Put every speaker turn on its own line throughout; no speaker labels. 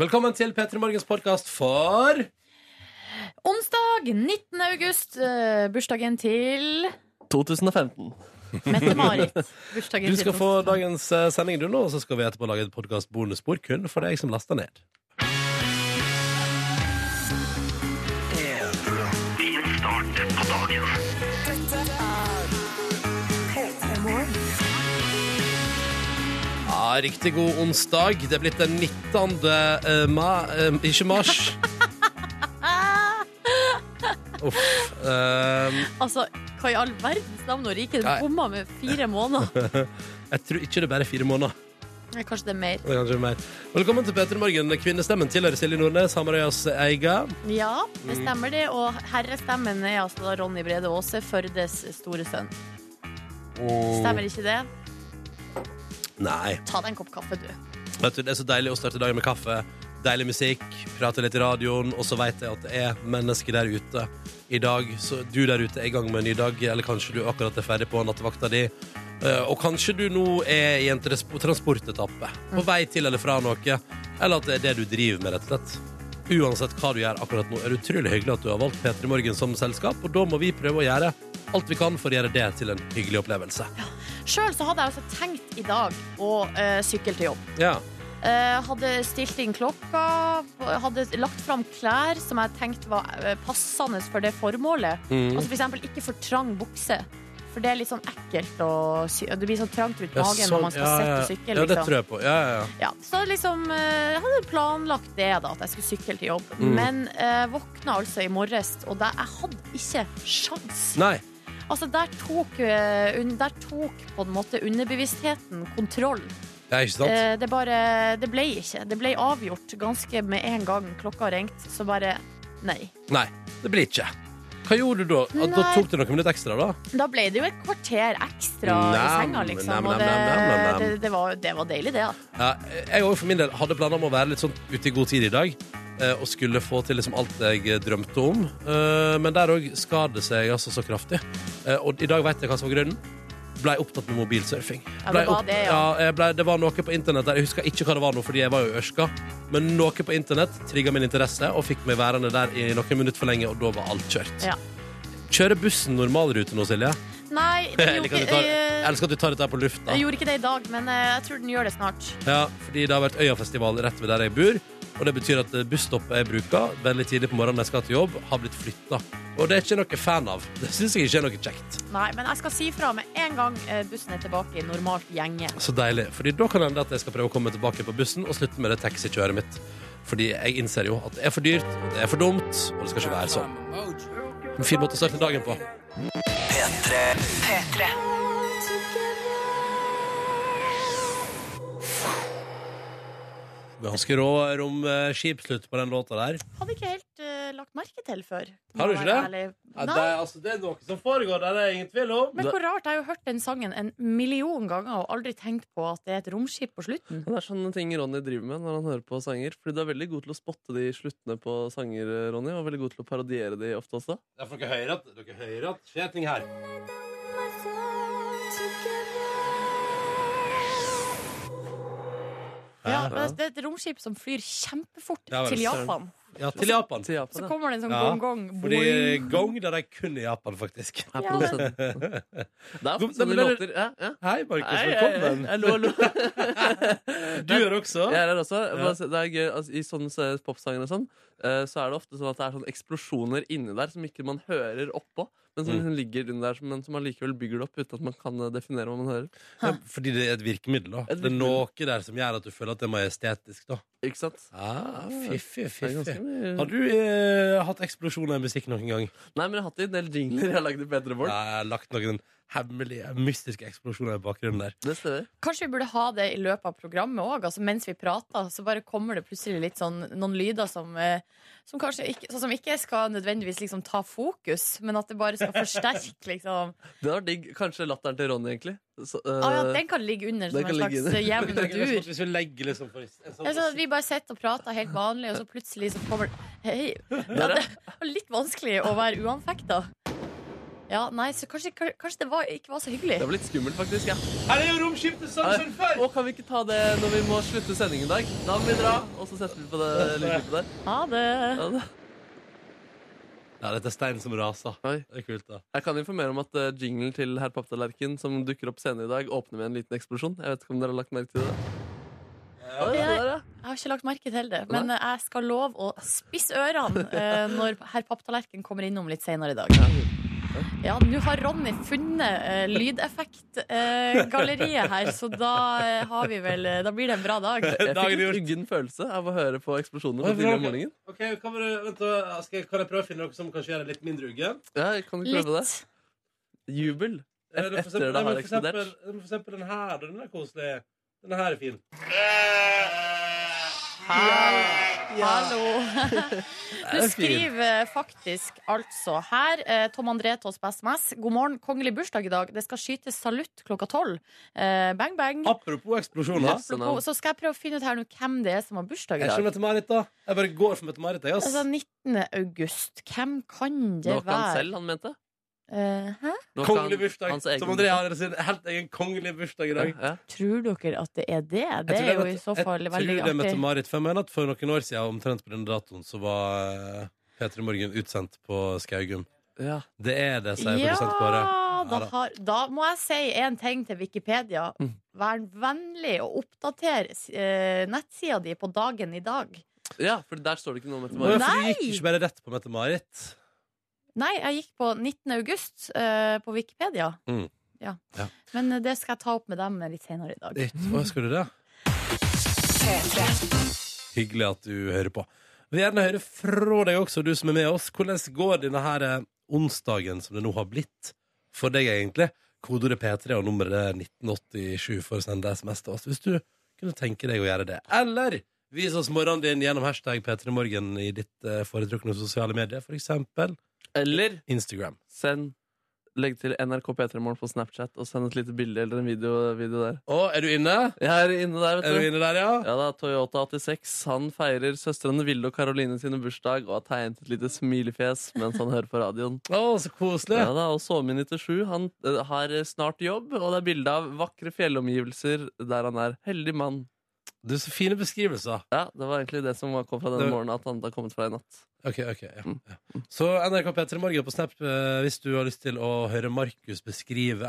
Velkommen til P3 Morgens podkast for
Onsdag 19. august, eh, bursdagen til
2015.
Mette-Marit.
Du
Bursdagen
skal
til-
få dagens eh, sending, du nå, og så skal vi etterpå lage et podkast-bonusbord kun for deg som laster ned. Ja, riktig god onsdag. Det er blitt den 19. eh, ma... eh, ikke mars. Uff. eh,
Altså, hva i all verdens navn og rike?
Nei.
Du bomma med fire måneder.
jeg tror ikke det er bare fire måneder.
Nei, Kanskje det er mer.
Det er kanskje mer. Velkommen til P3 Morgen. Kvinnestemmen tilhører Silje Nordnes, Hamarøyas eier.
Ja, det
Mm.
stemmer det. Og herrestemmen er altså da Ronny Brede Aase, Førdes store sønn.
Oh.
Stemmer ikke det?
Nei.
Ta deg en kopp kaffe, du.
Vet du, Det er så deilig å starte dagen med kaffe, deilig musikk, prate litt i radioen, og så veit jeg at det er mennesker der ute i dag. Så du der ute er i gang med en ny dag, eller kanskje du akkurat er ferdig på nattevakta di. Eh, Og kanskje du nå er i en tras- transportetappe, på vei til eller fra noe, eller at det er det du driver med, rett og slett. Uansett hva du gjør akkurat nå, er det utrolig hyggelig at du har valgt P3 Morgen som selskap, og da må vi prøve å gjøre alt vi kan for å gjøre det til en hyggelig opplevelse.
Sjøl så hadde jeg altså tenkt i dag å eh, sykle til jobb.
Ja.
Eh, hadde stilt inn klokka, hadde lagt fram klær som jeg tenkte var eh, passende for det formålet.
Mm.
Altså for eksempel ikke for trang bukse. For det er litt sånn ekkelt å sy Det blir sånn trangt rundt
Ja,
magen når
sånn.
man skal
Ja,
sitte
ja.
og sykle.
Ja, det
liksom.
tror jeg på. Ja, ja, ja.
Ja, så liksom eh, Jeg hadde planlagt det, da, at jeg skulle sykle til jobb.
Mm.
Men eh, våkna altså i morges, og da, jeg hadde ikke sjans.
Nei.
Altså, der tok, eh, un, der tok på en måte underbevisstheten kontroll.
Det er ikke sant.
Eh, det bare Det ble ikke. Det ble avgjort ganske med en gang klokka ringte, så bare Nei.
Nei, det blir ikke. Hva gjorde du da? At Da
Nei.
tok det noen minutter ekstra, da?
Da ble det jo et kvarter ekstra i
Nam,
senga, liksom.
nam,
Og
nam, nam, nam, nam.
det, det, det, var, det var deilig, det. da.
Ja, jeg òg for min del hadde planer om å være litt sånn ute i god tid i dag. eh, Og skulle få til liksom alt jeg drømte om. Eh, Men der òg skar det seg altså så kraftig. Eh, Og i dag vet jeg hva som var grunnen. Blei opptatt med mobilsurfing.
Ja,
Blei
det var
opp-
det, ja.
jeg blei- det var noe på internett der. Jeg husker ikke hva det var nå, fordi jeg var jo i Ørska. Men noe på internett trigga min interesse og fikk meg værende der i noen minutter for lenge, og da var alt kjørt.
Ja.
Kjører bussen normalrute nå, Silje?
Nei, det
Jeg liker
gjorde
at du
ikke,
tar, jeg
eh,
elsker at du tar dette her på lufta.
jeg gjorde ikke det i dag, men eh, jeg tror den gjør det snart.
Ja, fordi det har vært Øyafestival rett ved der jeg bor. Og det betyr at eh, busstoppet jeg bruker veldig tidlig på morgenen når jeg skal til jobb, har blitt flytta. Og det er ikke noe fan av. Det syns jeg ikke er noe kjekt.
Nei, men jeg skal si fra med en gang eh, bussen er tilbake i normalt gjenge.
Så deilig. Fordi da kan det hende at jeg skal prøve å komme tilbake på bussen og slutte med det taxikjøret mitt. Fordi jeg innser jo at det er for dyrt, det er for dumt, og det skal ikke være sånn. En fin måte å starte dagen på. Ganske rå romskipslutt på den låta der.
Hadde ikke helt eh, lagt merke til før.
Har du
Må
ikke
være
det?
ærlig.
Ja, det,
Nei,
er- altså, det er noe som foregår der, det er ingen tvil om.
men hvor rart. Jeg har jo hørt den sangen en million ganger og aldri tenkt på at det er et romskip på slutten.
Det er sånne ting Ronny driver med når han hører på sanger. Fordi du er veldig god til å spotte de sluttene på sanger, Ronny, og veldig god til å parodiere de ofte også.
Ja, for dere hører at dere hører at skjer ting her.
Ja, men det er et romskip som flyr kjempefort
Ja, vel,
til
søren.
Japan.
Ja, Altså, til Japan.
Til Japan,
Så
ja.
kommer det en sånn
Ja,
gong-gong.
Fordi gong der er kun i Japan, faktisk.
Her
Ja,
på
men-
Det er
Men-
ofte sånne
men-
låter. Ja, ja.
Hei, Markus.
Hei, hei,
Velkommen.
hei. Hallo, hallo.
Du er også.
Jeg er her også.
Ja.
Bare se- Det er gøy, altså, I sånne se- popsanger og sånn, eh, så er det ofte sånn at det er sånne eksplosjoner inni der som ikke man hører oppå, men som
Mm.
liksom ligger under der, som- men som allikevel bygger det opp uten at man kan eh, definere hva man hører.
Ja, fordi det er et virkemiddel. da
Et
Det er noe der som gjør at du føler at det er majestetisk. da
Ikke sant?
ah, Fiffig,
Det er ganske
fiffig.
mye
Har du eh, hatt eksplosjoner i musikk noen gang?
Nei, men jeg har hatt en del jingler jeg har lagd i bedre
Jeg
mål.
har lagt noen hemmelige, mystiske eksplosjoner i bakgrunnen der.
Det stemmer.
Kanskje vi burde ha det i løpet av programmet òg. Altså mens vi prater, så bare kommer det plutselig litt sånn noen lyder som, eh, som kanskje ikke, sånn som ikke skal nødvendigvis liksom ta fokus, men at det bare skal forsterke, liksom.
Det var digg. Kanskje latteren til Ronny, egentlig. Så, eh,
Ah, ja, den kan ligge under som en
Den kan ligge
slags
under.
jevn dur.
Hvis vi legger liksom for en
Det er sånn at
Altså,
sånn
vi bare sitter og prater helt vanlig, og så plutselig så kommer det Hei!
der,
Ja,
ja.
det var litt vanskelig å være uanfekta. Ja, nei, så kanskje, kanskje det var, ikke var så hyggelig.
Det var litt skummelt, faktisk. Ja.
Her er jo romskipet Samson før!
Og kan vi ikke ta det når vi må slutte sendingen i dag? Da må vi dra, og så setter vi på det lydklippet der.
Ha det.
Ja, det.
Ja, dette er stein som raser.
Oi.
Det er kult, da.
Jeg kan informere om at eh, jinglen til Herr Papptallerken som dukker opp senere i dag, åpner med en liten eksplosjon. Jeg vet ikke om dere har lagt merke til det? Ja, det er det der, ja.
Jeg har ikke lagt merke til det, men eh, jeg skal love å spisse ørene eh, når herr Papptallerken kommer innom litt senere i dag. Ja, nå har Ronny funnet eh, lydeffektgalleriet her, så da eh, har vi vel eh, Da blir det en bra dag.
Dagen
Jeg fikk
er
en
gjort.
uggen følelse av å høre på eksplosjonene
Oi,
fra tidligere om
bra.
morgenen.
Ok, kan, du, vent, da, skal jeg, kan jeg prøve å finne noe som kanskje gjør det litt mindre uggen?
Ja, kan du ikke prøve det?
Litt.
Jubel.
Eh, for
Etter
eksempel-
det
nei, men
har
for eksempel-
eksplodert.
men For eksempel den her, da, den er koselig. Den her er fin.
Hallo.
Det
Du
er fint.
skriver eh, faktisk altså her eh, Tom André til oss på SMS. God morgen, kongelig bursdag i dag. Det skal skytes salutt klokka tolv. Eh, bang, bang.
Apropos eksplosjoner.
Yes.
Apropos, så skal jeg prøve å finne ut her nå hvem det er som har bursdag i
Jeg
dag.
skjønner Mette-Marit, da. Jeg bare går for Mette-Marit. jeg, ass.
Altså 19. august. Hvem kan det
Det var ikke han
være?
selv han mente.
Eh, hæ?
Det var ikke
Kongelig
han-
bursdag.
hans egen
Tom André har sin helt egen kongelig bursdag i dag.
bursdag. Ja, ja.
Tror dere at det er det?
Jeg
Det
tror
er jo
Mette-
i så fall veldig
Jeg tror det er
artig.
Mette-Marit. For jeg mener at for noen år siden, omtrent på denne datoen, så var eh, P3 Morgen utsendt på Skaugum.
Ja. Det er det.
sier produsent Kåre.
Ja, da,
Ja da.
har, da må jeg si en ting til Wikipedia.
Mm.
Vær vennlig og oppdater eh, nettsida di på dagen i dag.
Ja, for der står det ikke noe om
Men
Mette-Marit.
hvorfor
Nei!
gikk du ikke bare rett på Mette-Marit?
Nei, jeg gikk på 19. august eh, på Wikipedia.
Mm.
Ja.
Ja.
Men eh, det skal jeg ta opp med dem litt senere i dag.
Ditt. Å, skal du det? Hyggelig at du hører på. Vi vil gjerne høre fra deg også, du som er med oss. Hvordan går denne her eh, onsdagen som det nå har blitt for deg, egentlig? Kodeordet P3 og nummeret er 1987 for å sende SMS til oss. Hvis du kunne tenke deg å gjøre det. Eller vis oss morgenen din gjennom hashtag P3morgen i ditt eh, foretrukne sosiale medier, for eksempel
Eller
Instagram.
send Legg til NRK P3 Morgen på Snapchat og send et lite bilde eller en video, video der.
Å, er du inne?
Jeg er inne der,
Er du
vet du.
inne der, ja?
Ja da, Toyota 86 han feirer søstrene Vilde og Karoline sine bursdag og har tegnet et lite smilefjes mens han hører på radioen.
Å, så koselig.
Ja da, og Såmin 97 han eh, har snart jobb, og det er bilde av vakre fjellomgivelser der han er heldig mann.
Du, så fine beskrivelser.
Ja, Det var egentlig det som kom fra denne
Det-
morgenen at han hadde kommet fra i natt.
Ok, ok, ja,
Mm.
ja. Så NRK P3 Morgen på Snap eh, hvis du har lyst til å høre Markus beskrive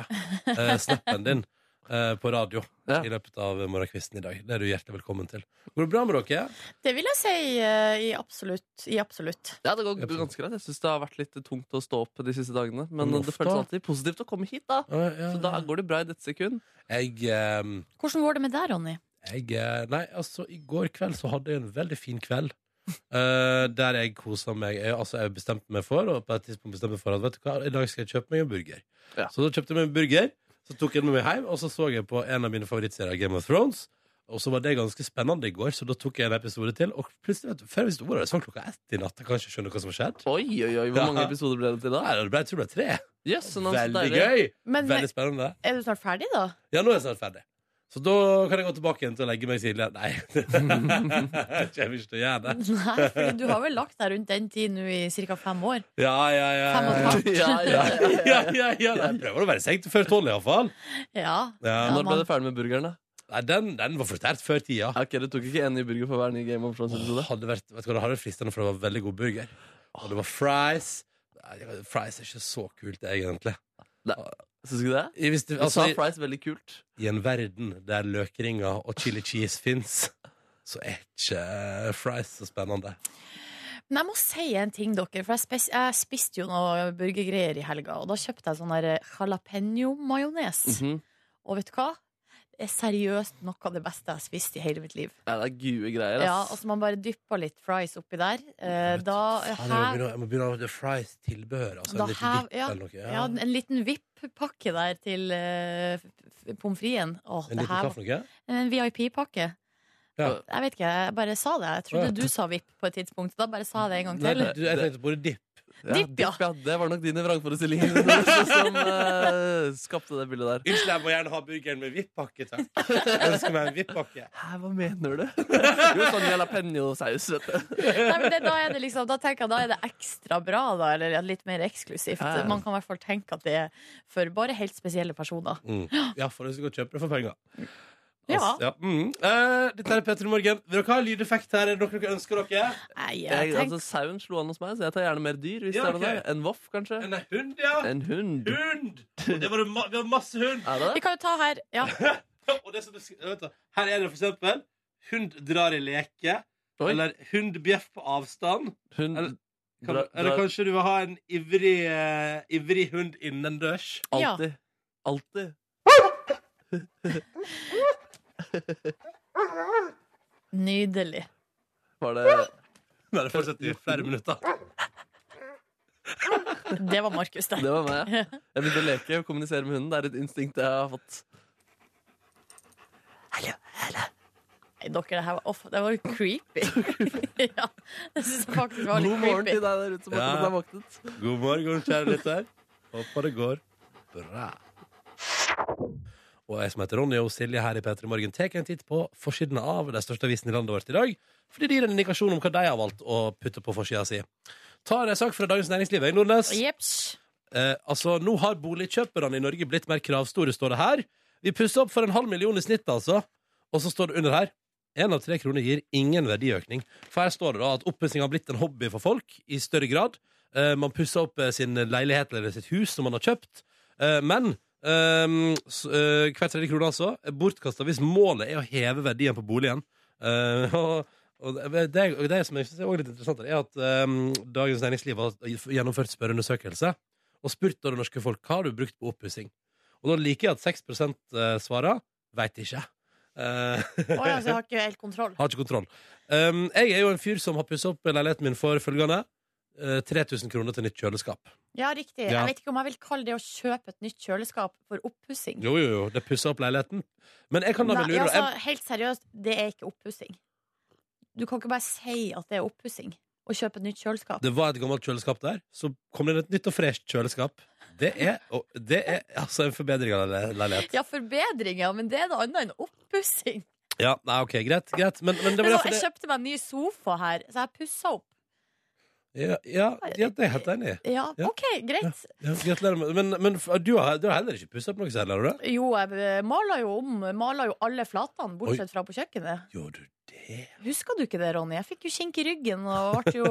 eh, snappen din eh, på radio
Ja.
i løpet av morgenkvisten i dag. Det er du hjertelig velkommen til. Går det bra med dere?
Det vil jeg si eh, i absolutt. I absolutt.
Ja, det går
Absolutt.
ganske greit. Jeg syns det har vært litt tungt å stå opp de siste dagene. Men
Men
det
ofte-
føles alltid positivt å komme hit, da.
Ja, ja,
Så da
ja.
går det bra i dette sekund.
Jeg, eh,
Hvordan går det med deg, Ronny?
jeg eh, Nei, altså, i går kveld så hadde jeg en veldig fin kveld. eh, der jeg kosa meg. Jeg, altså, jeg bestemte meg for Og på et tidspunkt bestemte jeg meg for at vet du hva, i dag skal jeg kjøpe meg en burger.
Ja.
Så da kjøpte jeg meg en burger, så tok jeg den med meg hjem, og så så jeg på en av mine favorittserier, Game of Thrones. Og så var det ganske spennende i går, så da tok jeg en episode til. Og plutselig, vet du, før jeg visste ordet av det, så var klokka ett i natt. Jeg kan ikke skjønne hva som har skjedd.
Oi, oi, oi, hvor
Ja.
mange episoder ble det til da?
Nei, det ble, jeg tror det ble tre.
Jøss, så
Veldig
deilig.
gøy!
Men
Veldig spennende.
er du snart ferdig, da?
Ja, nå er jeg snart ferdig. Så da kan jeg gå tilbake igjen til å legge meg tidligere. Nei, jeg kommer ikke til å gjøre det.
Nei, for du har vel lagt deg rundt den tid nå i ca. fem år?
Ja, ja, ja.
Fem og
ja,
et
ja.
halvt.
Ja, ja, ja.
Ja, ja, ja. Jeg prøver å være seg til før tolv, iallfall.
Ja.
Ja.
Ja.
Når ble du ferdig med burgeren, da?
Nei, Den, den var forsterkt før tida.
Ok, Du tok ikke en ny burger for hver ny Game of Thrones-episode?
Åh, hadde vært, vet du hva, det hadde vært fristende, for det var veldig god burger. Og det var fries. Nei, det var- Fries er ikke så kult, egentlig.
Syns du ikke det?
I- Hvis det,
Du
altså,
sa
i,
fries veldig kult.
I en verden der løkringer og chili cheese fins, så er ikke fries så spennende.
Men jeg må si en ting, dere. For jeg, spes, jeg spiste jo noe burgergreier i helga. Og da kjøpte jeg sånn der jalapeño-majones.
Mhm.
Og vet du hva? Det er seriøst noe av det beste jeg har spist i hele mitt liv.
Ja, det er gode greier, ass.
Ja, altså, og så man bare dyppa litt fries oppi der. Eh,
Vet du,
da
faen, jeg,
her,
må begynne, jeg må begynne å ha det fries-tilbehør. Altså,
Da
en liten
her-
dipp
ja,
eller noe. Ja.
ja, en liten VIP-pakke der til eh, f- f- pommes frites. Åh,
en
det
liten
her
kaffe noe?
Eh, En VIP-pakke.
Ja.
Jeg vet ikke, jeg bare sa det. Jeg
Å, ja.
trodde du sa VIP på et tidspunkt. Da bare sa jeg det en gang
Nei,
til.
du, jeg tenkte på det dipp.
Ja,
Dipp, ja.
Det var nok din vrangforestilling som eh, skapte det bildet der.
Unnskyld, jeg må gjerne ha burgeren med VIP-pakke, takk. Jeg ønsker meg en VIP-pakke.
Hæ, hva mener du? Jo, sånn jalapeño-saus, vet du.
Nei, men det, da, er det liksom, da tenker jeg da er det ekstra bra, da, eller litt mer eksklusivt.
Ja, ja.
Man kan i hvert fall tenke at det er for bare helt spesielle personer.
Mm. Ja, for du skal gå og kjøpe det for penger.
Ja.
Altså, ja. Mm. Eh, dette er Petter i morgen. Vil dere ha lydeffekt her? Er det noe dere ønsker dere?
Nei, jeg
Jeg,
tenker
altså, sauen slo an hos meg, så jeg tar gjerne mer dyr. Hvis
Ja,
det er noe
ok.
der. En voff, kanskje?
En hund, ja?
En hund?
Hund! Og Det var det ma vi har masse hund.
Er
Vi
det det?
kan jo ta her ja.
Og det som du, sk- vent da. Her er det for eksempel Hund drar i leke.
Oi.
Eller hund bjeff på avstand.
Hund
Eller- Kan,
dra-
eller
drar
kanskje du vil ha en ivrig, eh, ivrig hund innendørs?
alltid. Alltid.
Nydelig.
Var det
Nei, det fortsetter i flere minutter.
Det var Markus der.
Det var meg. ja. Jeg begynte å leke og kommunisere med hunden. Det er et instinkt jeg har fått.
Nei, dere, det her var off. Det var jo creepy. ja, det synes jeg faktisk var litt
God morgen
creepy.
til deg der ute
Ja.
som akkurat har våknet.
God morgen, kjære lytter. Håper det går bra. Og jeg som heter Ronny og Silje her i P3 Morgen tar en titt på forsiden av de største avisene i landet vårt i dag. Fordi det gir en indikasjon om hva de har valgt å putte på forsida si. Tar en sak fra Dagens Næringsliv. jeg, Nordnes.
Jeps.
Eh, altså, nå har boligkjøperne i Norge blitt mer kravstore, står det her. Vi pusser opp for en halv million i snitt, altså. Og så står det under her Én av tre kroner gir ingen verdiøkning. For her står det da at oppussing har blitt en hobby for folk i større grad. Eh, man pusser opp eh, sin leilighet eller sitt hus som man har kjøpt. Eh, men ehm, s- eh, hver tredje krone, altså, er bortkasta hvis målet er å heve verdien på boligen. Eh, og, og det, det, det som jeg synes er også litt interessant, her, er at ehm, Dagens Næringsliv har gjennomført spørreundersøkelse og spurt da det norske folk hva har du brukt på oppussing. Og da liker jeg at 6 eh, svarer veit ikke. Eh,
Å ja, så jeg har ikke helt kontroll.
har ikke kontroll. Um, jeg er jo en fyr som har pussa opp leiligheten min for følgende. eh, 3000 kroner til nytt kjøleskap.
Ja, riktig.
Ja.
Jeg vet ikke om jeg vil kalle det å kjøpe et nytt kjøleskap for oppussing.
Jo, jo, jo, det pusser opp leiligheten. Men jeg kan da
Nei,
vel lure
altså,
jeg,
helt seriøst, det er ikke oppussing. Du kan ikke bare si at det er oppussing å kjøpe et nytt kjøleskap.
Det var et gammelt kjøleskap der, så kom det inn et nytt og fresht kjøleskap. Det er, og det er altså en forbedring av leil- leilighet.
Ja, forbedringer, men det er noe annet enn oppussing.
Ja, nei, OK, greit. greit. Men, men det
Det er
var
sånn,
derfor
Jeg
det
kjøpte meg en ny sofa her, så jeg pussa opp.
Ja, ja, ja det er jeg helt enig i.
Ja,
Ja.
OK, greit.
Ja, gratulerer. med- Men, men f- du, har, du har heller ikke pussa opp noe særlig, har du det?
Jo, jeg mala jo om Mala jo alle flatene,
Oi.
bortsett fra på kjøkkenet.
Gjorde du det?
Husker du ikke det, Ronny? Jeg fikk jo kink i ryggen og ble jo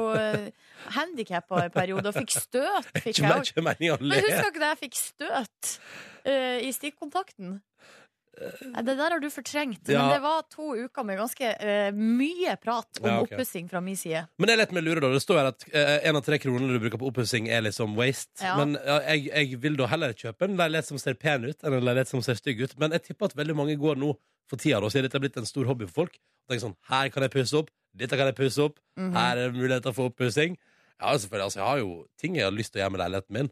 handikappa en periode. Og fikk støt. Fikk
Ikke,
jeg
men-
også.
ikke meningen å le.
Men husker ikke det jeg fikk støt eh, i stikkontakten? Nei, Det der har du fortrengt.
Ja.
Men det var to uker med ganske eh, mye prat om
Ja, ok.
oppussing fra min side.
Men jeg leter meg lure da Det står her at eh, en av tre kroner du bruker på oppussing er liksom waste.
Ja.
Men ja, jeg, jeg vil da heller kjøpe en leilighet som ser pen ut, enn en leilighet som ser stygg ut. Men jeg tipper at veldig mange går nå for tida da, siden dette er blitt en stor hobby for folk. Og tenker sånn, her kan jeg pusse opp, dette kan jeg pusse opp,
Mhm.
her er det muligheter for oppussing. Ja, selvfølgelig, altså, jeg har jo ting jeg har lyst til å gjøre med leiligheten min.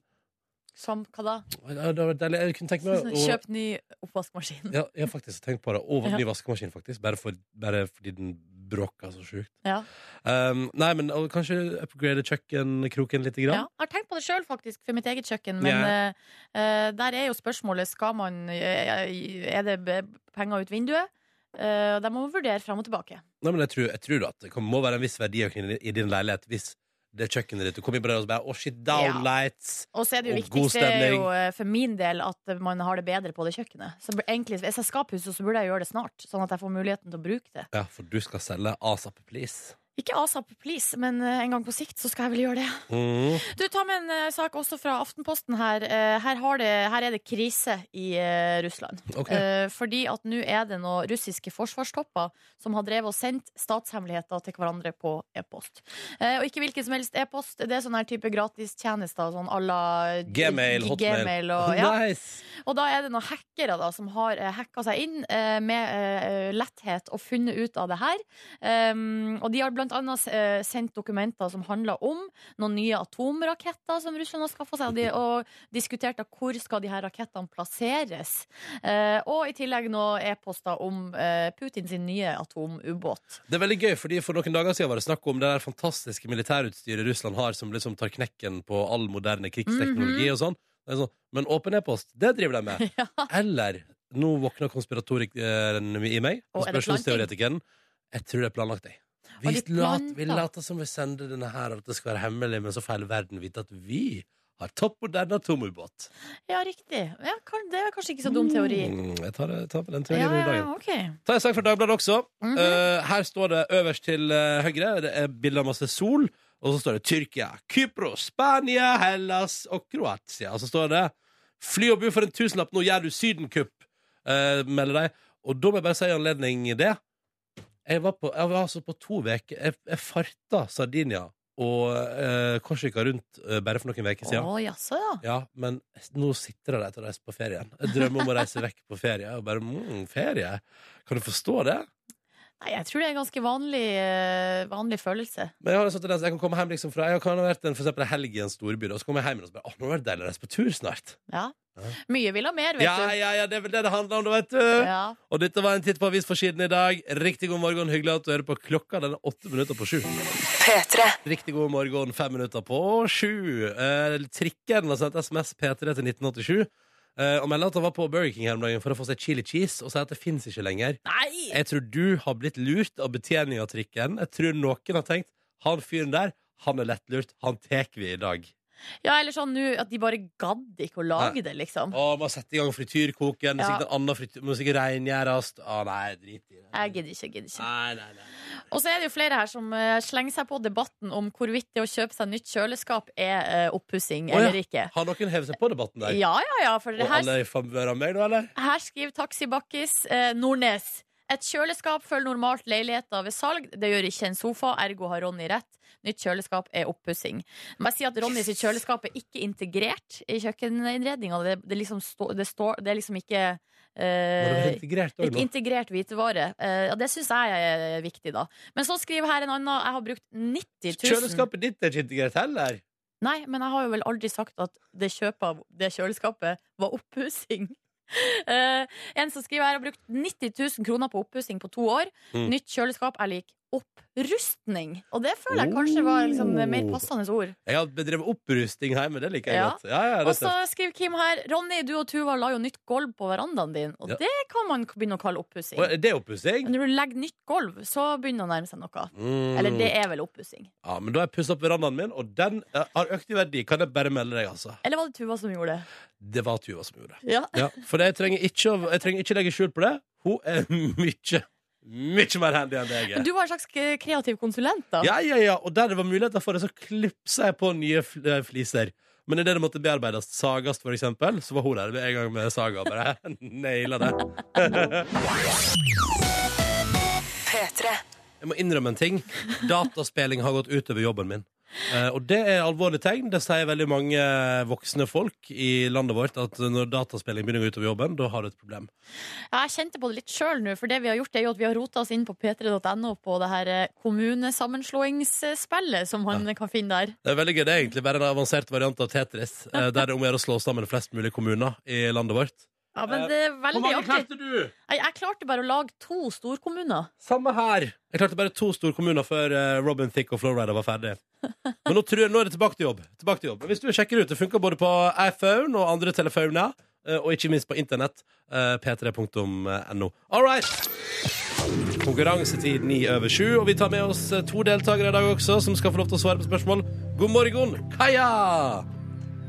Som hva da?
Ja, det var deilig. Jeg kunne tenkt meg å...
Kjøp ny oppvaskmaskin.
Ja, jeg har faktisk tenkt på det. Og
Ja.
ny vaskemaskin, faktisk. Bare, for, bare fordi den bråker så sjukt.
Ja.
Um, nei, men og kanskje upgrade kjøkkenkroken litt.
Ja.
Grann.
jeg har tenkt på det sjøl, faktisk, for mitt eget kjøkken. Men
Ja.
eh, eh, der er jo spørsmålet skal man eh, Er det be- penger ut vinduet? Eh, og da må man vurdere fram og tilbake.
Nei, men jeg tror, jeg tror da at det kan, må være en viss verdiøkning i- i din leilighet hvis det er kjøkkenet ditt. Du kommer inn på døra og så bare oh shit, downlights!
Og så er det jo
Og god
viktigste er jo,
stemning.
eh, for min del at man har det bedre på det kjøkkenet. Så b- egentlig, hvis jeg skal pusse, så burde jeg gjøre det snart, sånn at jeg får muligheten til å bruke det.
Ja. for du skal selge ASAP, please.
Ikke asap, please, men eh, en gang på sikt så skal jeg vel gjøre det.
Mm.
Du, ta med en eh, sak også fra Aftenposten her. Eh, her, har det, her er det krise i eh, Russland.
Ok.
Eh, fordi at nå er det noen russiske forsvarstopper som har drevet og sendt statshemmeligheter til hverandre på e-post. Eh, og ikke hvilken som helst e-post. Det er sånn her type gratistjenester, sånn à la
Gmail, hotmail.
Gmail og, ja.
Nice!
og da er det noen hackere da, som har eh, hacka seg inn eh, med eh, letthet og funnet ut av det her. Um, og de har blant annet eh, sendt dokumenter som handler om noen nye atomraketter som Russland har skaffa seg, og, de, og diskutert da, hvor skal de her rakettene plasseres. Eh, og i tillegg noen e-poster om eh, Putin sin nye atomubåt.
Det er veldig gøy, fordi For noen dager siden var det snakk om det der fantastiske militærutstyret Russland har, som liksom tar knekken på all moderne krigsteknologi og sånn. Det er sånn. Men åpen e-post, det driver de med.
Mhm. Ja.
Eller nå våkner konspiratorikeren i meg,
Og er det
konspirasjonsteoretikeren. Jeg tror det er planlagt, jeg. Vi,
Og de
lat,
planla.
vi later som vi sender denne her, og at det skal være hemmelig, men så får hele verden vite at vi har topp moderne atomubåt.
ja, riktig. Ja, kan, det er kanskje ikke så dum teori.
Mm, jeg tar, jeg tar den teorien
Ja,
i
ja,
dagen.
ja, ok.
Ta en sak fra Dagbladet også.
Mhm.
Eh, her står det øverst til eh, høyre Det er bilde av masse sol. Og så står det Tyrkia, Kypros, Spania, Hellas og Kroatia. Og så står det 'Fly og bu for en tusenlapp, nå gjør du sydenkupp', eh, melder de. Og da må jeg bare si i anledning det. Jeg var, på, jeg var altså på to uker jeg, jeg farta Sardinia og eh, Korsika rundt eh, bare for noen uker siden.
Å, jaså, ja.
Ja, men nå sitter jeg der til å reise på ferie igjen. Jeg drømmer om å reise vekk på ferie. Og bare, mm, ferie? Kan du forstå det?
Nei, jeg tror det er en ganske vanlig, eh, vanlig følelse.
Men jeg har en sånn tendens, jeg kan komme hjem liksom fra Jeg kan ha vært en, for eksempel en helg i en storby, da, og så kommer jeg hjem og så bare Å, nå var det deilig å reise på tur snart.
Ja.
Ja.
Mye vil ha mer, vet
Ja,
du.
ja, ja, det er vel det det handler om, da, vet du.
Ja.
Og dette var en titt på avisforsiden i dag. Riktig god morgen, hyggelig at du hører på klokka. Den er åtte minutter på sju. Riktig god morgen, fem minutter på sju. Eh, trikken har sendt SMS P3 til 1987 eh, og melder at han var på Burger King her om dagen for å få seg chili cheese, og sier at det fins ikke lenger.
Nei!
Jeg tror du har blitt lurt av betjening av trikken. Jeg tror noen har tenkt han fyren der, han er lettlurt. Han tar vi i dag.
Ja, eller sånn nå at de bare gadd ikke å lage det, liksom.
Å, må sette i gang frityrkoken.
Ja.
Sikkert en annen frityr, må sikkert rengjøres. Å nei, drit i det.
Jeg gidder ikke. jeg gidder ikke
Nei, nei, nei.
Og så er det jo flere her som eh, slenger seg på debatten om hvorvidt det å kjøpe seg nytt kjøleskap er uh, oppussing
Å, ja.
eller ikke.
Har noen hevet seg på debatten der?
Ja, ja, ja, for det
Og
her,
alle i favør av meg, da, eller?
her skriver Taxibakkis eh, Nordnes. Et kjøleskap følger normalt leiligheter ved salg. Det gjør ikke en sofa, ergo har Ronny rett. Nytt kjøleskap er oppussing. Men jeg sier at Ronny sitt kjøleskap er ikke integrert i kjøkkeninnredninga. Det, det, liksom stå- det, står- det er liksom ikke
Må det
eh,
være integrert òg
Ikke
nå?
integrert hvitevare. Eh, Ja, det syns jeg er viktig, da. Men så skriver her en annen. Jeg har brukt 90 000
Kjøleskapet ditt er ikke integrert heller.
Nei, men jeg har jo vel aldri sagt at det kjøpet av det kjøleskapet var oppussing. Eh, en som skriver her har brukt 90 000 kroner på oppussing på to år.
Mm.
Nytt kjøleskap er lik opprustning. Og det føler jeg kanskje var liksom
Oh.
mer passende ord.
Jeg har bedrevet opprusting hjemme, det liker jeg
Ja.
godt. Ja, ja, det
Og
er
så skriver Kim her Ronny, du og Tuva la jo nytt gulv på verandaen din. Og
Ja.
det kan man begynne å kalle
tøft.
oppussing.
Å, er det oppussing?
Når du legger nytt gulv, så begynner det å nærme seg noe.
Mm.
Eller det er vel oppussing.
Ja, men da har jeg pussa opp verandaen min, og den eh, har økt i verdi. Kan jeg bare melde deg, altså?
Eller var det Tuva som gjorde det?
Det var Tuva som gjorde det.
Ja.
Ja, for jeg trenger ikke, å- jeg trenger ikke legge skjul på det. Hun er mye, mye mer handy enn det jeg
Men
er.
du var en slags eh, kreativ konsulent, da.
Ja, ja, ja, og der det var muligheter for det, så klipsa jeg på nye fl- eh, fliser. Men idet det måtte bearbeides, sagast for eksempel, så var hun der med en gang med saga. og Bare naila det. Jeg må innrømme en ting. Dataspilling har gått utover jobben min. Eh, og det er alvorlige tegn. Det sier veldig mange voksne folk i landet vårt at når dataspilling begynner å gå utover jobben, da har du et problem.
Ja, Jeg kjente på det litt sjøl nå, for det vi har gjort, er jo at vi har rota oss inn på p3.no på det her eh, kommunesammenslåingsspillet som man kan finne der.
Det er veldig gøy. Det er egentlig bare en avansert variant av Tetris, eh, der det er om å gjøre å slå sammen flest mulig kommuner i landet vårt.
Ja, men det er
Eh, Hvor
veldig
mange
artig.
klarte du?
Jeg, jeg klarte bare å lage to storkommuner.
Samme her. Jeg klarte bare to storkommuner før eh, Robin Thicke og Flowrider var ferdig. Men nå, tror jeg, nå er det tilbake til jobb. Tilbake til jobb. Hvis du sjekker ut, det funker både på iPhone og andre telefoner, eh, og ikke minst på internett. eh, p3.no. All right! Konkurransetid ni over sju, og vi tar med oss eh, to deltakere i dag også, som skal få lov til å svare på spørsmål. God morgen, Kaja!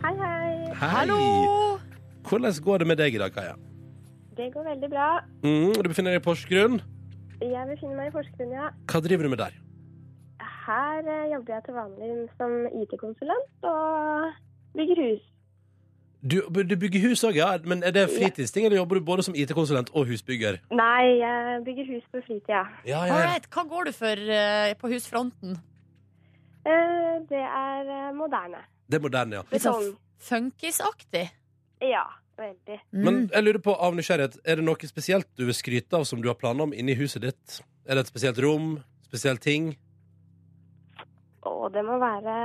Hei, hei.
Hei.
Hallo!
Hvordan går det med deg i dag, Kaja?
Det går veldig bra.
Mm, du befinner deg i Porsgrunn.
Jeg befinner meg i Porsgrunn, ja.
Hva driver du med der?
Her eh, jobber jeg til vanlig som IT-konsulent og bygger hus.
Du, du bygger hus òg, ja. Men er det
Ja.
fritidsting, eller jobber du både som IT-konsulent og husbygger?
Nei, jeg bygger hus på fritida.
Ja, ja, ja.
Alright, hva går du for eh, på husfronten?
Eh, Det er eh, moderne.
Det er moderne, ja.
Litt sånn
Betong.
funkisaktig?
Ja, veldig.
Mm.
Men jeg lurer på, av nysgjerrighet, er det noe spesielt du vil skryte av som du har planer om inni huset ditt? Er det et spesielt rom? Spesiell ting?
Og det må, være,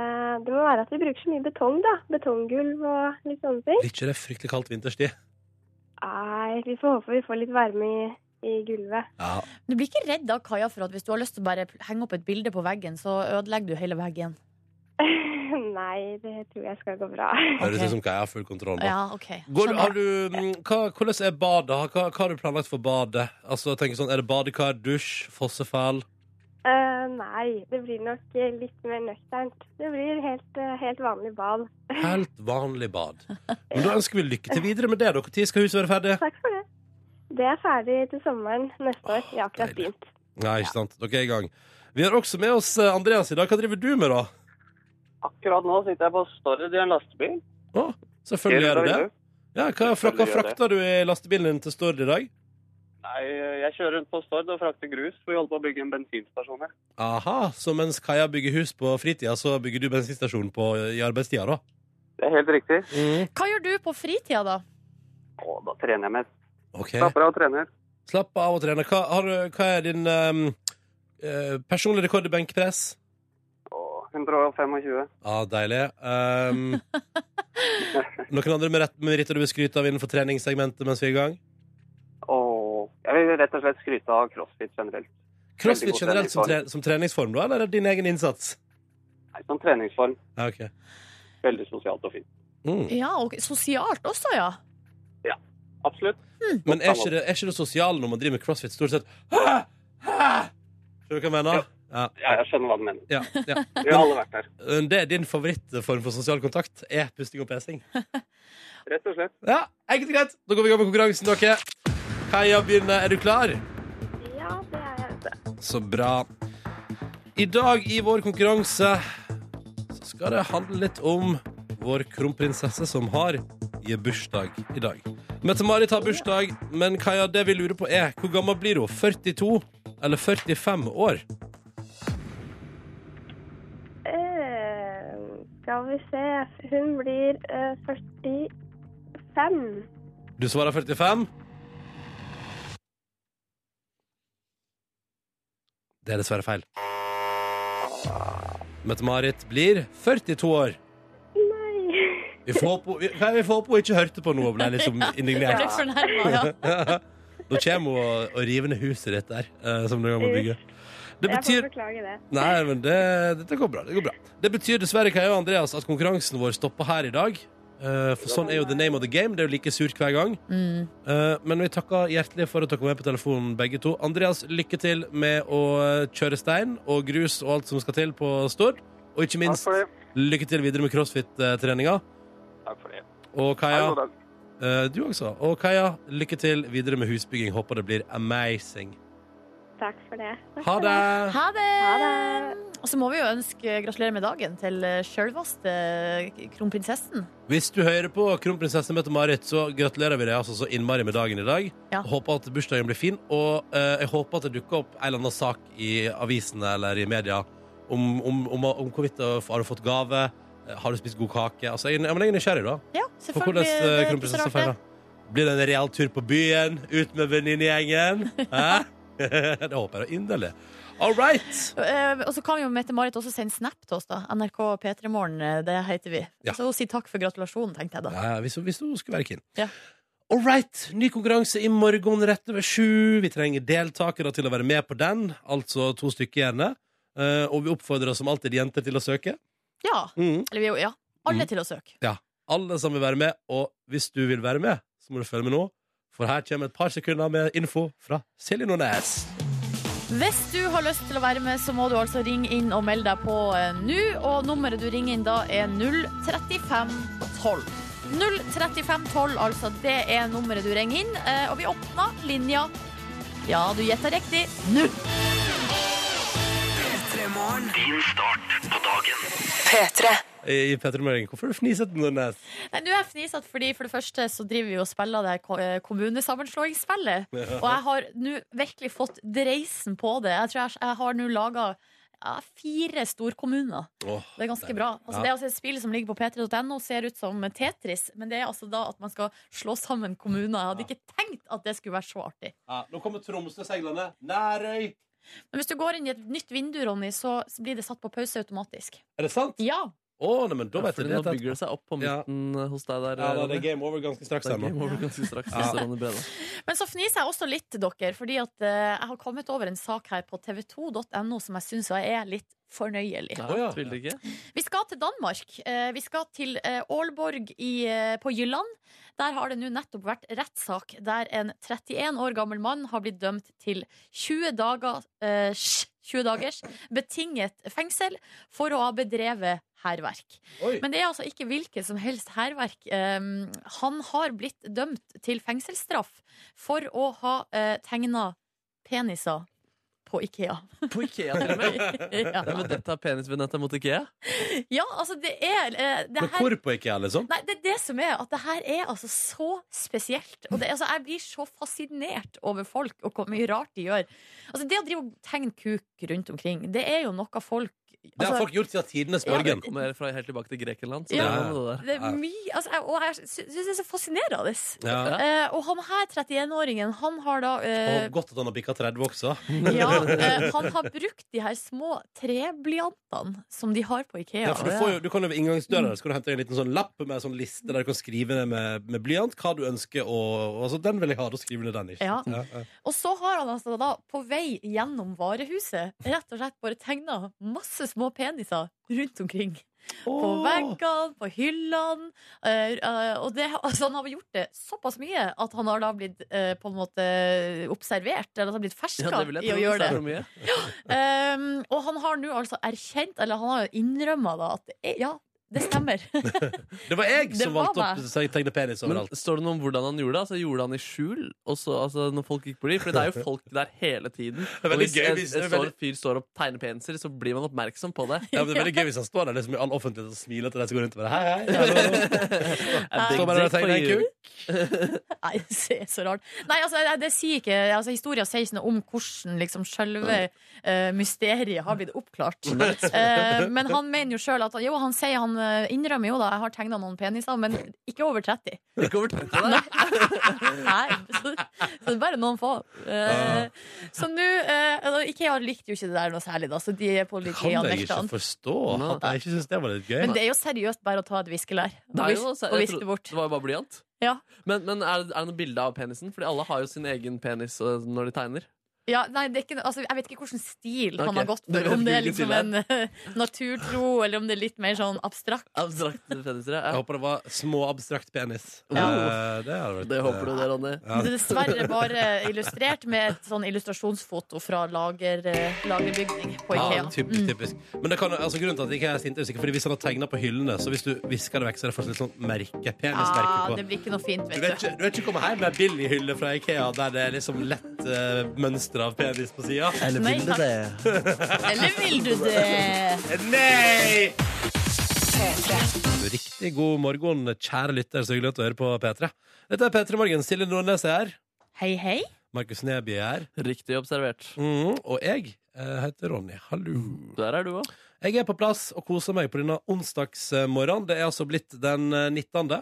det må være at vi bruker så mye betong, da. Betonggulv og litt sånne ting.
Blir ikke det fryktelig kaldt vinterstid?
Nei, vi får håpe vi får litt varme i, i gulvet.
Ja.
Du blir ikke redd da, Kaja, for at hvis du har lyst til å bare henge opp et bilde på veggen, så ødelegger du hele veggen?
Nei, det tror jeg skal gå bra.
Høres
Ok.
ut som Kaja har full kontroll. nå.
Ja, ok.
Går,
Skjønner.
har du, mm, hva, hvordan er badet? Hva, hva har du planlagt for badet? Altså, jeg tenker sånn, Er det badekar, dusj, fossefall?
Eh, nei, det blir nok eh, litt mer nøkternt. Det blir helt, eh, helt vanlig bad.
Helt vanlig bad. Men Da ønsker vi lykke til videre med det. dere. Når skal huset være ferdig?
Takk for det. Det er ferdig til sommeren neste år. Jeg har akkurat
deilig.
begynt.
Nei, ikke sant. Dere er i gang. Vi har også med oss eh, Andreas i dag. Hva driver du med, da?
Akkurat nå sitter jeg på Stord i en lastebil.
Å, selvfølgelig gjør du det.
Helt
Ja, hva fra- hva
Selvfølgelig gjør
frakter du i lastebilen din til Stord i dag?
Nei, jeg kjører rundt på Stord og frakter grus. for Vi holder på å bygge en bensinstasjon her.
Aha, så mens Kaja bygger hus på fritida, så bygger du bensinstasjon på, i arbeidstida, da?
Det er helt riktig.
Hva gjør du på fritida, da?
Å, da trener jeg mest.
Ok.
Slapper av og trener.
Slapp av og trene. Hva, har, du- hva er din ehm, eh, personlige rekord i benkpress?
Å, 125.
Ja, deilig. Ehm, noen andre med rett- meritter du vil skryte av innenfor treningssegmentet mens vi er i gang?
Å, jeg vil rett og slett skryte av crossfit generelt.
Crossfit
Veldig god
generelt som,
treningsform.
tre som treningsform, da, eller er det din egen innsats?
Nei, Som treningsform.
Ja, ok.
Veldig sosialt og fint.
Mm.
Ja, og sosialt også, ja.
Absolutt.
Men er ikke, det, er ikke det sosiale når man driver med crossfit, stort sett Hæ? Hæ? Skjønner du hva jeg mener? Ja.
Ja, jeg skjønner hva du mener.
Ja, ja.
Vi har alle vært der.
Det er din favorittform for sosial kontakt. Er pusting og pesing.
Rett og slett.
Ja, enkelt og greit. Da går vi i gang med konkurransen, dere. Kaja begynner. Er du klar?
Ja, det er jeg. vet du.
Så bra. I dag i vår konkurranse så skal det handle litt om vår kronprinsesse som har i bursdag i dag. Mette-Marit har bursdag, men Kaja, det vi lurer på er hvor gammel blir hun? 42 eller 45 år?
Eh, skal vi se. Hun blir eh, 45.
Du svarer 45. Det er dessverre feil. Mette-Marit blir 42 år.
Nei.
Vi får håpe hun- vi- Kaja, vi får håpe hun ikke hørte på noe og ble liksom
Jeg
indignert.
ble fornærma, ja.
Nå kommer hun og, og river ned huset ditt der, eh, som du må bygge. Det
Jeg får
betyr
beklage det.
Nei, men det, dette går bra. Det går bra. Det betyr dessverre Kaja og Andreas, at konkurransen vår stopper her i dag. Eh, for sånn er jo the name of the game. Det er jo like surt hver gang.
Mm.
Eh, men vi takker hjertelig for at dere var med på telefonen, begge to. Andreas, lykke til med å eh, kjøre stein og grus og alt som skal til på Stord. Og ikke
Takk
minst,
for det.
lykke til videre med crossfit-treninga.
Takk for det.
Og
Ha
Kaja,
en god dag.
eh, du også. Og Kaja, lykke til videre med husbygging. Håper det blir amazing.
Takk for det. Takk
Ha
for
det!
Ha det!
Ha
Og så må vi jo ønske gratulerer med dagen til eh, sjølvaste kronprinsessen.
Hvis du hører på Kronprinsesse Mette-Marit, så gratulerer vi deg altså så innmari med dagen i dag.
Ja.
Håper at bursdagen blir fin, og eh, jeg håper at det dukker opp en eller annen sak i avisene eller i media om, om, om, om hvorvidt du har fått gave, eh, har du spist god kake Altså, jeg, ja, men jeg er nysgjerrig, da.
Ja,
På hvordan
selvfølgelig.
eh,
det er ikke så
kronprinsessa
rart, det.
feirer. Blir det en real tur på byen, ut med venninnegjengen? Hæ? det håper jeg da inderlig. All right!
Eh, og så kan jo Mette-Marit også sende snap til oss, da. NRK P3morgen, eh, det heter vi.
Ja.
Så hun sier takk for gratulasjonen, tenkte jeg da.
Ja, ja, hvis, hun- hvis hun skulle være keen.
Ja.
All right, ny konkurranse i morgen rett over sju. Vi trenger deltakere til å være med på den, altså to stykker gjerne. Eh, og vi oppfordrer som alltid jenter til å søke.
Ja. Eller vi, ja. Alle
Mm.
til å søke.
Alle som vil være med, og hvis du vil være med, så må du følge med nå. For her kommer et par sekunder med info fra Silje Nordnes.
Hvis du har lyst til å være med, så må du altså ringe inn og melde deg på eh, nå. Og nummeret du ringer inn da, er 03512. 03512, altså. Det er nummeret du ringer inn. eh, og vi åpner linja. Ja, du gjetta riktig. Nå!
I Petter Møring. Hvorfor fniser du, Nordnes?
Nei, nå er jeg fnisete fordi for det første så driver vi og spiller det her ko- eh, kommunesammenslåingsspillet. Og jeg har nå virkelig fått dreisen på det. Jeg tror jeg, jeg har nå laga ja, fire storkommuner.
Åh,
Det er ganske
deilig.
bra.
Ja.
Altså, Det er altså et spill som ligger på p3.no, ser ut som Tetris, men det er altså da at man skal slå sammen kommuner. Jeg hadde ikke tenkt at det skulle være så artig.
Ja, nå kommer Tromsø seilende. Nærøy.
Men hvis du går inn i et nytt vindu, Ronny, så blir det satt på pause automatisk.
Er det sant?
Ja!
Å, nei, men da
Ja,
vet
fordi
jeg det.
nå bygger det seg opp på
Ja.
midten eh, hos deg der.
Ja, da,
Ronny.
det er game over ganske straks
Det
her
er
nå.
game over ganske straks.
Ja.
Mr. Ronny Brede.
Men så fniser jeg også litt til dere, fordi at eh, jeg har kommet over en sak her på tv2.no som jeg syns er litt fornøyelig.
Ja,
Å, ja.
tviler ikke.
Vi skal til Danmark. Eh, Vi skal til eh, Aalborg i, eh, på Jylland. Der har det nå nettopp vært rettssak der en 31 år gammel mann har blitt dømt til 20, dager, eh, sj- 20 dagers betinget fengsel for å ha bedrevet hærverk.
Oi.
Men det er altså ikke hvilket som helst hærverk. Eh, Han har blitt dømt til fengselsstraff for å ha tegna peniser på Ikea.
På Ikea, til og med.
ja.
Ja, men dette er penisvenetta mot Ikea.
ja, altså, det er eh, det
Men
her-
hvor på ikke jeg, liksom?
Nei, det er det som er at det her er altså så spesielt. Og det, altså, jeg blir så fascinert over folk og hvor mye rart de gjør. Altså, det å drive og tegne kuk rundt omkring, det er jo noe folk
Det har
altså,
folk gjort siden tidenes
Ja,
morgen.
Kommer fra helt tilbake til Grekenland. Så
Ja.
det er noe med det der.
det er mye, altså, jeg, Og jeg sy- syns det er så fascinerende.
Ja.
Eh, og han her, 31-åringen, han har da eh,
Og godt at han har bikka 30 også.
ja, eh, Han har brukt de her små treblyantene som de har på Ikea.
Ja, for du, får jo, du kan jo ved inngangsdøra der, så kan du hente en liten sånn lapp med en sånn liste der du kan skrive ned med, med blyant hva du ønsker. Og, altså, den vil jeg ha. Da skriver du ned den. ikke
Ja.
sant? Ja, ja.
Og så har han altså da på vei gjennom varehuset rett og slett bare tegna masse små peniser rundt omkring. På
Åh.
veggene, på hyllene. eh, eh, og det, altså, han har gjort det såpass mye at han har da blitt eh, på en måte observert, eller at han har blitt ferska
Ja, det vil
i
jeg
å
tro, altså.
gjøre
hvis
det.
er noe
Um,
mye.
og han har nå altså erkjent, eller han har jo innrømma da, at det er, ja, det stemmer.
Det var jeg
Det
som
var
valgte opp
meg.
så jeg tegnet penis
Men
overalt.
Står det noe om hvordan han gjorde det? Altså, gjorde han i skjul? Og så, altså, når folk gikk på de For det er jo folk der hele tiden.
er veldig
Og hvis
gøy
en,
hvis-
en
det er veldig-
stor fyr står og tegner peniser, så blir man oppmerksom på det.
Ja, men det er veldig gøy hvis han står der liksom, i all offentlighet og smiler til deg som går rundt og bare Hei, hei, hallo.
A big
Står bare der og
dick for
tegner en
you.
kuk.
Nei, det er så rart. Nei, altså, jeg- det sier ikke altså, Historia sier ikke noe om hvordan liksom, selve eh, mysteriet har blitt oppklart. Eh, men han mener jo sjøl at Jo, han sier han eh, innrømmer jo da, jeg har tegna noen peniser, men ikke over 30.
Ikke over tøtta der.
Nei, så, så det er bare noen få. Eh,
Ah.
Så nå eh, altså, Ikea likte jo ikke det der noe særlig, da, så de er på litt
Kan jeg ikke
Ikea-nektan.
forstå at jeg ikke syns det var litt gøy.
Men det er jo seriøst bare å ta et viskelær og,
Det er jo- altså,
vis og
jeg
viske
trodde-
det bort.
Det var jo bare blyant.
Ja.
Men, men er, det- er det noe bilde av penisen? Fordi alle har jo sin egen penis eh, når de tegner.
Ja, nei, det er ikke, altså, jeg vet ikke hvilken stil han
Ok.
har gått
Du vet
for. Om det er
hvilken stil
liksom en eh, naturtro, eller om det er litt mer sånn abstrakt.
Abstrakt peniser, ja.
Jeg håper det var små, abstrakt penis.
Ja.
Eh, det hadde vært
Det håper du det, Ronny.
Ja.
Det er dessverre bare illustrert med et sånn illustrasjonsfoto fra lager, eh, lagerbygning på Mm.
Ja,
Ikea.
typisk, typisk. Men det kan, altså, grunnen til at jeg ikke er sint, er sikkert fordi hvis han har tegna på hyllene, så hvis du visker det vekk, så er det fortsatt litt sånn merke. Penismerke
Ah,
på.
det blir ikke noe fint,
Du
vet
vet
du.
ikke, du vet ikke komme hjem med ei billighylle fra Ikea der det er liksom lett eh, mønster av penis på sida.
Eller vil du det? Eller vil du det?
Nei! Riktig god morgen, kjære lytter. Så hyggelig at du hører på P3. Dette er P3 Morgen. Silje Nordnes er her.
Hei, hei.
Markus Neby er her.
Riktig observert.
Mhm, og jeg eh, heter Ronny. Hallo.
Der er du òg.
Jeg er på plass og koser meg på denne onsdagsmorgenen. Det er altså blitt den eh, 19.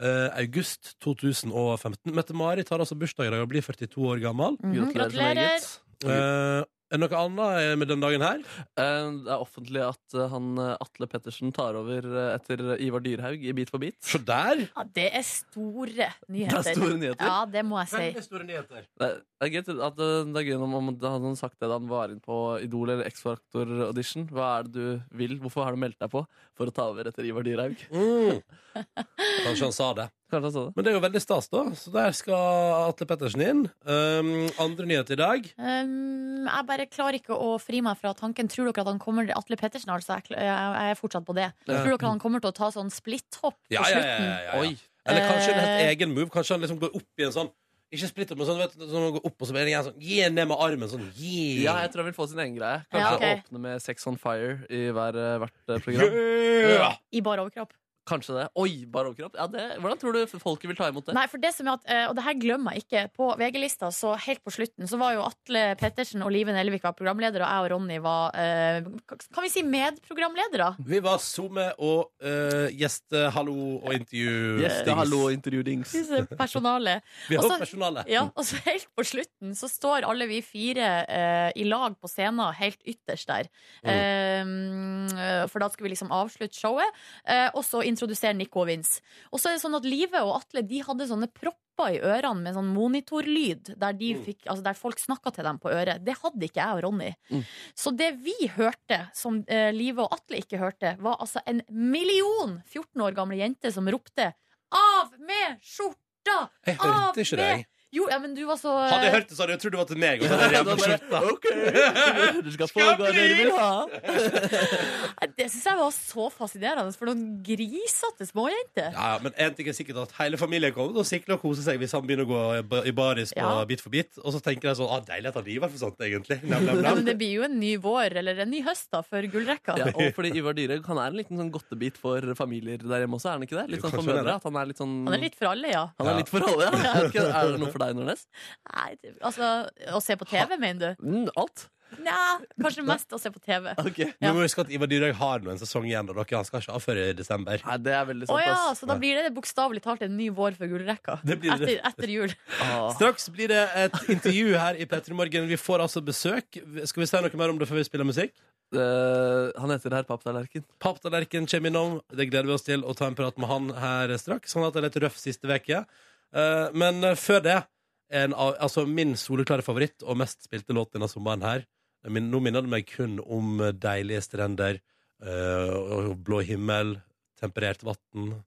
eh, august 2015. Mette-Marit har altså bursdag i dag og blir 42 år gammel.
Mhm, Gratulerer.
Mm.
Eh, er det noe annet med den dagen her?
Eh, Det er offentlig at eh, han eh, Atle Pettersen tar over eh, etter Ivar Dyrhaug i Bit for bit.
Se der!
Ja, det er store nyheter.
Det er store nyheter.
Ja, det må jeg si.
store nyheter.
Det er, det er, gøy at, eh, det er gøy om, om han hadde sagt det da han var inn på Idol eller X-Factor-audition. Hva er det du vil? Hvorfor har du meldt deg på for å ta over etter Ivar Dyrhaug?
Mm. Kanskje han sa det.
Kanskje han sa det?
Men det er jo veldig stas, da. Så der skal Atle Pettersen inn. Um, andre nyheter i dag.
Um, jeg bare klarer ikke å fri meg fra tanken. Tror dere at han kommer Atle Pettersen, altså. Jeg, kl- jeg jeg er fortsatt på det.
Ja.
Tror dere han kommer til å ta sånn splitthopp på
Ja, ja, ja,
slutten?
ja, ja.
Oi.
Eller kanskje en helt
Eh.
egen move. Kanskje han liksom går opp i en sånn Ikke splitt opp, men sånn, vet du, sånn han går opp og så blir det en sånn Gi ned med armen. Sånn gi.
Ja, jeg tror han vil få sin egen greie. Kanskje
Ja, ok.
åpne med Sex on Fire i hver, eh, hvert eh, program.
Yeah!
I bar overkropp?
Kanskje det. Oi, bare overkropp? Ja, det, hvordan tror du folket vil ta imot det?
Nei, for det som er at, eh, og det her glemmer jeg ikke. På VG-lista så helt på slutten så var jo Atle Pettersen og Live Nelvik var programleder, og jeg og Ronny var eh, Kan vi si medprogramledere?
Vi var SoMe og uh, gjeste, hallo og intervju.
Yes, det,
Dings.
hallo, intervju-dings.
Disse personalet.
Vi har
Og så-
personale.
Ja, og så helt på slutten så står alle vi fire eh, i lag på scenen, helt ytterst der.
Mm.
Eh, for da skulle vi liksom avslutte showet, eh, og så introdusere Nico og Vince. Og så er det sånn at Live og Atle de hadde sånne propper i ørene med sånn monitorlyd, der, de
Mm.
fikk, altså der folk snakka til dem på øret. Det hadde ikke jeg og Ronny.
Mm.
Så det vi hørte, som eh, Live og Atle ikke hørte, var altså en million 14 år gamle jenter som ropte 'Av med skjorta!
Jeg
av
hørte ikke
med-
deg.
Jo, ja, men du var så
Hadde jeg hørt det, så hadde jeg trodd det var til meg. Og så
Ja,
hadde jeg
da
revet
bare,
skjorta.
ok, du skal få hva dere vil ha.
Nei, Det syns jeg var så fascinerende. For noen grisete småjenter.
Ja, ja, men en ting er sikkert at hele familien kommer til å sikle og kose seg hvis han begynner å gå i ba- i baris på
Ja.
bit for bit. Og så tenker jeg sånn ah, Deilig at han driver for sånt, egentlig. Nam, nam,
Ja,
nam.
men det blir jo en ny vår, eller en ny høst, da, for gullrekka.
Ja, og fordi Ivar Dyrhaug han er en liten sånn godtebit for familier der hjemme også, er han ikke det? Litt
Jo,
sånn for
kanskje han er
mødre,
det.
at han er litt sånn
Han er litt for alle, ja.
han er
Ja.
litt for alle, ja. Jeg vet ikke, Er det noe for deg, Nordnes?
Nei, det- altså, Å se på TV, mener du?
Mm, alt?
Nja, kanskje mest å se på TV.
Ok.
Men Vi må huske at Ivar Dyrhaug har nå en sesong igjen, og dere, han skal ikke av før i desember.
Nei, det er veldig
Å
sant,
ja,
ass.
så da blir det bokstavelig talt en ny vår for gullrekka.
Det blir det.
Etter, etter jul.
Ah.
Straks blir det et intervju her i P3 Morgen. Vi får altså besøk. Skal vi si noe mer om det før vi spiller musikk?
Eh, han heter Herr Papptallerken.
Papptallerken kommer innom. Det gleder vi oss til å ta en prat med han her straks. Han har hatt en litt røff siste uke. Eh, Men eh, før det, en av, altså min soleklare favoritt og mest spilte låt denne sommeren her min, Nå minner det meg kun om deilige strender eh, og blå himmel, temperert vann.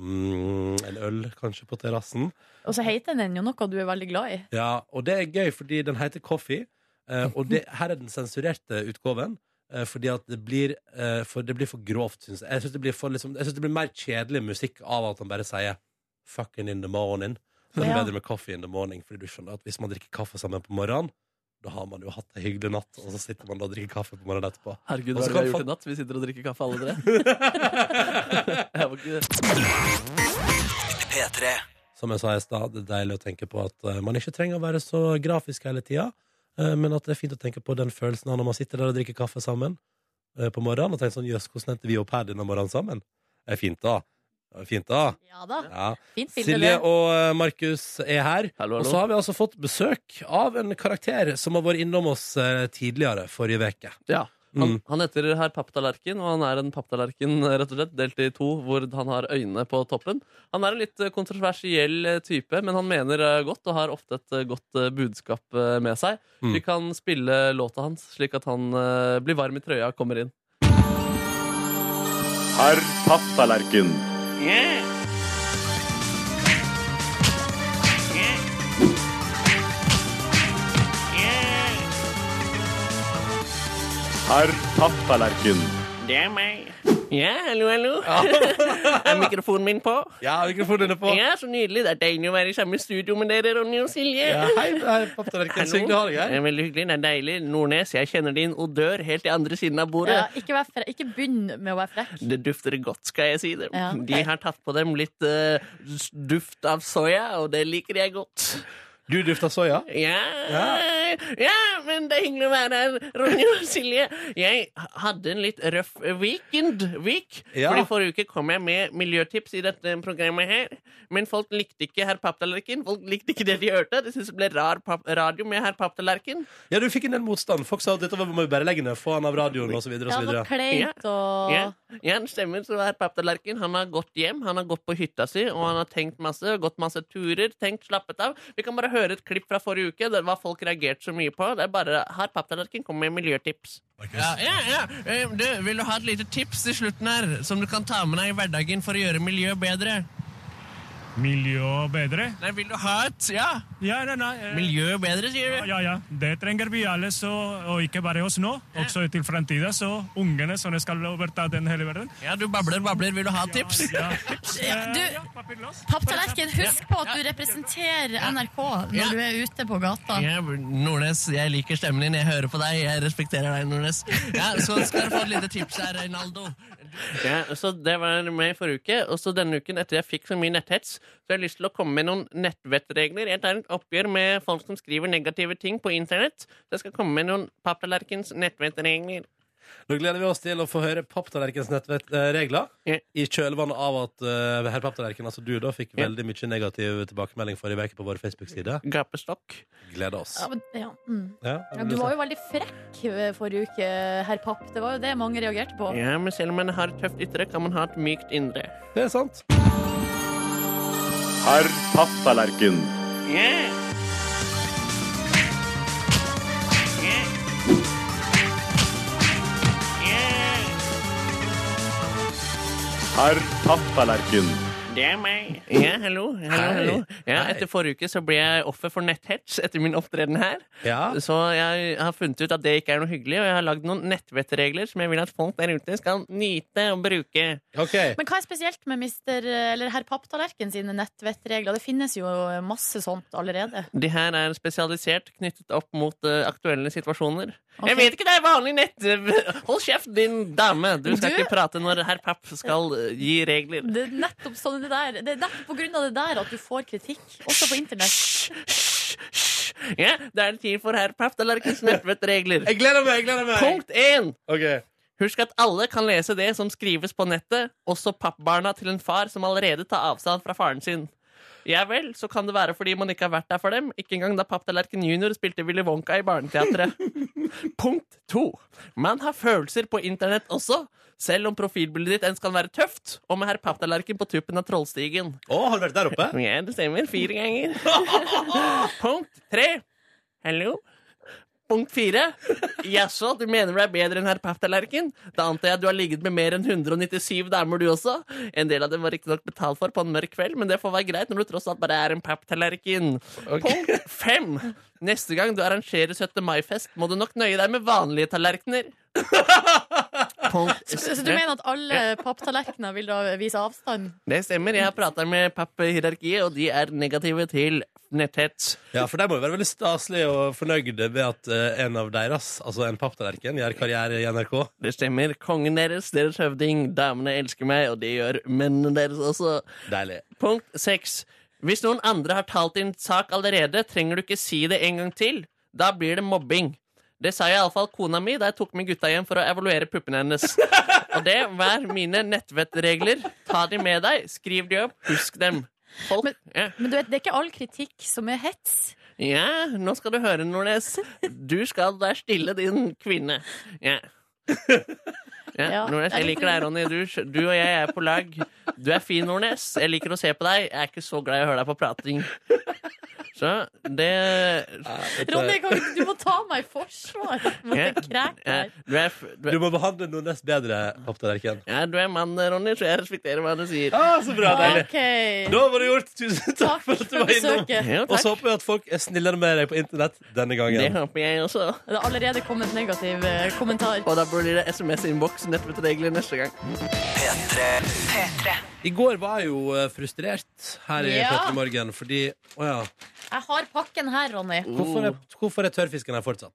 Mm, en øl, kanskje, på terrassen.
Og så heter den jo noe du er veldig glad i.
Ja, og det er gøy, fordi den heter Coffee. eh, og det, her er den sensurerte utgaven. eh, fordi at det blir, eh, for, det blir for grovt, syns jeg. Jeg syns det, blir for liksom, jeg synes det blir mer kjedelig musikk av at han bare sier 'fucking in the morning'. Så er det
Ja.
bedre med coffee in the morning, fordi du skjønner at hvis man drikker kaffe sammen på morgenen, da har man jo hatt ei hyggelig natt, og så sitter man da og drikker kaffe på morgenen etterpå.
Herregud,
Og
hva
så
er det vi
kan
har gjort
folk-
i natt? Vi sitter og drikker kaffe, alle dere. Jeg var ikke...
Som jeg sa i stad, det er deilig å tenke på at eh, man ikke trenger å være så grafisk hele tida, eh, men at det er fint å tenke på den følelsen av når man sitter der og drikker kaffe sammen eh, på morgenen og tenker sånn Jøss, hvordan endte vi opp her denne morgenen sammen? Det er fint, da. Det er fint, da.
Ja da,
Ja.
fint bilde,
Silje
det.
og eh, Markus er her.
Hallo,
Og så
hallo.
har vi altså fått besøk av en karakter som har vært innom oss eh, tidligere forrige uke.
Ja.
Mm.
Han, han heter herr Papptallerken, og han er en papptallerken rett og slett, delt i to, hvor han har øynene på toppen. Han er en litt eh, kontroversiell eh, type, men han mener eh, godt og har ofte et eh, godt eh, budskap eh, med seg.
Mm.
Vi kan spille låta hans, slik at han eh, blir varm i trøya og kommer inn.
Herr Papptallerken. Herr Papptallerken.
Det er meg. Ja, hallo, hallo. er mikrofonen min på?
Ja, mikrofonen er på.
Ja, så nydelig. Det er deilig å være i samme studio med dere, Ronny og Silje.
Ja, hei, hei papptallerken. Så hyggelig å ha deg
Det
her.
er veldig hyggelig. Det er deilig. Nordnes, jeg kjenner din odør helt til andre siden av bordet.
Ja, ikke, vær fre ikke begynn med å være frekk.
Det dufter godt, skal jeg si det.
Ja.
De har tatt på dem litt eh, s- duft av soya, og det liker jeg godt.
Du dufter soya.
Ja. ja, men det er hyggelig å være her, Ronny og Silje. Jeg hadde en litt røff weekend. Week.
Ja.
Fordi Forrige uke kom jeg med miljøtips i dette programmet her. Men folk likte ikke herr Papptallerken. Folk likte ikke det de hørte. De syntes det ble rar pap radio med herr Papptallerken.
Ja, du fikk en del motstand. Folk sa at dette var- må vi bare legge ned, få han av radioen osv.
Ja, det var
videre
kleint og
Ja, ja, det stemmer. Så herr Papptallerken han har gått hjem. Han har gått på hytta si, og han har tenkt masse, gått masse turer, tenkt, slappet av. Vi kan bare høre et klipp fra forrige uke. Det var folk reagerte så mye på. Det er bare herr Papptallerken kommer med miljøtips. Ja, ja, ja. Eh, Du, vil du ha et lite tips til slutten her, som du kan ta med deg i hverdagen for å gjøre miljøet bedre?
Miljø bedre?
Nei, vil du ha et? Ja.
Ja, nei, nei. eh,
Miljøet bedre, sier du?
Ja, ja. Det trenger vi alle, så, og ikke bare oss nå. Også til fremtiden, så ungene som skal overta den hele verden.
Ja, du babler, babler. Vil du ha tips?
Ja, tips. eh,
Ja, du-
ja, papirløs.
Papptallerken, husk på at du representerer NRK
Ja.
når du er ute på gata.
Ja, Nordnes, jeg liker stemmen din. Jeg hører på deg. Jeg respekterer deg, Nordnes. Ja, Så skal du få et lite tips her, Reinaldo.
Ja, så det var meg forrige uke. Og så denne uken, etter jeg fikk så mye netthets, så har jeg lyst til å komme med noen nettvettregler. Jeg tar et oppgjør med folk som skriver negative ting på internett. Så jeg skal komme med noen papptallerkens nettvettregler.
Nå gleder vi oss til å få høre papptallerkens nettregler
Ja.
i kjølvannet av at uh, herr Papptallerken, altså du, da fikk
Ja.
veldig mye negativ tilbakemelding forrige uke på vår Facebook-side.
Gapestokk.
Gleder oss.
Ja, men, ja. Mm.
Ja,
Ja, du var jo veldig frekk eh, forrige uke, herr Papp. Det var jo det mange reagerte på.
Ja, men selv om man har et tøft ytre, kan man ha et mykt indre.
Det er sant.
Herr Papptallerken.
Ja. Ja. Ja.
Herr Papptallerken.
Det er meg. Ja, hallo. hallo,
Hei.
hallo. Ja,
Hei.
etter forrige uke så ble jeg offer for netthets etter min opptreden her.
Ja.
Så jeg har funnet ut at det ikke er noe hyggelig, og jeg har lagd noen nettvettregler som jeg vil at folk der ute skal nyte og bruke.
OK.
Men hva er spesielt med mister, eh, eller herr Papptallerken sine nettvettregler? Det finnes jo masse sånt allerede.
De her er spesialisert knyttet opp mot eh, aktuelle situasjoner.
Ok.
Jeg vet ikke, det er vanlig nett... Hold kjeft, din dame! Du skal
Du-
ikke prate når herr Papp skal eh, gi regler.
Det er nettopp sånn det der Det er nettopp på grunn av det der at du får kritikk, også på internett.
Ja, det er tid for herr Papp, det er ikke nettvettregler.
Jeg gleder meg! jeg gleder meg
Punkt én!
Ok.
Husk at alle kan lese det som skrives på nettet, også pappbarna til en far som allerede tar avstand fra faren sin. Ja vel, så kan det være fordi man ikke har vært der for dem, ikke engang da Papptallerken junior spilte Willy Wonka i Barneteatret. Punkt to. Man har følelser på internett også, selv om profilbildet ditt ens kan være tøft, og med herr Papptallerken på tuppen av Trollstigen.
Å, har du vært der oppe?
Ja, det stemmer. Fire ganger. Punkt tre. Hallo? Punkt fire. Jaså, du mener du er bedre enn herr Papptallerken? Da antar jeg at du har ligget med mer enn 197 damer, du også. En del av dem var riktignok betalt for på en mørk kveld, men det får være greit når du tross alt bare er en papptallerken. Punkt fem. Neste gang du arrangerer 17. mai-fest, må du nok nøye deg med vanlige tallerkener. Punkt
Så du mener at alle papptallerkener vil da vise avstand?
det stemmer. Jeg har prata med papphierarkiet, og de er negative til netthets.
Ja, for de må jo være veldig staselige og fornøyde ved at eh, en av deres, altså en papptallerken, gjør karriere i NRK.
Det stemmer. Kongen deres, deres høvding, damene elsker meg, og det gjør mennene deres også.
Deilig.
Punkt seks. Hvis noen andre har talt din sak allerede, trenger du ikke si det en gang til. Da blir det mobbing. Det sa iallfall kona mi da jeg tok med gutta hjem for å evaluere puppene hennes. Og det var mine nettvettregler. Ta de med deg, skriv de opp, husk dem. Folk,
Men-
ja.
Men du vet, det er ikke all kritikk som er hets.
ja, nå skal du høre, Nordnes. Du skal der stille, din kvinne. Ja. Ja,
Ja,
Nordnes,
det er
jeg
litt
liker deg, Ronny. Du, skj- du og jeg er på lag. Du er fin, Nordnes. Jeg liker å se på deg. Jeg er ikke så glad i å høre deg på prating. Så det
Ronny, kan ikke- du må ta meg i forsvar mot
Ja.
en kræk
ja,
der.
du, er, f- du,
Du
er,
må behandle Nordnes bedre, papptallerken.
ja, du er mann, Ronny, så jeg respekterer hva du sier.
Ah, så bra, deilig.
OK.
Da var det gjort. Tusen takk
Takk
for at du
for
var innom.
besøket.
Ja,
Og
takk.
så håper jeg at folk er snillere med deg på internett denne
Det
gangen.
håper jeg også.
Det har allerede kommet negativ eh, kommentar.
Og da blir det SMS-innboks nettvettregler neste gang.
I går var jeg jo eh, frustrert her i
Ja.
Petter i Morgen fordi Å ja.
Jeg har pakken her, Ronny.
Hvorfor er, hvorfor er tørrfisken her fortsatt?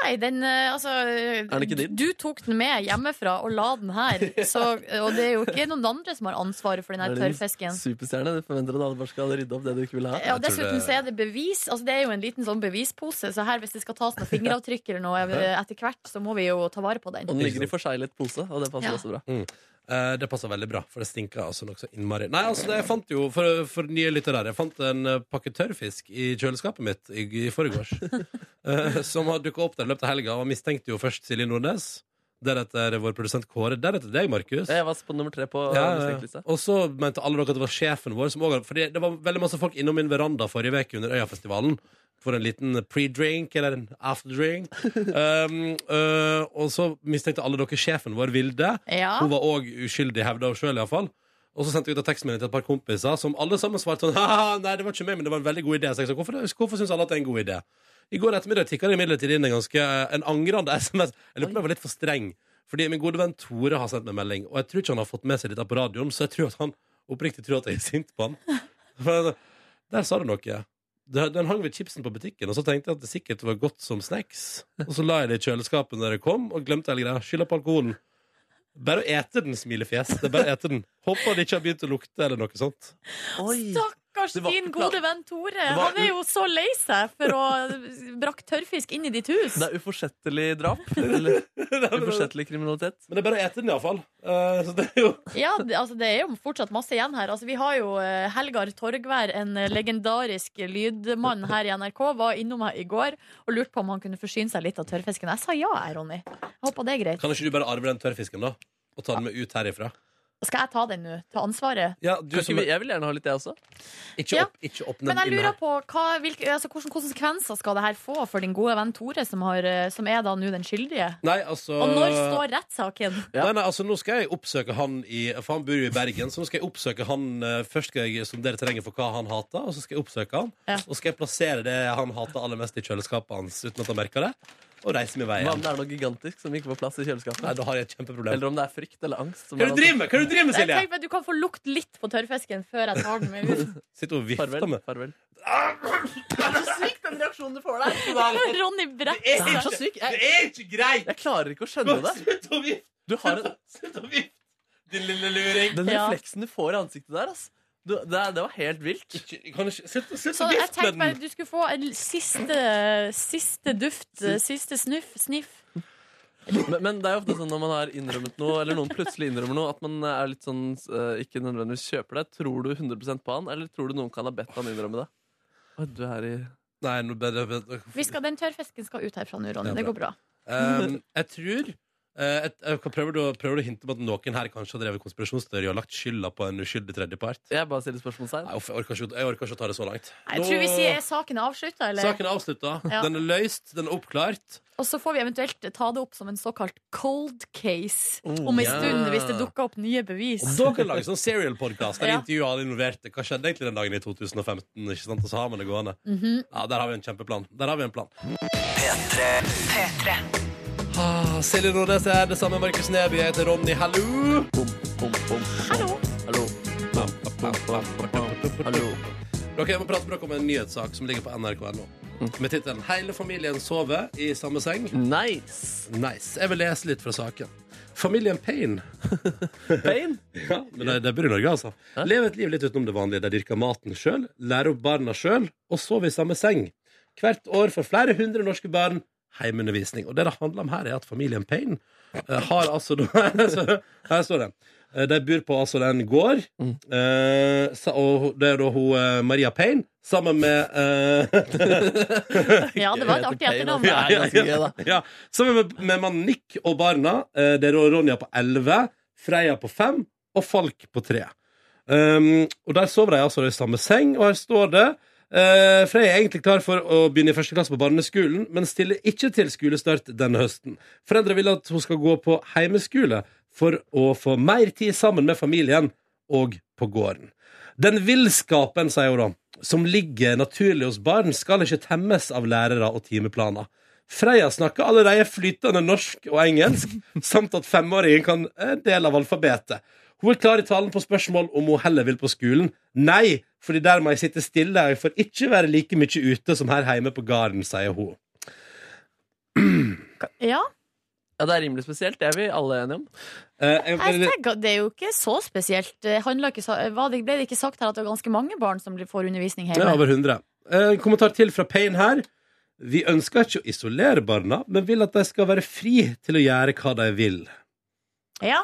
Nei, den eh, altså
Er det ikke din?
Du tok den med hjemmefra og la den her. Så, og det er jo ikke noen andre som har ansvaret for den her
Det er din
tørrfisken.
Superstjerne. Du forventer at alle bare skal rydde opp det du ikke vil ha.
Ja, og
Jeg tror
dessuten
det-
så er det bevis. Altså, det er jo en liten sånn bevispose, så her hvis det skal tas noen fingeravtrykk eller noe eh, etter hvert, så må vi jo ta vare på den.
Og den ligger i forseglet pose, og det passer
Ja.
også bra.
Mm.
Eh, det passer veldig bra, for det stinker altså nokså innmari. Nei, altså, det, jeg fant jo, for, for nye lyttere her, jeg fant en eh, pakke tørrfisk i kjøleskapet mitt i, i forgårs. eh, som har dukka opp der i løpet av helga, og mistenkte jo først Silje Nordnes. Deretter vår produsent Kåre. Deretter deg, Markus.
Jeg var på nummer tre på eh,
Ja, ja.
mistenkelista.
Og så mente alle dere at det var sjefen vår som også, Fordi det var veldig masse folk innom min veranda forrige uke under Øyafestivalen. For en liten pre-drink eller en afterdrink. um, øh, og så mistenkte alle dere sjefen vår, Vilde.
Ja.
Hun var òg uskyldig, hevda hun sjøl iallfall. Og så sendte jeg ut av tekstmelding til et par kompiser som alle sammen svarte sånn «Haha, Nei, det var ikke meg, men det var en veldig god idé. Så jeg sa, hvorfor, hvorfor syns alle at det er en god idé? I går ettermiddag tikka det imidlertid inn en ganske eh, En angrende SMS. Jeg lurer på om jeg var litt for streng. Fordi min gode venn Tore har sendt meg melding, og jeg tror ikke han har fått med seg dette på radioen, så jeg tror at han oppriktig tror at jeg er sint på han. For altså, Der sa du noe. Det- Den hang ved chipsen på butikken, og så tenkte jeg at det sikkert var godt som snacks. Og så la jeg det i kjøleskapet når jeg kom, og glemte hele greia. Skylda på alkoholen. Bare å ete den, smilefjes. Det er bare å ete den. Håper det ikke har begynt å lukte eller noe sånt.
Stakkars
Det var
din
ikke plan-
gode venn Tore.
Det var-
Han er jo så lei seg for å ha brakt tørrfisk inn i ditt hus.
Det er uforsettlig drap. Eller
Men
uforsettlig kriminalitet.
det er bare å ete den, iallfall. Uh, så det er jo
Ja, det, altså, det er jo fortsatt masse igjen her. Altså, vi har jo eh, Helgar Torgvær, en eh, legendarisk lydmann her i NRK, var innom her i går og lurte på om han kunne forsyne seg litt av tørrfisken. Jeg sa ja, jeg, Ronny. Jeg håper det er greit.
Kan ikke du bare arve den tørrfisken, da? Og ta den med ut herifra?
Skal jeg ta den nå? Ta ansvaret?
Ja, du
Kan
som
ikke vi- Jeg vil gjerne ha litt, jeg også.
Ikke
Ja.
opp, ikke opp
Men
den
jeg
inn
lurer
her.
på hva, hvilke, altså, hvilke konsekvenser skal det her få for din gode venn Tore, som, har, eh, som er da nå den skyldige?
Nei, altså
Øh.
Og når står rettssaken?
Nei, nei, altså Nå skal jeg oppsøke han i For han bor jo i Bergen. Så nå skal jeg oppsøke han eh, Først skal jeg sondere terrenget for hva han hater, og så skal jeg oppsøke han.
Ja.
Og så skal jeg plassere det han hater aller mest, i kjøleskapet hans uten at han merker det, og reise min vei
Hva om
igjen.
det er noe gigantisk som ikke får plass i kjøleskapet?
Nei, da har jeg et kjempeproblem.
Eller om det er frykt eller angst. som
Hva er
er
det du driver med, Hva er det du driver med,
Jeg
Silje?
tenker på at Du kan få lukt litt på tørrfisken før jeg tar den med ut.
Sitter og vifter
Farvel.
med
farvel.
Ronny
Det
bretter
Det er
seg.
så sykt. Jeg,
Det er ikke greit!
jeg klarer ikke å skjønne det.
Slutt å vifte!
Du har en,
Slutt å vifte, din lille luring!
den
Ja.
refleksen du får i ansiktet der, ass. Du, det, er- det var helt vilt.
Ikke, kan ikke, slutt, slutt
Så
å
jeg
vifte
tenkte
med
bare
den!
du skulle få en siste, siste duft, siste snuff, sniff.
Men, men det er jo ofte sånn når man har innrømmet noe, eller noen plutselig innrømmer noe, at man er litt sånn eh, ikke nødvendigvis kjøper det. Tror du 100 på han, eller tror du noen kan ha bedt han innrømme det? Å, Du er i
Nei, nå bare, bare,
Vi skal, den tørrfisken skal ut herfra nå, Ronny.
Ja,
Det går bra.
Um, jeg tror eh, et, jeg kan- prøver, du, å- prøver du å hinte på at noen her kanskje har drevet konspirasjonsteori og lagt skylda på en uskyldig tredjepart?
Jeg bare stiller spørsmålstegn.
Nei, uff, jeg, orker ikke, å- jeg orker ikke å ta det så langt.
Jeg tror vi sier er saken avslutta, eller?
Saken er avslutta.
Ja.
Den er løst. Den er oppklart.
Og så får vi eventuelt ta det opp som en såkalt cold case om ei
ja.
stund, hvis det dukker opp nye
Og
bevis.
da kan du lage sånn serial-podkast der
Ja.
intervjuer alle involverte. Hva skjedde egentlig den dagen i 2015? Ikke sant? Og så har man det gående. Ja, Der har vi en kjempeplan. Der har vi en plan. Ah, Silje Nordnes er det samme. Markus Neby jeg heter Ronny. Hallo!
Hallo.
Hallo. Hallo.
Dere, jeg må prate med dere om en nyhetssak som ligger på nrk.no. Med tittelen 'Hele familien sover i samme seng'.
Nice.
Nice. Jeg vil lese litt fra saken. Familien Payne
Pain.
ja, men det, det bor i Norge, altså. Lev et liv litt utenom det vanlige. De dyrker maten sjøl, lærer opp barna sjøl og sover i samme seng. Hvert år får flere hundre norske barn heimeundervisning. Og det det handler om her, er at familien Payne eh, har altså da- så- Her står det. Eh, De bor på altså en gård, eh, sa- og det er da hun eh, Maria Payne sammen med eh,
Ja, det var et artig etternavn.
Ja, ja, ja.
ja. Sammen med, med mannen Nick og barna. eh, Det er da Ronja på 11, Freya på 5 og Falk på 3. Um, og der sover de altså i samme seng, og her står det eh, Freya er egentlig klar for å begynne i første klasse på barneskolen, men stiller ikke til skolestart denne høsten. Foreldre vil at hun skal gå på heimeskole for å få mer tid sammen med familien og på gården. Den villskapen, sier hun da, som ligger naturlig hos barn, skal ikke temmes av lærere og timeplaner. Freya snakker allerede flytende norsk og engelsk, samt at femåringen kan en del av alfabetet. Hun er klar i talen på spørsmål om hun heller vil på skolen. Nei, fordi der må jeg sitte stille, og jeg får ikke være like mye ute som her hjemme på gården, sier hun.
Ja,
Ja, det er rimelig spesielt. Det er vi alle enige om.
Eh, jeg-
jeg tenker, Det er jo ikke så spesielt. Det handler ikke, så- var det- ble det ikke sagt her at det er ganske mange barn som blir- får undervisning
Ja,
hjemme?
over 100. Eh, kommentar til fra Payne her. Vi ønsker ikke å isolere barna, men vil at de skal være fri til å gjøre hva de vil.
Ja,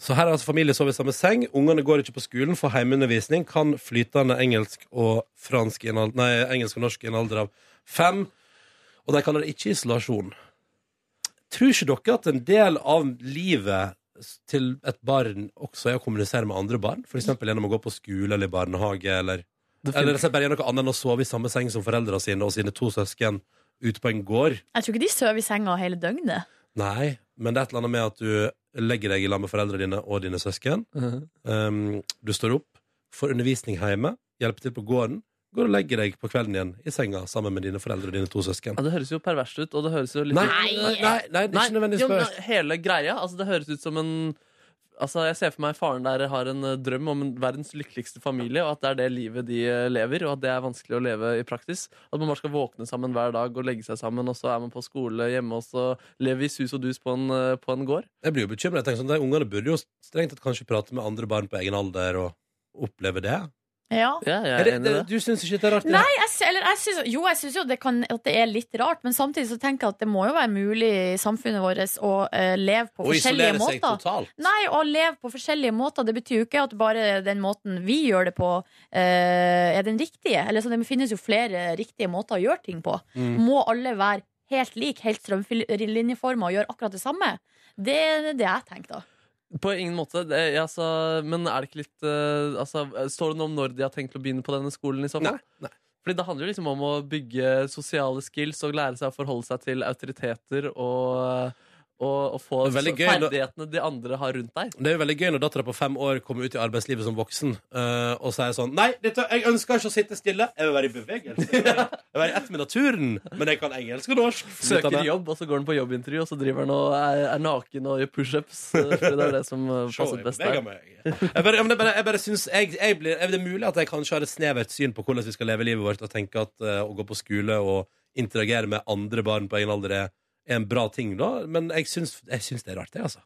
Så her er altså familie sover i samme seng. Ungene går ikke på skolen, får heimeundervisning. Kan flytende engelsk og, fransk i en al- nei, engelsk og norsk i en alder av fem. Og de kaller det ikke isolasjon. Tror ikke dere at en del av livet s- til et barn også er å kommunisere med andre barn? F.eks. gjennom å gå på skole eller i barnehage, eller, eller rett og slett bare gjøre noe annet enn å sove i samme seng som foreldrene sine og sine to søsken ute på en gård?
Jeg tror ikke de sover i senga hele døgnet.
Nei, men det er et eller annet med at du legger deg i lag med foreldrene dine og dine søsken. Um, du står opp, får undervisning hjemme, hjelper til på gården, går og legger deg på kvelden igjen i senga sammen med dine foreldre og dine to søsken.
Ja, det høres jo perverst ut, og det høres jo litt
Nei, nei, nei, det er
Nei,
ikke nødvendigvis
jo, men
perverst.
Hele greia, altså det høres ut som en Altså, Jeg ser for meg faren der har en eh, drøm om en verdens lykkeligste familie, og at det er det livet de eh, lever, og at det er vanskelig å leve i praksis. At man bare skal våkne sammen hver dag og legge seg sammen, og så er man på skole hjemme, og så lever vi i sus og dus på en, eh, på en gård.
Jeg blir jo bekymret. Jeg tenker sånn, De ungene burde jo strengt tatt kanskje prate med andre barn på egen alder og oppleve det.
Ja.
Ja, jeg
Er
er
det,
enig i
det
det.
du syns ikke det er rart? det?
Nei, jeg, sy- eller, jeg syns, jo, jeg syns jo det kan, at det er litt rart, men samtidig så tenker jeg at det må jo være mulig i samfunnet vårt å eh, leve
Å
på forskjellige
isolere seg
måter.
totalt.
Nei, å leve på forskjellige måter, det betyr jo ikke at bare den måten vi gjør det på, eh, er den riktige. Eller så Det finnes jo flere riktige måter å gjøre ting på.
Mm.
Må alle være helt lik, helt strømlinjeforma og gjøre akkurat det samme? Det er det jeg tenker, da.
På ingen måte. Det, jeg, altså, men er det ikke litt eh, altså, Står det noe om når de har tenkt å begynne på denne skolen? i så fall?
Nei, nei.
Fordi Det handler jo liksom om å bygge sosiale skills og lære seg å forholde seg til autoriteter og, og, og få
Det er veldig gøy når-
ferdighetene de andre har rundt deg.
Det er jo veldig gøy når dattera på fem år kommer ut i arbeidslivet som voksen eh, og sier sånn Nei, dette, jeg ønsker ikke å sitte stille. Jeg vil være i bevegelse. Jeg vil være, jeg vil være i ett med naturen. Men jeg kan engelsk og norsk.
Søker
Utdannet.
jobb, og så går han på jobbintervju, og så driver han og er, er naken og gjør pushups. eh, Fordi det er det som eh,
Se,
passer
jeg
best
beveger
der.
meg. Jeg bare, ja, men jeg bare, jeg bare synes jeg, jeg blir, er Det mulig at jeg kanskje har et snevert syn på hvordan vi skal leve livet vårt, og tenke at eh, å gå på skole og interagere med andre barn på egen alder er er en bra ting, da. Men jeg syns, jeg syns det er rart, det, altså.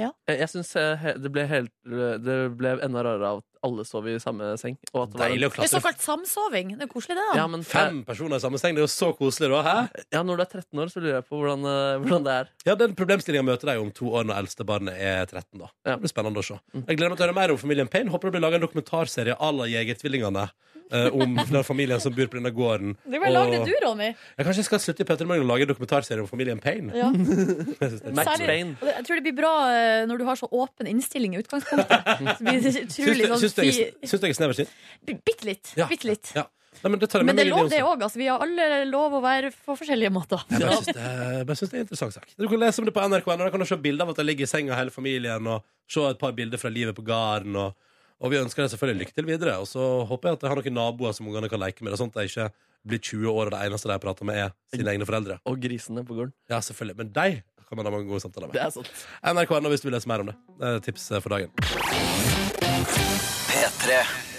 Jeg, jeg synes, eh, he- det ble, helt, eh, det ble enda rarere av at alle sov i samme seng. Og at det var
Deilig å
Det er
klatre
såkalt samsoving. Det er koselig, det, da.
ja, men,
fem personer i samme seng. Det er jo så koselig, da. Hæ?
ja, Når du er 13 år, så lurer jeg på hvordan, eh, hvordan det er.
Ja, Den problemstillinga møter deg om to år når eldste barnet er 13. da
Ja. Mm.
Det blir spennende å se. Jeg gleder meg til å høre mer om familien Payne. Håper det blir laga en dokumentarserie à la Jegertvillingene. eh, om den familien som bor på denne gården.
Du kan lage det du, Ronny.
Jeg kanskje skal slutte i Petter Morgen og lage en dokumentarserie om familien Payne.
Ja.
Jeg synes det er
Max
Særlig-
Payne.
Og det- Jeg tror det blir bra eh, når du har så åpen innstilling i utgangspunktet. Så blir det
Syns
utrolig
du-
sånn
syns du jeg
fi...
syns du jeg er snever sint?
bi- Bitte litt.
Ja.
Bitte litt.
Ja. Nei, men det tar jeg
Men
med
det
meg
er
videre
lov, det
også.
òg. Altså, vi har alle lov å være på forskjellige måter.
Jeg bare syns det, jeg bare syns det er en interessant sak. Du kan lese om det på NRK.no. Da kan du se bilder av at jeg ligger i senga hele familien, og se et par bilder fra livet på gården. Og, og vi ønsker deg selvfølgelig lykke til videre. Og så håper jeg at jeg har noen naboer som ungene kan leke med, og sånt at jeg ikke blir 20 år og det eneste de prater med, er sine egne foreldre.
Og grisene på gården.
Ja, selvfølgelig. Men de kan man ha mange gode samtaler med.
Det er sant.
NRK.no hvis du vil lese mer om det. Det er et tips eh, for dagen.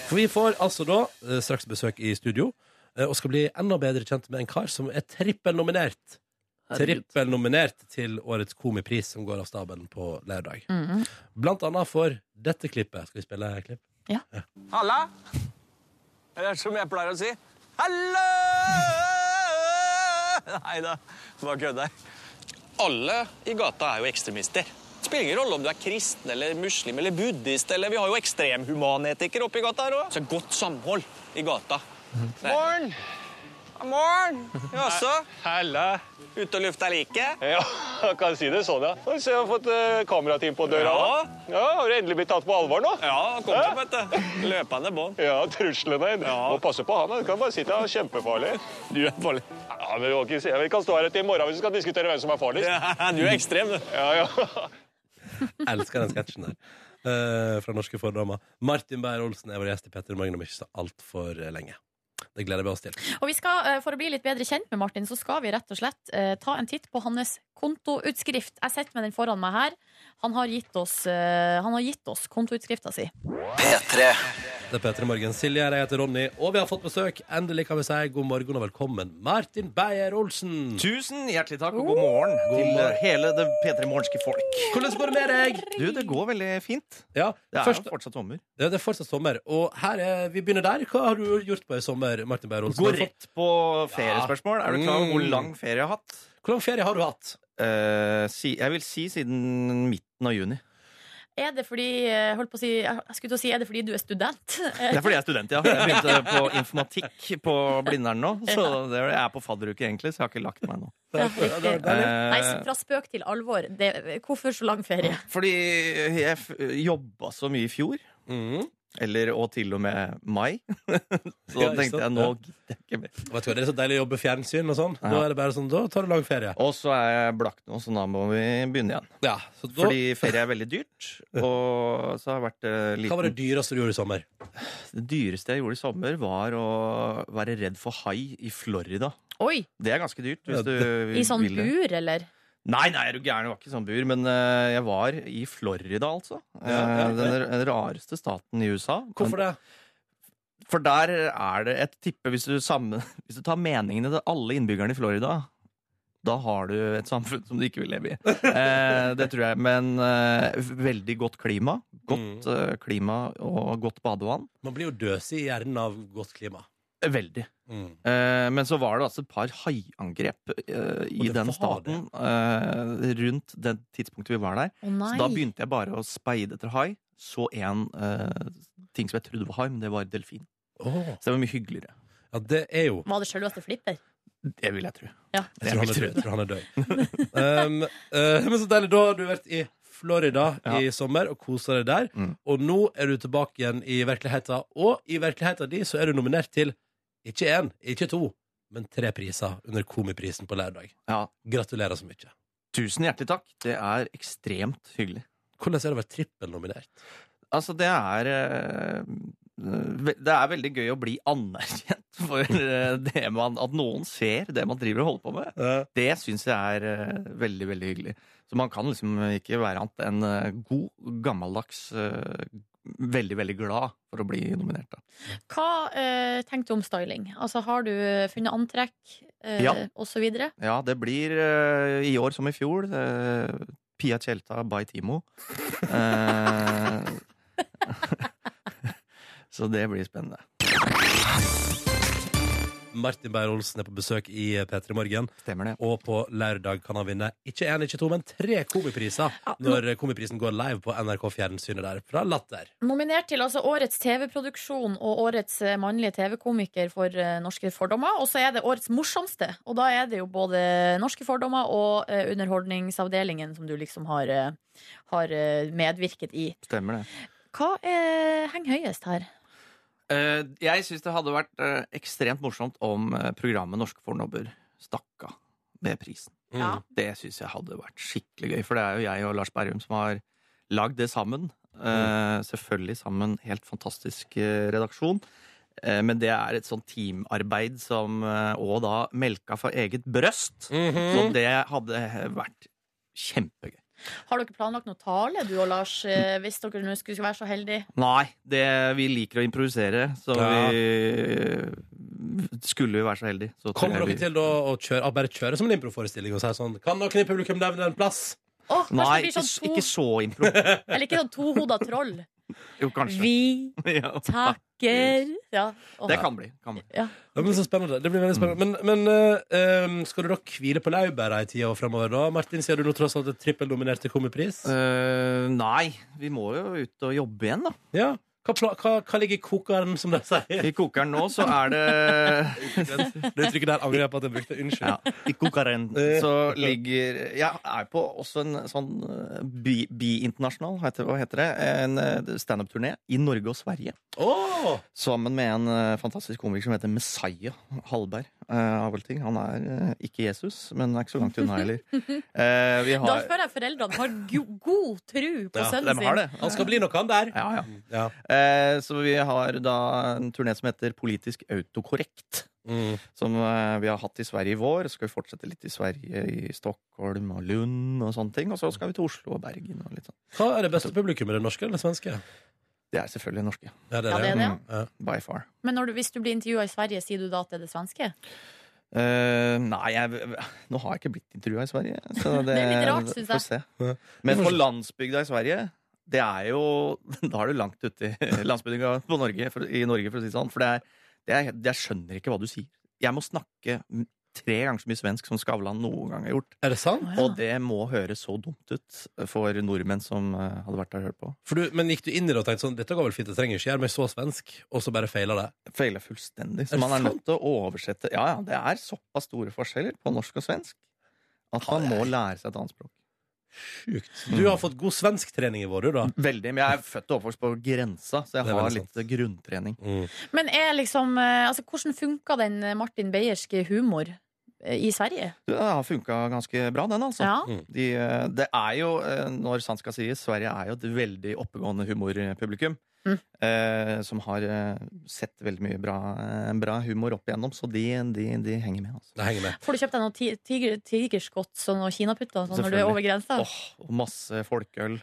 For vi får altså da eh, straks besøk i studio, eh, og skal bli enda bedre kjent med en kar som er trippelnominert.
Herregud.
Trippelnominert til årets komipris som går av stabelen på lørdag. Blant annet for dette klippet. Skal vi spille et klipp?
Halla! Eller som jeg pleier å si Hallo! Nei da, bare kødder. Alle i gata er jo ekstremister. Det spiller ingen rolle om du er kristen eller muslim eller buddhist. eller Vi har jo ekstremhumanetikere oppe i gata her Mhm. òg. Så godt samhold i gata. Morn! Morn! Jaså? Halla. Ute og lufta liket?
Ja, jeg kan si det sånn, ja. Nå ser jeg har fått eh, kamerateam på døra.
Ja.
også. ja, Har du endelig blitt tatt på alvor nå?
Ja, kom opp, vet du. Løpende bånd.
Ja, truslene.
Ja.
Må passe på han, da. du kan bare si det er kjempefarlig.
Du er farlig.
Ja, men vi, må ikke si- vi kan stå her til i morgen hvis vi skal diskutere hvem som er farligst.
Du er ekstrem, du.
Ja, ja.
Jeg elsker den sketsjen der. eh, fra Norske fordommer. Martin Beyer-Olsen er vår gjest i Petter Magnum ikke så altfor lenge. Det gleder vi oss til.
Og vi skal, eh, For å bli litt bedre kjent med Martin, så skal vi rett og slett eh, ta en titt på hans kontoutskrift. Jeg sitter med den foran meg her. Han har gitt oss, eh, han har gitt oss kontoutskrifta si.
Det er Petra Morgen Silje, jeg heter Ronny, og vi har fått besøk. Endelig kan vi si god morgen og velkommen, Martin Beyer-Olsen.
Tusen hjertelig takk, og god morgen til eh, hele det P3 Morgenske folk.
Hvordan går det med deg?
Du, det går veldig fint.
Ja,
Det er
først,
jo fortsatt sommer.
ja, det er fortsatt sommer, og her er, vi begynner der. Hva har du gjort på i sommer, Martin Beyer-Olsen?
Gå
Har du fått-
rett på feriespørsmål. Er du klar over
Mm.
hvor lang ferie jeg har hatt?
Hvor lang ferie har du hatt?
Eh, si, jeg vil si siden midten av juni.
Er det fordi eh, holdt på å si, jeg skulle til å si, er det fordi du er student?
Det er fordi jeg er student, ja. Jeg begynte på informatikk på Blindern nå. Så det, jeg er på fadderuke, egentlig, så jeg har ikke lagt meg nå.
Ja, riktig. Nei,
Eh,
fra spøk til alvor. Det, hvorfor så lang ferie?
fordi jeg f- jobba så mye i fjor.
Mm.
Eller, og til og med mai. Så
Ja, ikke sant?
tenkte jeg nå gidder jeg ikke mer.
Vet du hva, Det er så deilig å jobbe fjernsyn og sånn. Da
Ja.
er det bare sånn, da tar du lang ferie.
Og så er jeg blakk nå, så da må vi begynne igjen.
Ja, så da,
Fordi ferie er veldig dyrt. Og så har det vært eh,
Hva var det
liten.
dyreste du gjorde i sommer?
Det dyreste jeg gjorde i sommer, var å være redd for hai i Florida.
Oi!
Det er ganske dyrt.
Ja,
hvis du
I sånn
vil det.
bur, eller?
Nei, nei, er du gæren? Det var ikke sånn bur. Men eh, jeg var i Florida, altså.
ja, ja.
Eh, Den r- den rareste staten i USA.
Hvorfor det?
For der er det et tippe Hvis du, sammen, hvis du tar meningene til alle innbyggerne i Florida, da har du et samfunn som du ikke vil leve i. Eh, det tror jeg. Men eh, veldig godt klima. Godt eh, klima og godt badevann.
Man blir jo døsig i hjernen av godt klima. Mm.
Eh, Veldig. Eh, men så var det altså et par haiangrep eh, i den staten eh, rundt det tidspunktet vi var der.
Å, nei.
så da begynte jeg bare å speide etter hai. Så en eh, ting som jeg trodde var hai, men det var delfin. Så det var mye hyggeligere.
Ja, det er jo
Var det sjølveste flipper?
Det vil jeg tro.
Ja.
Jeg tror han er død. Jeg tror han er død. um, eh, men så deilig. Da har du vært i Florida i sommer og kosa deg der. Og nå er du tilbake igjen i virkeligheten. Og i virkeligheten din så er du nominert til ikke én, ikke to, men tre priser under Komiprisen på lørdag. Gratulerer så mye.
Tusen hjertelig takk. Det er ekstremt hyggelig.
Hvordan er det å være trippelnominert?
Altså, det er eh, ve- Det er veldig gøy å bli anerkjent for eh, det man At noen ser det man driver og holder på med. Det syns jeg er eh, veldig, veldig hyggelig. Så man kan liksom ikke være annet enn eh, god, gammeldags, eh, veldig, veldig glad for å bli nominert. Da.
Hva eh, tenker du om styling? Altså, har du funnet antrekk eh,
Ja.
og så videre?
Ja, det blir eh, i år som i fjor. eh, Pia Tjelta by Timo. Eh, så det blir spennende.
Martin Beyer-Olsen er på besøk i P3 Morgen.
Stemmer det.
Og på lørdag kan han vinne ikke én, ikke to, men tre komipriser når Komiprisen går live på NRK Fjernsynet der fra Latter.
Nominert til altså årets TV-produksjon og årets eh, mannlige TV-komiker for eh, Norske fordommer. Og så er det årets morsomste. Og da er det jo både Norske fordommer og eh, Underholdningsavdelingen som du liksom har, eh, har eh, medvirket i.
Stemmer det.
Hva eh, henger høyest her?
Eh, jeg syns det hadde vært eh, ekstremt morsomt om eh, programmet Norske fornobber stakk av med prisen.
Ja.
Det syns jeg hadde vært skikkelig gøy, for det er jo jeg og Lars Berrum som har lagd det sammen.
Mm.
Eh, selvfølgelig sammen helt fantastisk eh, redaksjon. Eh, Men det er et sånt teamarbeid som eh, Og da melka fra eget brøst.
Mm. Mhm.
Så det hadde vært kjempegøy.
Har dere planlagt noe tale, du og Lars, eh, hvis dere nå skulle være så heldige?
Nei, det, vi liker å improvisere, så
Ja.
vi Skulle vi være så heldige, så tror
Kommer
jeg
dere
vi-
til å, å kjøre, å bare kjøre som en improforestilling og si sånn Kan noen i publikum nevne en plass?
Åh, kanskje
Nei,
det blir
ikke,
sånn to,
ikke så impro.
Eller ikke sånn tohoda troll.
Jo, kanskje.
Vi
Ja.
takker ja. åh.
Det kan bli. Kan bli.
Ja.
Ja, men så spennende. Det blir veldig spennende.
Mm.
Men, men eh, em, skal du da hvile på laurbæra i tida framover, da? Martin, sier du nå tross alt et trippeldominerte komipris?
Eh, nei, vi må jo ut og jobbe igjen, da.
Ja. Hva, pla hva, hva ligger i kokeren, som de sier?
I kokeren nå så er det
Det uttrykket der angrer jeg på at jeg brukte. Unnskyld.
ja, I kokeren så ligger Jeg er på også en sånn eh, bi- bi-internasjonal, heter- hva heter det? En eh, standup-turné i Norge og Sverige.
Åh!
Sammen med en eh, fantastisk komiker som heter Messiah Hallberg. eh, av alle ting. Han er eh, ikke Jesus, men er ikke så langt unna heller. Eh, vi
Da
har,
føler jeg foreldrene har go god tru på
Ja,
sønnen
de har det.
Han skal bli noe, han der. Mm.
Ja, ja.
Ja.
Eh, Så vi har da en turné som heter Politisk autokorrekt.
Mm.
Som eh, vi har hatt i Sverige i vår. Så skal vi fortsette litt i Sverige, i Stockholm og Lund og sånne ting. Og så skal vi til Oslo og Bergen og litt sånn.
Hva er det beste publikummet? Det norske eller det svenske?
Det er selvfølgelig norske.
Ja, det Mm.
Ja, det er det, ja.
Ja.
By far.
sin. Men når du, hvis du blir intervjua i Sverige, sier du da at det er det svenske?
Eh, nei, jeg, nå har jeg ikke blitt intervjua i Sverige. Så det,
Det er litt rart, synes jeg.
får se. Men på landsbygda i Sverige det er jo, Da er du langt ute i landsbygda på Norge, for, i Norge, for å si det sånn. For det er, det er, jeg skjønner ikke hva du sier. Jeg må snakke tre ganger så mye svensk som Skavlan noen gang har gjort.
Er det sant?
Å, ja.
Og det må høres så dumt ut for nordmenn som eh, hadde vært der og hørt på.
For du, men gikk du inn i det og tenkte sånn Dette går vel fint, jeg trenger ikke gjøre meg så svensk, og så bare feila det?
Feila fullstendig.
Er
Så
det
man er
sant?
nødt til å oversette. Ja, ja, det er såpass store forskjeller på norsk og svensk at man må lære seg et annet språk.
Sjukt. Du har fått god svensktrening i vår, du, da.
Veldig, men jeg er født og oppvokst på grensa, så jeg
Det er
har
veldig
litt grunntrening.
Men er liksom, eh, altså, hvordan funka den eh, Martin Beierske humor eh, i Sverige?
Det har funka ganske bra, den, altså.
Ja.
De, eh, det er jo, eh, når sant skal sies, Sverige er jo et veldig oppegående humorpublikum.
Mm.
eh, som har eh, sett veldig mye bra, eh, bra humor opp igjennom, så de, de, de henger med. Altså.
Det henger med.
Får du kjøpt deg noen ti- tiger, tigerskots og noen kinaputter og sånn når du er
Selvfølgelig.
over grensa?
Og masse folkeøl.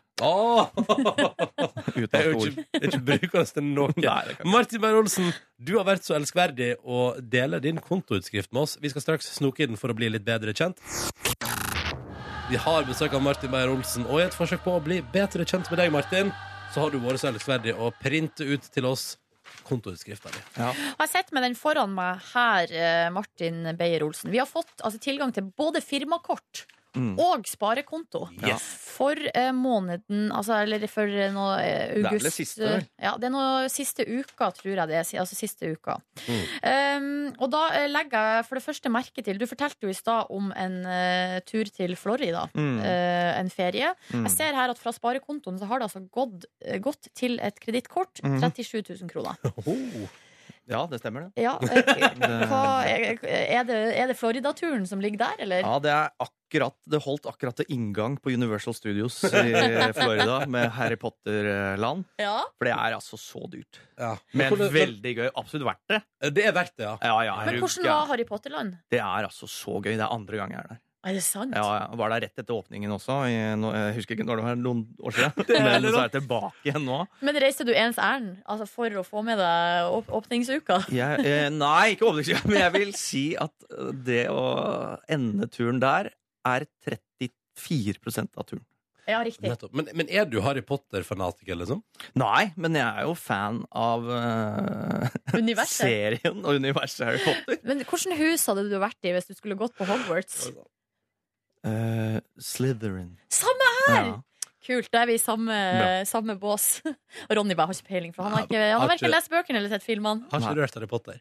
Det er jo ikke, det er ikke brukende til noe. Martin Beyer-Olsen, du har vært så elskverdig å dele din kontoutskrift med oss. Vi skal straks snoke i den for å bli litt bedre kjent. Vi har besøk av Martin Beyer-Olsen, og i et forsøk på å bli bedre kjent med deg, Martin, så har du vært så elskverdig å printe ut til oss kontoutskrifta di.
Jeg sitter med den foran meg her, eh, Martin Beyer-Olsen. Vi har fått altså, tilgang til både firmakort
Mm.
og sparekonto
Ja.
for eh, måneden altså, Eller for eh, nå, eh,
Det er vel
august.
det siste, vel?
Ja, det er nå siste uka, tror jeg det er. si- Altså siste uka.
Mm.
Um, og da eh, legger jeg for det første merke til Du fortalte jo i stad om en eh, tur til Florida.
Mm.
eh, en ferie.
Mm.
Jeg ser her at fra sparekontoen så har det altså gått, eh, gått til et kredittkort.
Mhm.
37 000 kroner.
Ja, det stemmer, det.
Ja, eh, hva, er, er det, er det Florida-turen som ligger der, eller?
Ja, det er akkurat Det holdt akkurat til inngang på Universal Studios i Florida med Harry Potter-land.
Ja.
For det er altså så dyrt.
Men
Men
hvordan-
veldig gøy. Absolutt verdt det.
Det er verdt det, ja.
ja, ja
Men
er du
hvordan
gæren?
var Harry Potter-land?
Det er altså så gøy. Det er andre gang jeg er der.
Er det sant?
Ja, ja. Var der rett etter åpningen også. I, nå, jeg husker ikke når det var, noen år siden.
er
Men
heller
så er
sant.
jeg tilbake igjen nå.
Men reiste du ens ærend altså for å få med deg åp åpningsuka?
Jeg, eh, nei, ikke overraskende, men jeg vil si at eh, det å ende turen der er 34 av turen.
Ja, riktig.
Nettopp. Men, men er du Harry Potter-fanatiker, liksom?
Nei, men jeg er jo fan av eh,
Universet.
serien og universet Harry Potter.
Men hvordan hus hadde du vært i hvis du skulle gått på Hogwarts?
Eh, Slytherin.
Samme her!
Ja.
Kult, da er vi i samme, samme bås. Og Ronny bare har ikke peiling, for han har, ikke, han har
har ikke-
verken lest bøkene eller sett filmene.
Har ikke rørt Harry Potter.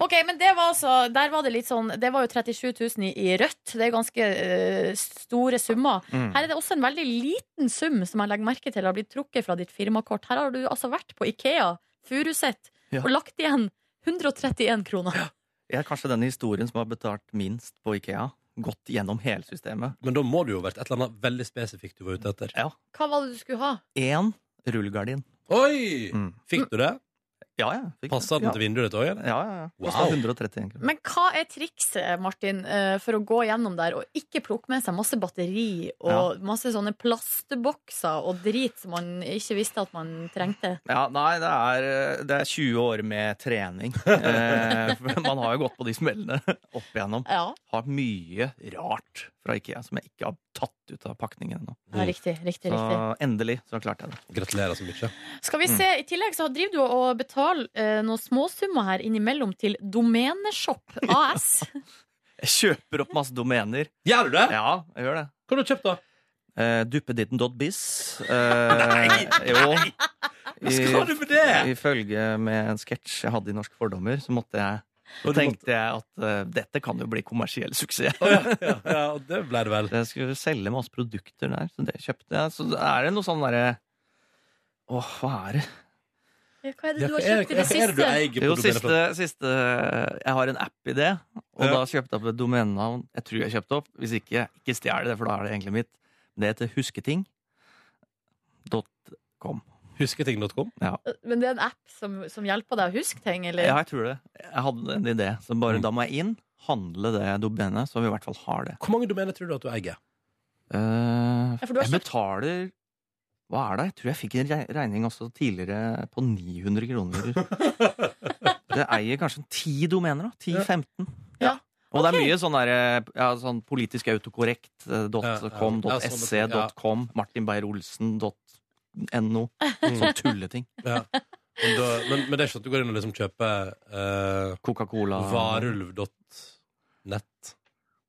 Ok, men det var altså Der var det litt sånn Det var jo 37 000 i, i rødt Det er jo ganske eh, store summer
Mm.
Her er det også en veldig liten sum Som jeg legger merke til har blitt trukket fra ditt firmakort Her har du altså vært på Ikea Furuset
Ja.
Og lagt igjen 131 kroner
Jeg er kanskje den i historien som har betalt minst på Ikea. Gått gjennom hele systemet.
Men da må det jo ha vært et eller annet veldig spesifikt du var ute etter.
Ja.
Hva var det du skulle ha?
Én rullegardin.
Oi! Mm. Fikk du det?
Ja, ja. fikk det.
Passa den
Ja.
til vinduet ditt òg, eller?
Ja, ja, ja.
Wow.
131 kroner.
Men hva er trikset, Martin, eh, for å gå gjennom der og ikke plukke med seg masse batteri og masse sånne plastbokser og drit som man ikke visste at man trengte?
Ja, nei, det er, det er 20 år med trening. Eh, for man har jo gått på de smellene opp igjennom.
Ja.
Har mye rart fra Ikea som jeg ikke har tatt ut av pakningen ennå.
Ja, riktig, riktig,
Så
riktig.
endelig så klarte jeg det.
Mm. Gratulerer så mye.
Skal
Mm.
vi se, I tillegg så driver du og betaler eh, noen småsummer her innimellom til Domeneshop AS.
Jeg kjøper opp masse domener.
Gjør du det?
Ja, jeg gjør det.
Hva har du kjøpt, da?
Eh, Duppeditten.biz. Eh, jo.
Hva skal du med det?
Ifølge med en sketsj jeg hadde i Norske fordommer, så måtte jeg så
Og du
tenkte jeg at eh, dette kan jo bli kommersiell suksess.
og det ble det vel.
Jeg skulle selge masse produkter der, så det kjøpte jeg. Så er det noe sånn derre Åh, hva er det?
Hva er det du har kjøpt i
hva er det
det
du
siste?
eier? på
Jo,
domenet
siste,
for?
siste Jeg har en app i det, og
Ja.
da kjøpte jeg opp et domenenavn. Jeg tror jeg kjøpte opp. Hvis ikke, ikke stjel det, for da er det egentlig mitt. Det heter husketing.com.
Husketing.com?
Ja.
Men det er en app som, som hjelper deg å huske ting, eller?
ja, jeg tror det. Jeg hadde en idé, så
Mm.
bare da må jeg inn, handle det domenet, så vi i hvert fall har det.
Hvor mange domener tror du at du eier?
Eh,
Ja, for du har
jeg betaler Hva er det? Jeg tror jeg fikk en re- regning også tidligere på 900 kroner. det eier kanskje ti domener, da. 10-15. Og det er mye sånn, der, eh, ja, sånn politisk autokorrekt. eh,
Ja,
Dot
ja.
.com,
Ja,
dot
sånne
.sc,
ting, ja.
dot .com, Martin Beyer-Olsen, dot .no.
Mm.
Sånn tulleting.
Ja. Men, da, men, men det er ikke sånn at du går inn og liksom kjøper eh,
Coca-Cola.
Varulv.nett.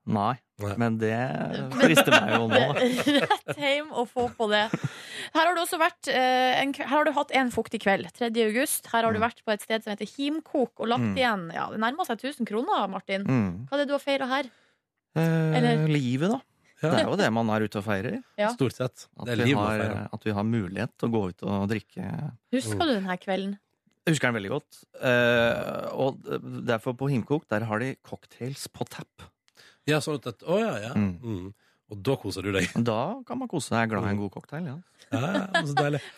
Nei, men det frister meg jo nå. da.
Rett hjem og få på det. Her har du også vært eh, en, kve- Her har du hatt en fuktig kveld, 3. august. Her har du vært på et sted som heter Himkok og lagt
Mm.
igjen ja, Det nærmer seg 1000 kroner, Martin.
Mm.
Hva er det du har feira her?
Eh,
Eller-
livet, da. Det er jo det man er ute og feirer.
Ja.
Stort sett.
At,
Det er
vi
liv man
har, eh,
feirer.
at vi har mulighet til å gå ut og drikke. Oh.
Husker du denne kvelden?
Jeg husker den veldig godt. Eh, og derfor på Himkok, der har de cocktails på tap.
Ja, sånn at, at Å ja, ja. Mm. Og da koser du deg.
Da kan man kose seg.
Mm.
Jeg er glad i en god cocktail. Ja.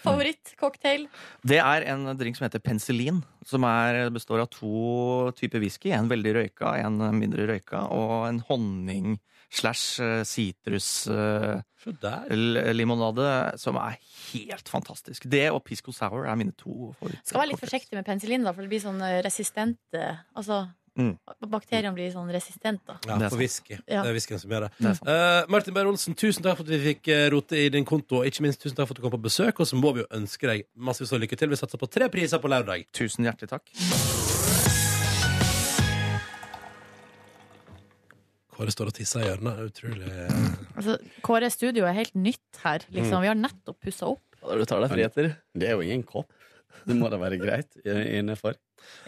Favorittcocktail?
Det er en drink som heter penicillin, som er, består av to typer whisky. En veldig røyka, en mindre røyka, og en honning slash eh, sitrus eh, l- limonade, som er helt fantastisk. Det og pisco sour er mine to
Skal være litt
favoritter.
forsiktig med penicillin, da, for det blir sånn eh, resistent eh, Altså,
Mm.
bakteriene blir sånn resistente.
Ja, for whisky.
Ja.
Det er whiskyen som gjør det.
Det er
Eh, Martin Beyer-Olsen, tusen takk for at vi fikk eh, rote i din konto. Og ikke minst tusen takk for at du kom på besøk, og så må vi jo ønske deg massevis av lykke til. Vi satser på tre priser på lørdag.
Tusen hjertelig takk.
Kåre står og tisser i hjørnet. Utrolig
Altså, Kåre Studio er helt nytt her. Liksom.
Mm.
Vi har nettopp pussa opp.
Du tar deg friheter. Det er jo ingen kopp. Det må da være greit innenfor.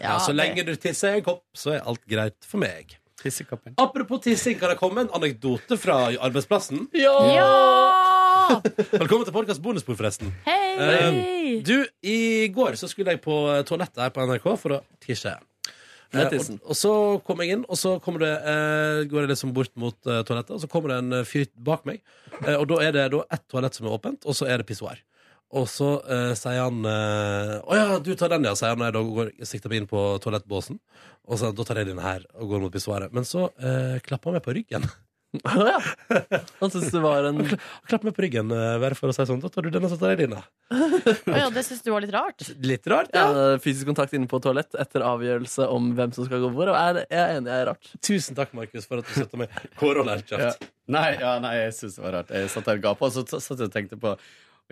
Ja, så lenge du tisser i en kopp, så er alt greit for meg. Apropos tissing, kan det komme en anekdote fra arbeidsplassen?
Ja!
Velkommen til podkast bonusbord, forresten.
Hei!
Eh, du, i går så skulle jeg på toalettet her på NRK for å tisse. Eh, og,
Nettissen.
og så kom jeg inn, og så kommer det, eh, går jeg liksom bort mot eh, toalettet, og så kommer det en eh, fyr bak meg. Eh, og da er det da ett toalett som er åpent, og så er det pissoar. Og så eh, sier han eh, Å ja, du tar den, ja, sier han når jeg da går, sikter meg inn på toalettbåsen. Og så, da tar jeg den her og går mot pissoaret. Men så eh, klapper han meg på ryggen.
Han syntes det var en
Klapp meg på ryggen, eh, bare for å si sånn. Da tar du den, og så tar jeg din. da."
Å ja, det syns du var litt rart?
Litt rart,
ja. Fysisk kontakt inne på toalett etter avgjørelse om hvem som skal gå hvor. og Er, jeg er enig, jeg er rart.
Tusen takk, Markus, for at du støtter meg. Kåre og
Ja.
Lærkjapt.
Nei, ja, nei, jeg syns det var rart. Jeg satt der og gapa, og så t- satt jeg og tenkte på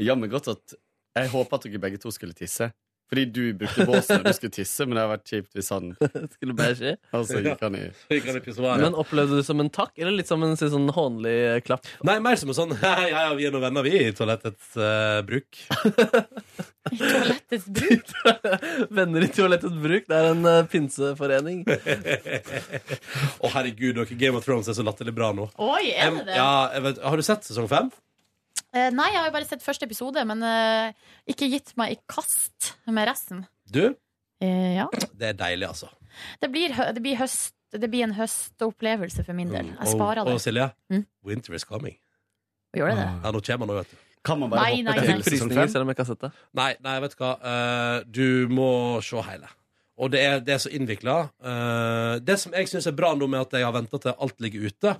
Jammen godt at Jeg håpa at dere begge to skulle tisse. Fordi du brukte båsen når du skulle tisse, men det hadde vært kjipt hvis han
Skulle bare skje.
Og så gikk han i
Men opplevde du det som en takk, eller litt som en si, sånn hånlig eh, klapp?
Nei, mer som en sånn Ja, ja, vi er noen venner, vi, i toalettets eh, bruk.
Toalettets bruk?
Venner i toalettets bruk. Det er en eh, pinseforening.
Å, herregud, dere, Game of Thrones er så latterlig bra nå.
Oi, er det
Em,
det?
Ja, jeg vet, har du sett sesong fem?
Eh, nei, jeg har jo bare sett første episode, men eh, ikke gitt meg i kast med resten.
Du?
Eh, ja.
Det er deilig, altså.
Det blir, hø- det blir høst. Det blir en høstopplevelse for min del. Jeg sparer
Og, og
det.
Silje,
Mm.
winter is coming.
Gjør det det?
Ja, nå kommer han nå, vet du.
Kan man
bare Nei, hoppe nei, til nei. sesong
Frysninger, selv om jeg ikke har sett det.
Nei, nei, vet du hva. Eh, du må se hele. Og det er, det er så innvikla. Eh, det som jeg syns er bra nå med at jeg har venta til alt ligger ute,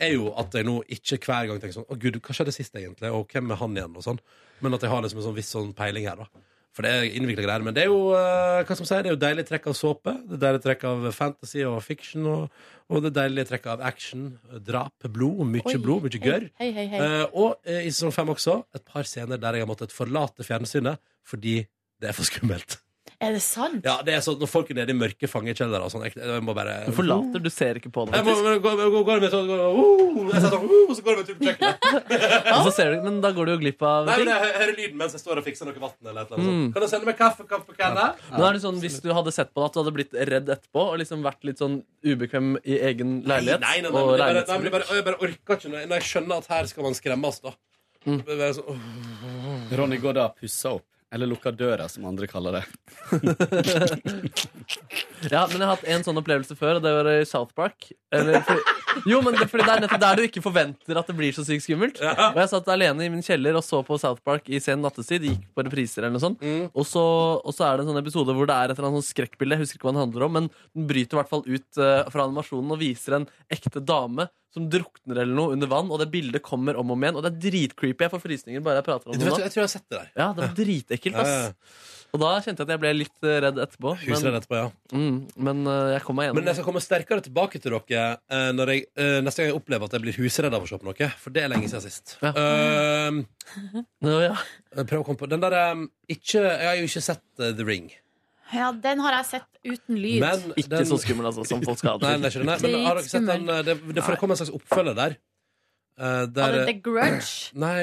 er jo at jeg nå ikke hver gang tenker sånn Å, gud, hva skjedde sist, egentlig? Og hvem er han igjen? Og sånn. Men at jeg har liksom en sånn viss sånn peiling her, da. For det er innvikla greier. Men det er jo eh, hva som sier, det er jo deilig trekk av såpe. Det er deilig trekk av fantasy og fiction. Og, og det er deilig trekk av action, drap, blod. Mye
Oi,
blod, mye
hei,
gørr.
Hei, hei, hei.
Eh, og eh, i sesong fem også et par scener der jeg har måttet forlate fjernsynet fordi det er for skummelt.
er det sant?
Ja, det er sånn Når folk er nede i mørke fangekjeldere og sånn jeg, jeg må bare
Du forlater, du ser ikke på det.
Jeg må,
faktisk.
men gå- gå- går med sånn går- uh, Jeg sier sånn uh, Så går jeg med tur på kjøkkenet.
Og så ser du, men da går du jo glipp av
Nei,
ting.
men jeg hø- hører lyden mens jeg står og fikser noe vann eller et eller annet.
Mm.
sånt. Kan du sende meg kaffe kaffe på kanna?
Men er det sånn, Hvis du hadde sett på det, at du hadde blitt redd etterpå og liksom vært litt sånn ubekvem i egen leilighet?
Nei, nei, nei, men
og
det er bare, nei, men det er
leilighetsbruk?
bare, jeg bare orker ikke når jeg, når jeg skjønner at her skal man skremmes, da. Det er bare sånn, åh.
Mm. Ronny går da og pusser opp. Eller lukker døra, som andre kaller det.
Ja, men jeg har hatt en sånn opplevelse før, og det var i South Park. Eller, fordi- jo, men det, fordi det er nettopp der du ikke forventer at det blir så sykt skummelt. Og jeg satt alene i min kjeller og så på South Park i sen nattestid. Gikk på repriser eller noe sånt.
Mm.
Og, så, og så er det en sånn episode hvor det er et eller annet sånn skrekkbilde. Jeg husker ikke hva den handler om, men den bryter i hvert fall ut eh, fra animasjonen og viser en ekte dame som drukner eller noe under vann, og det bildet kommer om og om igjen. Og det er dritcreepy. Jeg får frysninger bare jeg prater om
Du
det
vet,
nå.
jeg tror jeg har sett det der.
Ja, det var dritekkelt,
Ja, ja, ja.
ass. Og da kjente jeg at jeg ble litt eh, redd etterpå.
Husredd etterpå, ja.
Mm, men eh, jeg kom meg gjennom.
Men jeg skal komme sterkere tilbake til dere eh, når jeg, eh, neste gang jeg opplever at jeg blir husredd av å se på noe. For det er lenge siden sist. Ehm, jeg Prøv å komme på Den der um, ikke, Jeg har jo ikke sett eh, The Ring.
Ja, den har jeg sett uten lyd.
Men
Ikke så skummel, altså, som folk skal ha det
Nei,
til.
nei, ikke, nei, men har dere sett den eh, Det, det får komme en slags oppfølger der. eh, der,
Hadde
eh,
The Grudge?
Nei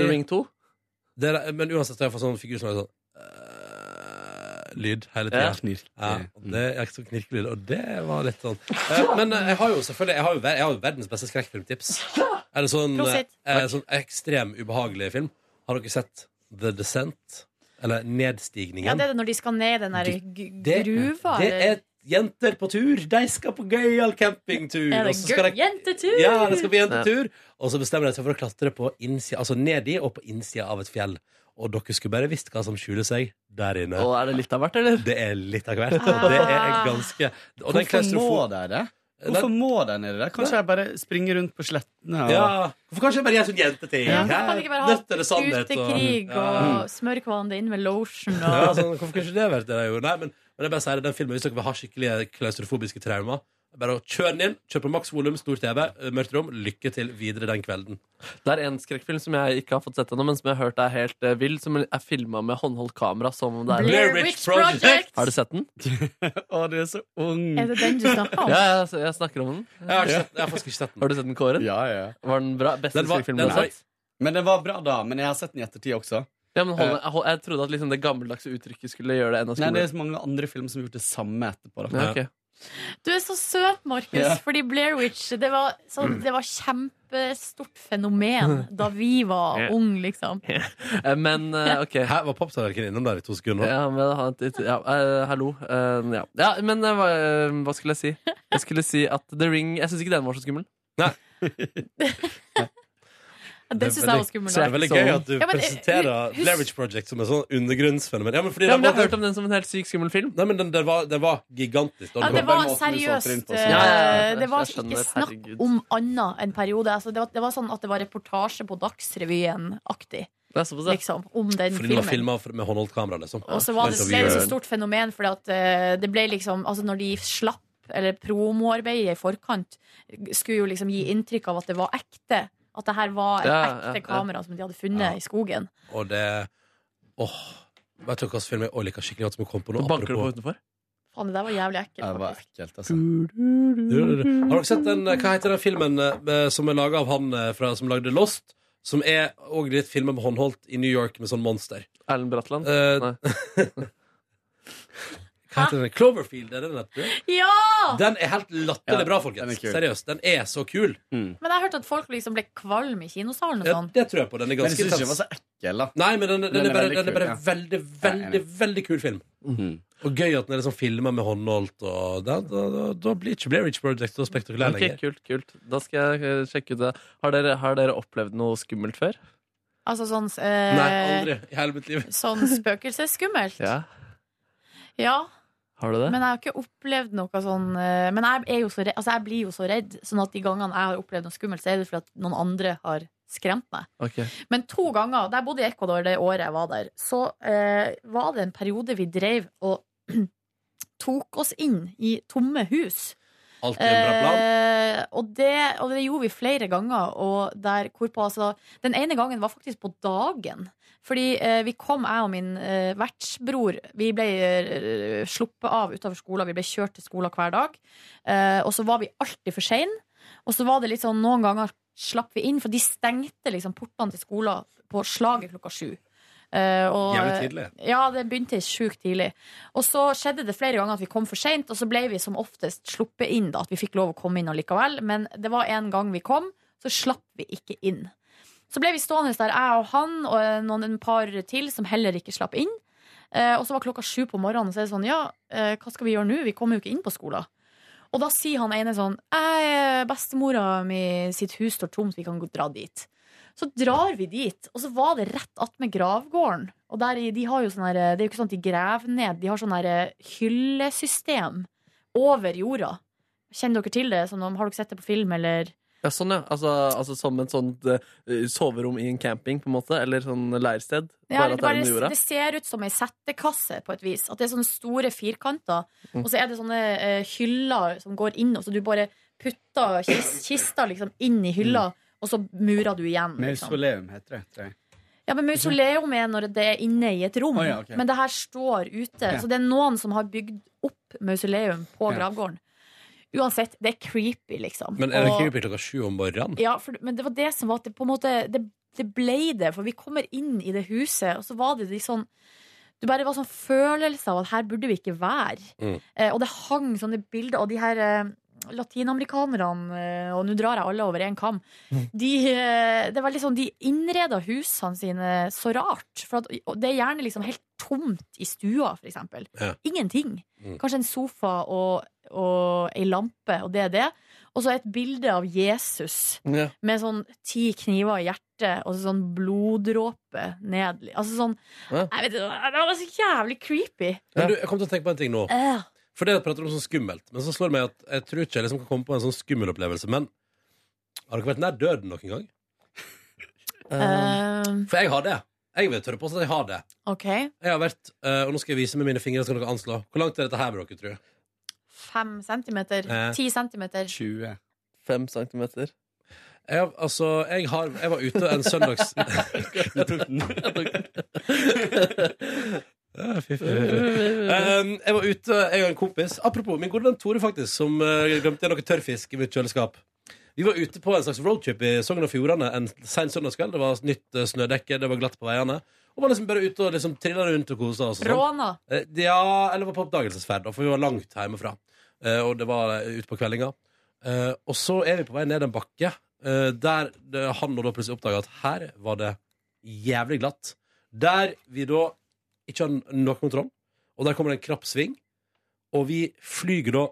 The Ring 2?
Det er, men uansett, jeg får sånn figur som er sånn eh, Lyd hele tida.
Ja. Knirke.
Ja, og det er sånn knirkelyd, og det var litt sånn Eh, Men eh, jeg har jo selvfølgelig Jeg har jo, ver- jeg har jo verdens beste skrekkfilmtips. Er det sånn, eh,
Prosit.
eh, sånn ekstrem ubehagelig film? Har dere sett The Descent? Eller Nedstigningen?
Ja, det er det når de skal ned den der
Det-
gu- gruva.
Det er
eller-
et Jenter på tur, de skal på gøyal campingtur.
Er
og
det
så skal
gøy?
de-
Jentetur!
Ja, det skal på jentetur. Og så bestemmer de seg for å klatre på innsida, altså nedi og på innsida av et fjell. Og dere skulle bare visst hva som skjuler seg der inne.
Og er det litt av hvert, eller?
Det er litt av hvert. Og det er ganske
Ah.
og den
Hvorfor må
klaustrofo-
dere det? Hvorfor må dere nede der? Kanskje jeg bare springer rundt på slettene og
Ja, Hvorfor kan ikke jeg bare gjøre sånn jenteting?
Ja,
Hæ?
Hvorfor kan de ikke bare ha
Nøtter og sannhet og-
utekrig
Ja.
og smøre hverandre inn med lotion og
Ja, sånn, hvorfor kunne ikke det vært det? jeg gjorde? Nei, men, men jeg bare sier det, den filmen Hvis dere vil ha skikkelige klaustrofobiske traumer, bare å kjøre den inn. Kjør på maks volum, stor TV, mørkt rom. Lykke til videre den kvelden.
Det er en skrekkfilm som jeg ikke har fått sett ennå, men som jeg har hørt er helt eh, vill, som er filma med håndholdt kamera. Som om det er
Blair Witch Project! Project!
Har du sett den?
Å, du er så ung.
Er det den du snakker om?
Ja, jeg, jeg snakker om den.
Jeg har, sett, jeg har faktisk ikke sett den.
Har du sett den, Kåre?
Ja, ja.
Var den bra? Beste
Den var-
skrekkfilmen
den
du har
var-
sett?
Men den var bra da, men jeg har sett den i ettertid også.
Ja, men hold,
Eh,
jeg, hold, jeg trodde at liksom det gammeldagse uttrykket skulle gjøre det enda
Nei, det er
skumlere.
så mange andre filmer som har gjort det samme etterpå. Da.
Ja, ok.
Du er så søt, Markus,
Ja.
fordi Blair Witch det var, sånn, det var kjempestort fenomen da vi var
Ja.
unge, liksom.
Eh, Men eh, ok.
Her var papptallerkenen innom der i to sekunder.
Ja, men, ha et- et- ja, eh, hallo. Eh, ja. ja, men eh, hva, eh, hva skulle jeg si? Jeg skulle si at The Ring Jeg syns ikke den var så skummel.
Nei.
Den syns jeg var skummel.
Det er veldig gøy at du
Ja, men, eh,
presenterer
husk-
Blair Witch Project som en sånn undergrunnsfenomen. Ja, men fordi
Ja,
den
men
var-
jeg har hørt om den som en helt syk skummel film.
Nei, men den, den, var, den var gigantisk. da.
Ja, det
Den
var
måten du solgte den på,
seriøst. eh,
så-
Det var
jeg skjønner,
ikke snakk
herregud.
om annet enn periode. Altså, det, var, det var sånn at det var reportasje på Dagsrevyen-aktig.
Det er såpass, ja.
Liksom, om den
Altså, Fordi den var
filmen.
filma med håndholdt kamera, liksom.
Og så var det,
Mens vi-
ble det så stort fenomen fordi at eh, det ble liksom Altså når de slapp eller promoarbeidet i forkant, skulle jo liksom gi inntrykk av at det var ekte. At det her var et
Ja, ja,
ekte
ja.
kamera som de hadde funnet i skogen.
Og det Åh. Vet dere hvilken film jeg også liker skikkelig godt som jeg kom på nå?
Banker du på
apropos-
utenfor?
Faen, det der var jævlig ekkelt.
Det var ekkelt, altså.
Du, du, du. Har dere sett den, eh, hva heter den filmen eh, som er laget av han eh, fra, som lagde Lost? Som er også litt filmer med håndholdt i New York med sånn monster.
Erlend Bratland?
Eh, hva heter den? Cloverfield, er det den heter?
Ja!
Den er helt latterlig
Ja,
bra,
den er
folkens.
kul.
Seriøst, den er så kul.
Men jeg hørte at folk liksom ble kvalm i kinosalen og
Ja,
sånn.
det tror jeg på. Den er
Men jeg
ganske
synes ikke den var
intens.
så ekkel, da.
Nei, men den, den,
Den
er
er
bare,
veldig
den er
kul,
bare
ja.
veldig, veldig, veldig kul film.
Mhm.
Og gøy at den er liksom filma med håndholdt, og da, da, da, da blir ikke Blair Witch Project så spektakulær
Ok,
lenger.
kult, kult. Da skal jeg eh, sjekke ut det. Har dere, har dere opplevd noe skummelt før?
Altså sånn eh,
Nei, aldri i hele mitt liv.
Sånn spøkelsesskummelt.
Ja.
Ja,
Har du det?
men jeg har ikke opplevd noe sånn eh, Men jeg, er jo så redd, altså jeg blir jo så redd, sånn at de gangene jeg har opplevd noe skummelt, så er det fordi at noen andre har skremt meg.
Ok.
Men to ganger, da jeg bodde i Ecuador det året jeg var der, så eh, var det en periode vi drev og tok oss inn i tomme hus.
Alltid en bra plan.
Eh, og, det, og det gjorde vi flere ganger. Og der, hvorpå, altså, den ene gangen var faktisk på dagen. Fordi eh, vi kom, jeg og min eh, vertsbror Vi ble eh, sluppet av utenfor skolen. Vi ble kjørt til skolen hver dag. Eh, og så var vi alltid for sein. Og så var det litt sånn noen ganger slapp vi inn, for de stengte liksom portene til skolen på slaget klokka sju. Eh, og-
Jævlig tidlig.
Ja, det begynte sjukt tidlig. Og så skjedde det flere ganger at vi kom for seint, og så ble vi som oftest sluppet inn. da, At vi fikk lov å komme inn allikevel. Men det var en gang vi kom, så slapp vi ikke inn. Så ble vi stående der, jeg og han og eh, noen en par til som heller ikke slapp inn. Eh, og så var klokka sju på morgenen, og så er det sånn Ja, eh, hva skal vi gjøre nå? Vi kommer jo ikke inn på skolen. Og da sier han ene sånn «Ei, Bestemora mi sitt hus står tomt, vi kan gå- dra dit. Så drar vi dit, og så var det rett attmed gravgården. Og der, i- de har jo sånn her, Det er jo ikke sånn at de graver ned, de har sånn her hyllesystem over jorda. Kjenner dere til det? Sånn, om- har dere sett det på film, eller?
Ja, sånn, ja. Altså, altså som et sånt eh, soverom i en camping, på en måte? Eller sånn leirsted?
Ja, eller
bare at det er under
det, bare,
jorda?
det ser ut som ei settekasse, på et vis. At det er sånne store firkanter.
Mm.
Og så er det sånne eh, hyller som går inn, og så du bare putter kis kista liksom inn i
Mm.
hylla, og så murer du igjen. Liksom.
Mausoleum heter det. Tror jeg.
Ja, men Mausoleum er når det er inne i et rom,
Å, ja, ok.
men det her står ute.
Ja.
Så det er noen som har bygd opp mausoleum på
Ja.
gravgården. Uansett, det er creepy, liksom.
Men er det
Og-
creepy klokka sju om morgenen?
ja, for, men det var det som var at det på en måte det, det ble det, for vi kommer inn i det huset, og så var det de sånn Du bare var sånn følelse av at her burde vi ikke være.
Mm.
Eh, og det hang sånne bilder, og de her eh, latinamerikanerne, eh, og nå drar jeg alle over én kam
Mm.
de, eh, Det er veldig sånn, de innreder husene sine så rart. For at, og det er gjerne liksom helt tomt i stua, for eksempel.
Ja.
Ingenting.
Mm.
Kanskje en sofa og, og ei lampe, og det er det. Og så et bilde av Jesus
Ja.
med sånn ti kniver i hjertet og sånn bloddråpe ned. Altså sånn
Ja.
Jeg vet ikke, Det var så jævlig creepy.
Men du, jeg kom til å tenke på en ting nå.
Eh.
For det jeg prater om som skummelt. Men så slår det meg at jeg tror ikke jeg liksom kan komme på en sånn skummel opplevelse. Men har dere vært nær døden noen gang?
Eh,
For jeg har det. Jeg vil tørre påstå at jeg har det.
OK.
Jeg har vært, eh, og nå skal jeg vise med mine fingre, så kan dere anslå. Hvor langt er dette her, bør dere tro?
Fem centimeter.
Eh.
Ti centimeter.
20.
5 centimeter.
Jeg, har- altså, jeg, har, jeg var ute en søndags... Ja, fy, fy, fy. Um, jeg var ute, jeg og en kompis Apropos, min gode venn Tore faktisk Som uh, glemte igjen noe tørrfisk i mitt kjøleskap Vi var ute på en slags roadtrip i Sogn og Fjordane En sen søndagskveld Det var nytt uh, snødekke, det var glatt på veiene Og var liksom bare ute og liksom trillet rundt og koset oss og sånn.
Råna.
Eh, Ja, eller var på oppdagelsesferd, da, for vi var langt hjemmefra. Eh, og det var eh, ute på kveldinga. Eh, og så er vi på vei ned en bakke eh, der det, han og da plutselig oppdaga at her var det jævlig glatt. Der vi da ikke har noe kontroll, og der kommer det en krapp sving, og vi flyger da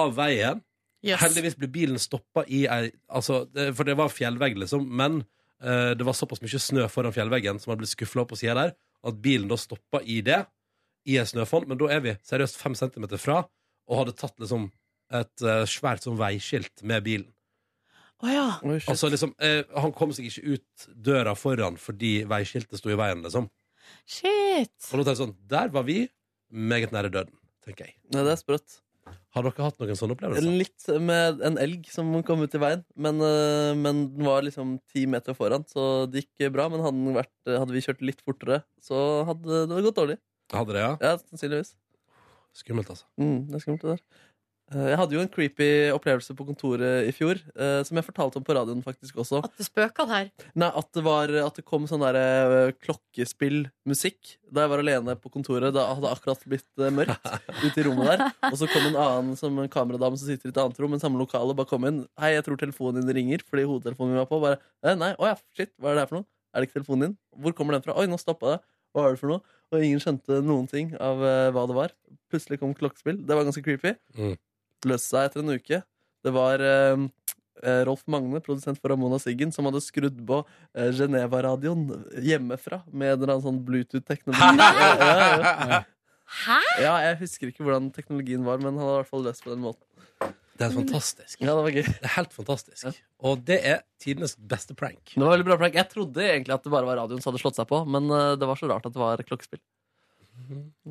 av veien.
Yes.
Heldigvis ble bilen stoppa i ei altså, det, For det var fjellvegg, liksom, men eh, det var såpass mye snø foran fjellveggen som hadde blitt skufla opp på sida der, at bilen da stoppa i det i en snøfonn, men da er vi seriøst fem centimeter fra og hadde tatt liksom et eh, svært sånn veiskilt med bilen.
Å ja.
altså liksom, eh, Han kom seg ikke ut døra foran fordi veiskiltet sto i veien, liksom.
Shit.
Og nå tenker jeg sånn, der var vi meget nære døden, tenker jeg.
Nei, det er sprøtt.
Har dere hatt noen sånne opplevelser?
Litt med en elg som kom ut i veien, men, eh, men den var liksom ti meter foran, så det gikk bra. Men hadde, den vært, hadde vi kjørt litt fortere, så hadde det gått dårlig.
Hadde det, ja?
Ja, sannsynligvis.
Skummelt, altså.
Mm, det er skummelt, det der. Eh, Jeg hadde jo en creepy opplevelse på kontoret i fjor, eh, som jeg fortalte om på radioen faktisk også.
At det spøka der?
Nei, at det, var, at det kom sånn der eh, klokkespillmusikk da jeg var alene på kontoret. Da hadde det akkurat blitt eh, mørkt ute i rommet der. Og så kom en annen som en kameradame som sitter i et annet rom, men samme lokale, bare kom inn. Hei, jeg tror telefonen din ringer, fordi hodetelefonen min var på. Bare, «Eh, nei, åja, shit, hva er det her for noe? Er det ikke telefonen din? Hvor kommer den fra? Oi, nå stoppa det. Hva er det for noe? Og ingen skjønte noen ting av eh, hva det var. Plutselig kom klokkespill. Det var ganske creepy
Mm.
løste seg etter en uke. Det var eh, eh, Rolf Magne, produsent for Ramona Siggen, som hadde skrudd på eh, Geneva-radioen hjemmefra med en eller annen sånn Bluetooth-teknologi. Ja, ja, ja.
Hæ?
ja, jeg husker ikke hvordan teknologien var, men han hadde i hvert fall løst på den måten.
Det er fantastisk.
Ja, det var gøy.
Det er helt fantastisk. Og det er tidenes beste prank.
Det var veldig bra prank. Jeg trodde egentlig at det bare var radioen som hadde slått seg på, men eh, det var så rart at det var klokkespill.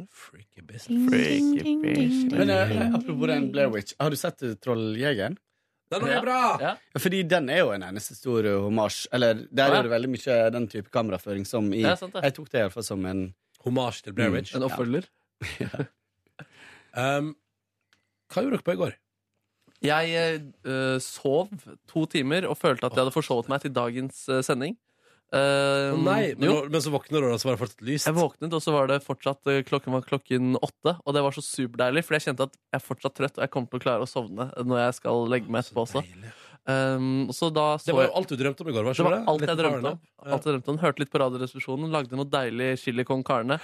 Freaky business.
Mm.
Freaky business.
Men eh, apropos den Blair Witch, har du sett eh, Trolljegeren?
Den er bra!
Ja, Fordi den er jo en eneste stor eh, hommage. Eller der
Ja.
er det veldig mye den type kameraføring som i
Ja, sant det.
Jeg tok det iallfall som en
Hommage til Blair Witch.
Mm, en oppfølger.
Um, hva gjorde dere på i går?
Jeg eh, sov to timer og følte at jeg hadde forsovet meg til dagens eh, sending. Eh,
Å nei, men,
jo.
nå- men så våkner du, og så var det fortsatt lyst.
Jeg våknet, og så var det fortsatt eh, klokken var klokken åtte. Og det var så superdeilig, for jeg kjente at jeg er fortsatt trøtt, og jeg kommer til å klare å sovne når jeg skal legge meg etterpå også. Um, så da så
Det var
jeg-
jo alt du drømte om i går, var
det
ikke
var
det?
alt jeg
Liten
drømte om.
powernap. Ja.
Alt jeg drømte om. Hørte litt på Radioresepsjonen, lagde noe deilig chili con carne.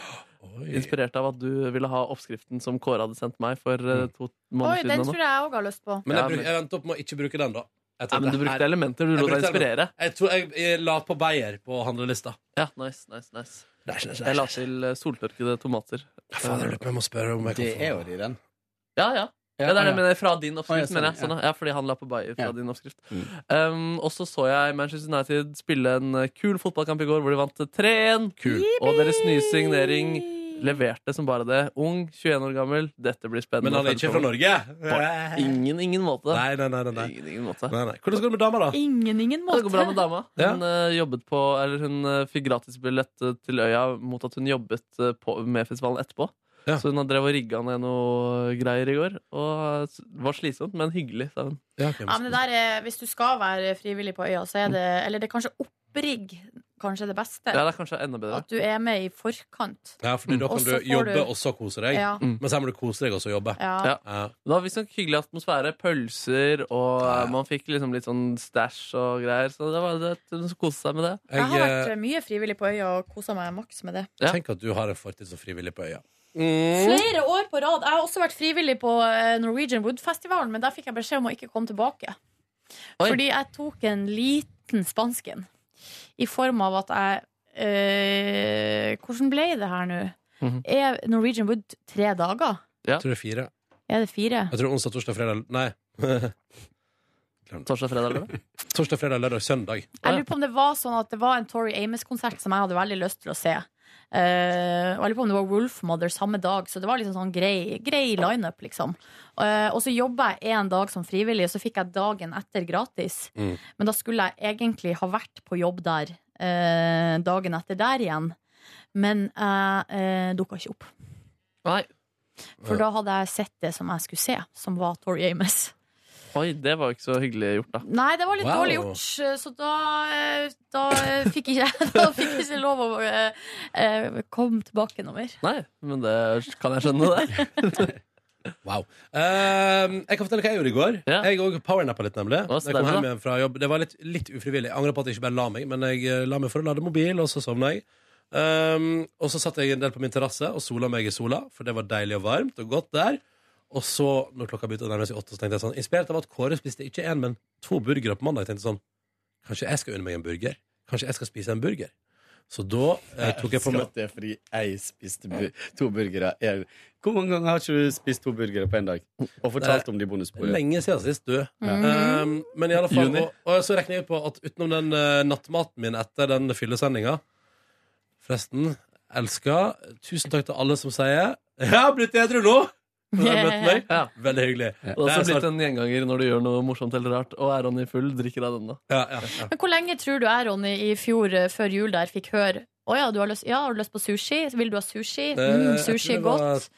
Inspirert av at du ville ha oppskriften som Kåre hadde sendt meg for eh, to
Oi,
måneder
den
siden. nå.
tror jeg òg har lyst på.
Men
Ja,
jeg, bruk,
men-
jeg endte opp med å ikke bruke den, da. Jeg
Nei,
tenkte,
men du brukte
her-
elementer, du lot
Jeg
deg
brukte
inspirere.
element- Jeg, tror jeg, jeg la på Beyer på handlelista.
Ja, nice, nice, nice.
nice, nice,
Jeg la til eh, soltørkede tomater.
Fader, jeg lurer på om jeg må spørre om jeg kan
Det
få
er jo de, den.
Ja, ja.
Ja,
Ja, det er det,
ja.
men det er fra din
Å, ja,
oppskrift,
sånn,
mener jeg. Sånn,
ja.
ja. ja, fordi han la på Bayer fra
Ja.
din oppskrift.
Mm.
Um, og så så jeg Manchester United spille en eh, kul fotballkamp i går, hvor de vant eh, 3-1. Og deres nye signering leverte som bare det. Ung, 21 år gammel. Dette blir spennende.
Men han er ikke fra Norge.
På ingen, ingen måte.
Nei, nei, nei, nei, nei.
Ingen, ingen måte.
Nei, nei. Hvordan går det med dama, da?
Ingen, ingen måte.
Det går bra med dama.
Ja.
Hun, eh, jobbet på, eller hun eh, fikk gratisbillett eh, til øya mot at hun jobbet eh, på, med festivalen etterpå. Så hun har drev og rigga ned noe greier i går. Og eh, s- det var slitsomt, men hyggelig, sa hun.
Ja, men det der er, hvis du skal være frivillig på øya, så er det Eller det er kanskje opprigg kanskje det beste.
Ja, det er kanskje enda bedre.
At du er med i forkant.
Ja, fordi da
Og
kan
så
du
Mm. får
jobbe
du-
og så kose deg.
Ja.
Men så må du kose deg og så jobbe.
Ja.
Ja. Det var visstnok hyggelig atmosfære. Pølser, og eh, man fikk liksom litt sånn stæsj og greier. Så det var det, hun koste seg med det.
Jeg har vært mye frivillig på øya og kosa meg maks med det.
eh, Tenk at du har en fortid som frivillig på øya.
Flere år på rad. Jeg har også vært frivillig på eh, Norwegian Wood-festivalen, men der fikk jeg beskjed om å ikke komme tilbake. Fordi jeg tok en liten spansken i form av at jeg eh, Hvordan ble det her nå?
Mhm.
Er Norwegian Wood tre dager?
Jeg tror det er fire.
Er det fire?
Jeg tror onsdag, torsdag, fredag Nei.
Torsdag, fredag, lørdag?
Torsdag, fredag, lørdag, søndag.
Jeg lurer på om det var sånn at det var en Tori Amos-konsert som jeg hadde veldig lyst til å se. Eh, og jeg lurer på om det var Wolfmother samme dag, så det var liksom sånn grei, grei lineup, liksom. Eh, og så jobba jeg en dag som frivillig, og så fikk jeg dagen etter gratis.
Mm.
Men da skulle jeg egentlig ha vært på jobb der eh, dagen etter der igjen. Men jeg eh, dukka ikke opp.
Nei.
For da hadde jeg sett det som jeg skulle se, som var Tori Amos.
Oi, det var jo ikke så hyggelig gjort, da.
Nei, det var litt dårlig gjort, så da, eh, da eh, fikk ikke jeg da fikk jeg ikke lov å eh, eh, komme tilbake noe mer.
Nei, men det kan jeg skjønne, det.
Wow. Ehm, jeg kan fortelle hva jeg gjorde i går. Jeg òg powernappa litt, nemlig. Jeg kom
stemmer,
hjem
da.
igjen fra jobb. Det var litt, litt ufrivillig. Jeg angrer på at jeg ikke bare la meg, men jeg eh, la meg for å lade mobil, og så sovna jeg. Ehm, og så satt jeg en del på min terrasse og sola meg i sola, for det var deilig og varmt og godt der. Og så, når klokka begynte å nærme seg åtte, så tenkte jeg sånn Inspirert av at Kåre spiste ikke én, men to burgere på mandag, jeg tenkte sånn Kanskje jeg skal unne meg en burger? Kanskje jeg skal spise en burger? Så da eh, tok jeg på meg
Skatt det fordi jeg spiste bu to burgere. Jeg, hvor mange ganger har ikke du spist to burgere på en dag? Og fortalt om de bonusbordet?
Lenge siden sist, du.
Mhm.
Ja.
Um, men i alle fall,
Juni.
og, og så regner jeg på at utenom den eh, nattmaten min etter den fyllesendinga Forresten, elsker Tusen takk til alle som sier 'Jeg har blitt edru nå!' når de har møtt meg.
Ja.
Veldig hyggelig.
Det er også
Det er altså-
blitt en gjenganger når du gjør noe morsomt eller rart. Og er Ronny full, drikker av den, da.
Men hvor lenge tror du jeg, Ronny, i fjor eh, før jul der fikk høre å ja, du har lyst, ja, har du lyst på sushi? Vil du ha sushi? Mm,
Eh,
sushi
jeg tror det
er
var
godt.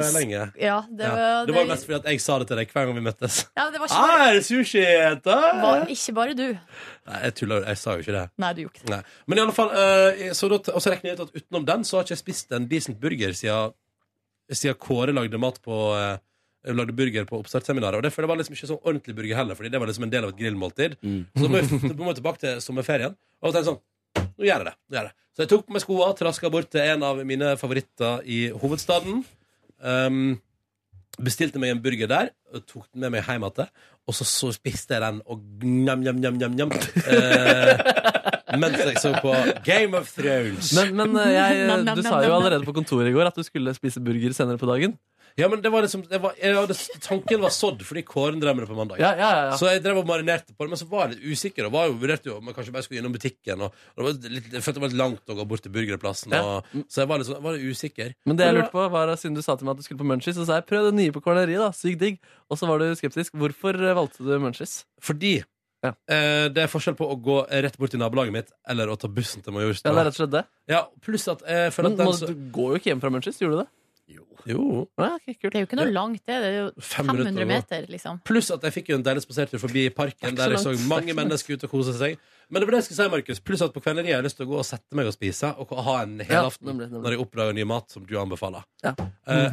Kjempelenge.
Ja, det var-
det, var
det-
mest fordi at jeg sa det til deg hver gang vi møttes.
Ja, det var ikke
ah,
bare-
er det sushi, jenta?
Var ikke bare du.
Nei, jeg tuller, jo. jeg sa jo ikke det.
Nei, du gjorde ikke det.
Nei. Men i alle fall, eh, så da, og så regner jeg ut at utenom den så har ikke jeg spist en decent burger siden, siden Kåre lagde mat på eh, Lagde burger på oppstartsseminaret. Og det, for det var liksom ikke sånn ordentlig burger heller, Fordi det var liksom en del av et grillmåltid. Så må vi må vi tilbake til sommerferien. Og da tenkte jeg sånn Nå gjør jeg det. Nå gjør jeg det. Så jeg tok på meg skoa, traska bort til en av mine favoritter i hovedstaden. Um, Bestilte meg en burger der, og tok den med meg hjem igjen. Og så, så spiste jeg den, og njam-njam-njam-njam. Eh, mens jeg så på Game of Thrones.
Men, men eh, jeg, du sa jo allerede på kontoret i går at du skulle spise burger senere på dagen.
Ja, men det var liksom det var, jeg hadde, Tanken var sådd fordi Kåren drev med det på mandag.
Ja, ja, ja, ja.
Så jeg drev og marinerte på det, men så var jeg litt usikker. Og var jo, vurderte jo om jeg kanskje bare skulle innom butikken. Og, og det var litt, jeg følte det var litt langt å gå bort til burgerplassen.
Ja.
Og, så jeg var litt, sånn- var litt usikker.
Men det jeg lurte på var eh, siden du sa til meg at du skulle på Munchies, så sa jeg prøv det nye på Kvaleri, da. Sykt digg. Og så var du skeptisk. Hvorfor eh, valgte du Munchies?
Fordi eh, det er forskjell på å gå rett bort til nabolaget mitt eller å ta bussen til Majorstua.
Ja, det er rett og slett det.
Ja, pluss at jeg føler at
Men
den
må,
så-
du går jo ikke hjem fra Munchies, gjorde du det?
Jo.
Det er jo ikke noe langt, det. Det er jo
Fem minutter
500
å gå.
meter, liksom.
Pluss at jeg fikk jo en deilig spasertur forbi parken,
Det
der
er
jeg
ikke så
så
langt. Det er
mange
ikke så
mennesker ute og kose seg. Men det var det jeg skulle si, Markus. Pluss at på kvelden har jeg lyst til å gå og sette meg og spise, og ha en hel
Ja,
aften
nemlig, nemlig.
når jeg oppdager ny mat som du anbefaler.
Ja.
Eh,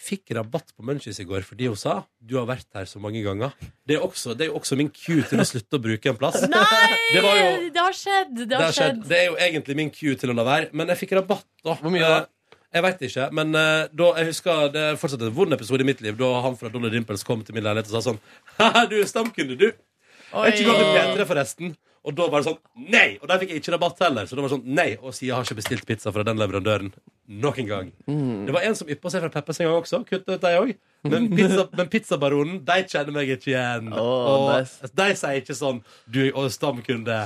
fikk rabatt på Munchies i går fordi hun sa du har vært her så mange ganger. Det er også, det er jo også min cue til å slutte å bruke en plass. Det var jo
Det har skjedd! Det har, skjedd.
det er jo egentlig min cue til å la være, men jeg fikk rabatt, da. Hvor mye da? Jeg veit ikke, men eh, da, jeg husker det er fortsatt en vond episode i mitt liv da han fra Dolly Dimples kom til min leilighet og sa sånn Haha, du er stamkunde, du. Jeg er ikke
Oi.
gått til P3, forresten. Og da var det sånn Nei! Og der fikk jeg ikke rabatt heller. Så det var sånn Nei. Og siden har ikke bestilt pizza fra den leverandøren noen gang.
Mm.
Det var en som yppa seg fra Peppers en gang også. Kutta ut de òg. Men, pizza, men pizzabaronen, de kjenner meg ikke igjen. og De sier ikke sånn Du er stamkunde.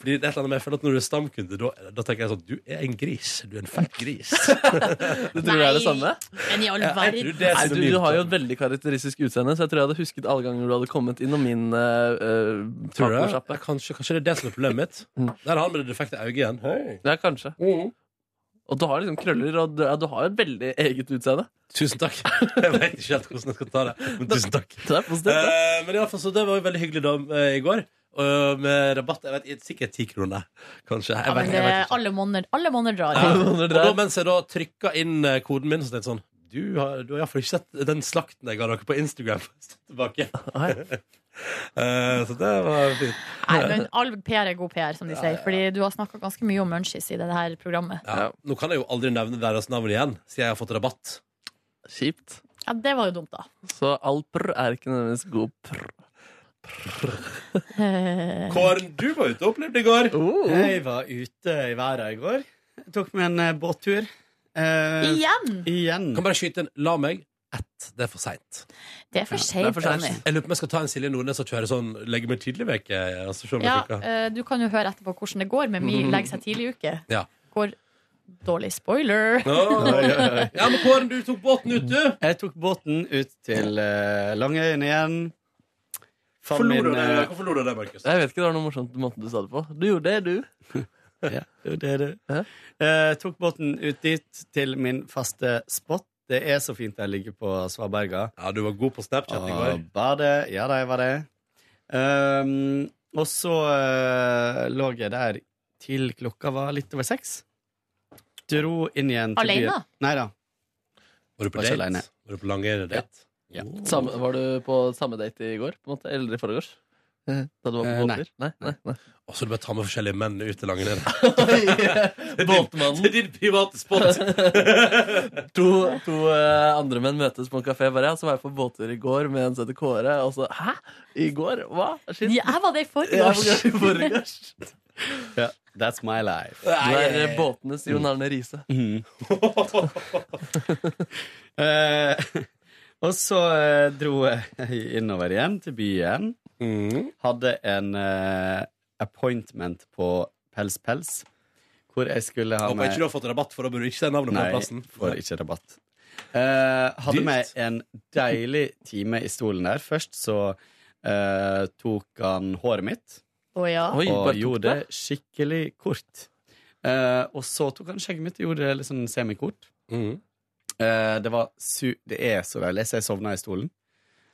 Fordi det er et eller annet med, jeg føler at Når du er stamkunde, da, da tenker jeg sånn Du er en gris. Du er en feit gris.
Du tror det er det samme?
Men i all
Ja, jeg tror det er
Nei, du,
synonymt,
du har jo et veldig karakteristisk utseende, så jeg tror jeg hadde husket alle ganger du hadde kommet innom min uh,
Tror du det?
tacosjappe.
Kanskje, kanskje det er det som er problemet mitt?
Mm.
Der har han med det defekte øyet igjen. Mm. Hei.
Ja, kanskje. Og du har liksom krøller, og du, ja, du har jo et veldig eget utseende.
Tusen takk. Jeg vet ikke helt hvordan jeg skal ta det, men tusen takk.
Det er positivt, det.
Eh, men i alle fall, så det var jo veldig hyggelig da eh, i går. øh, med rabatt. Jeg vet, sikkert ti kroner, kanskje. Jeg
Ja,
vet,
men
jeg
det,
vet.
alle måneder, alle måneder drar.
Og da, mens jeg da trykka inn eh, koden min, så tenkte jeg sånn Du har, du har iallfall ikke sett den slakten jeg ga dere på Instagram. Tilbake. Eh, så det var fint.
Nei, men all PR er god PR, som de
Ja,
sier.
ja.
Fordi du har snakka ganske mye om munchies i det her programmet.
ja. Nå kan jeg jo aldri nevne deres navn igjen, siden jeg har fått rabatt. Eh.
Kjipt.
Ja, det var jo dumt, da.
Så all prr er ikke nødvendigvis god prr.
Mm. Kåren, du var ute og opplevde i går.
Jeg var ute i været i går. Jeg tok meg en eh, båttur. Eh,
Igjen?
Mm. Kan bare skyte en 'la meg'. Ett. Det er for seint.
Det er for seint, Ronny.
Jeg lurer på om jeg skal ta en Silje Nordnes og kjøre sånn 'legge meg tidlig veke og så se om jeg
Ja,
funker.
eh, du kan jo høre etterpå hvordan det går med mi legg seg tidlig uke.
Ja.
Går dårlig spoiler.
Ja, men Kåren, du tok båten ut, du!
Jeg tok båten ut til eh, Langøyen igjen. Fant
Forlor du
min,
det?
eh,
Hvorfor lo du av det, Markus?
Jeg vet ikke, det var noe morsomt måten du sa det på. Du gjorde det, du.
ja, det er det. Eh, tok båten ut dit til min faste spot. Det er så fint jeg ligger på Svaberga.
Ja, du var god på Snapchat i går.
Bade. Ja da, jeg var det. Ehm, og så eh, lå jeg der til klokka var litt over seks. Dro inn igjen til
Alene?
byen. Nei da.
Var du på
Var ikke
date?
alene.
Var du på langere date?
Ja.
Samme, var du på samme date i går? På en måte, Eller i forgårs? Da du var på
Eh, nei.
båttur? Nei. nei, nei.
Og så du bare tar med forskjellige menn ut til langrenn.
Båtmannen.
Til din private spot.
to to eh, andre menn møtes på en kafé. Bare, ja, så var jeg på båttur i går med en som heter Kåre. Og så Hæ? I går? Hva? Shit.
Ja, jeg var det i
Ja, jeg var i
forgårs.
Ja, that's my life.
Du er eh, båtenes Jon Arne Riise.
Mhm. Eh, og så eh, dro jeg innover igjen til byen.
Mm.
Hadde en eh, appointment på Pels Pels, hvor jeg skulle ha
Håper ikke du har fått rabatt, for da burde du ikke si navnet på
Nei,
den plassen.
får ikke rabatt. Eh, hadde
Dyrt.
med en deilig time i stolen der. Først så eh, tok han håret mitt
Å ja.
og gjorde det skikkelig kort. Eh, og så tok han skjegget mitt og gjorde det litt sånn semikort.
Mm.
Eh, det var su... Det er så deilig. Så jeg sovna i stolen.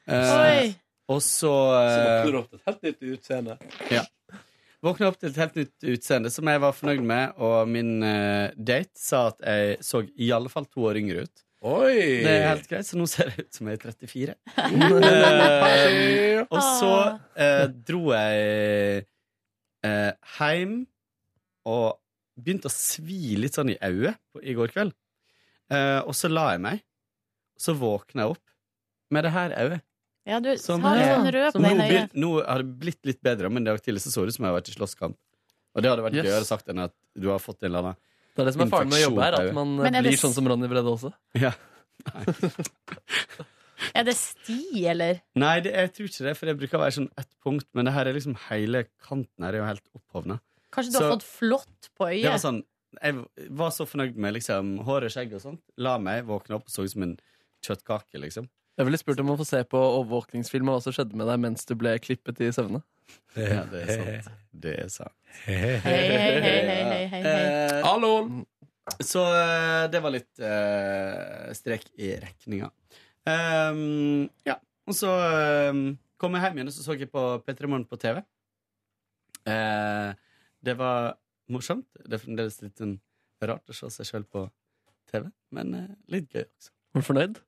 Eh,
Oi.
og så
Så
eh,
våkner du opp til et helt nytt utseende.
ja. Våkna opp til et helt nytt utseende som jeg var fornøyd med, og min eh, date sa at jeg så i alle fall to år yngre ut.
Oi!
Det er helt greit, så nå ser jeg ut som jeg er 34.
Oi.
Eh, og
Ah.
så eh, dro jeg eh, hjem og begynte å svi litt sånn i øyet på- i går kveld. Eh, og så la jeg meg, og så våkna jeg opp med det her øyet.
Ja, du
Som
har
er-
en sånn rød
som
på
nå,
den øyet.
blitt, nå har det blitt litt bedre, men det var tidlig så så det ut som jeg har vært i slåsskamp. Og det hadde vært
Yes.
gøyere sagt enn at du har fått en eller annen
Det er det som er faren med å jobbe her, at man eh,
Men er det
blir
s-
sånn som Ronny Brede også.
Ja.
Er det sti, eller?
Nei, det, jeg tror ikke det, for det bruker å være sånn ett punkt, men det her er liksom hele kanten her er jo helt opphovna.
Kanskje du
Så-
har fått flått på øyet?
Det var sånn, jeg var så fornøyd med liksom håret, skjegg og sånt. La meg våkne opp og så ut som en kjøttkake, liksom.
Jeg ville spurt om å få se på overvåkningsfilm og hva som skjedde med deg mens du ble klippet i søvne.
Ja, det er sant. Det er sant.
hei, hei, hei,
hei, hei, hei.
Eh,
Hallo!
Så eh, det var litt eh, strek i rekninga. Ehm, ja. Og så ehm, kom jeg hjem igjen, og så så jeg på P3 Morgen på TV. Eh, det var morsomt. Det er fremdeles litt sånn rart å se seg sjøl på TV, men eh, litt gøy også.
Var du fornøyd?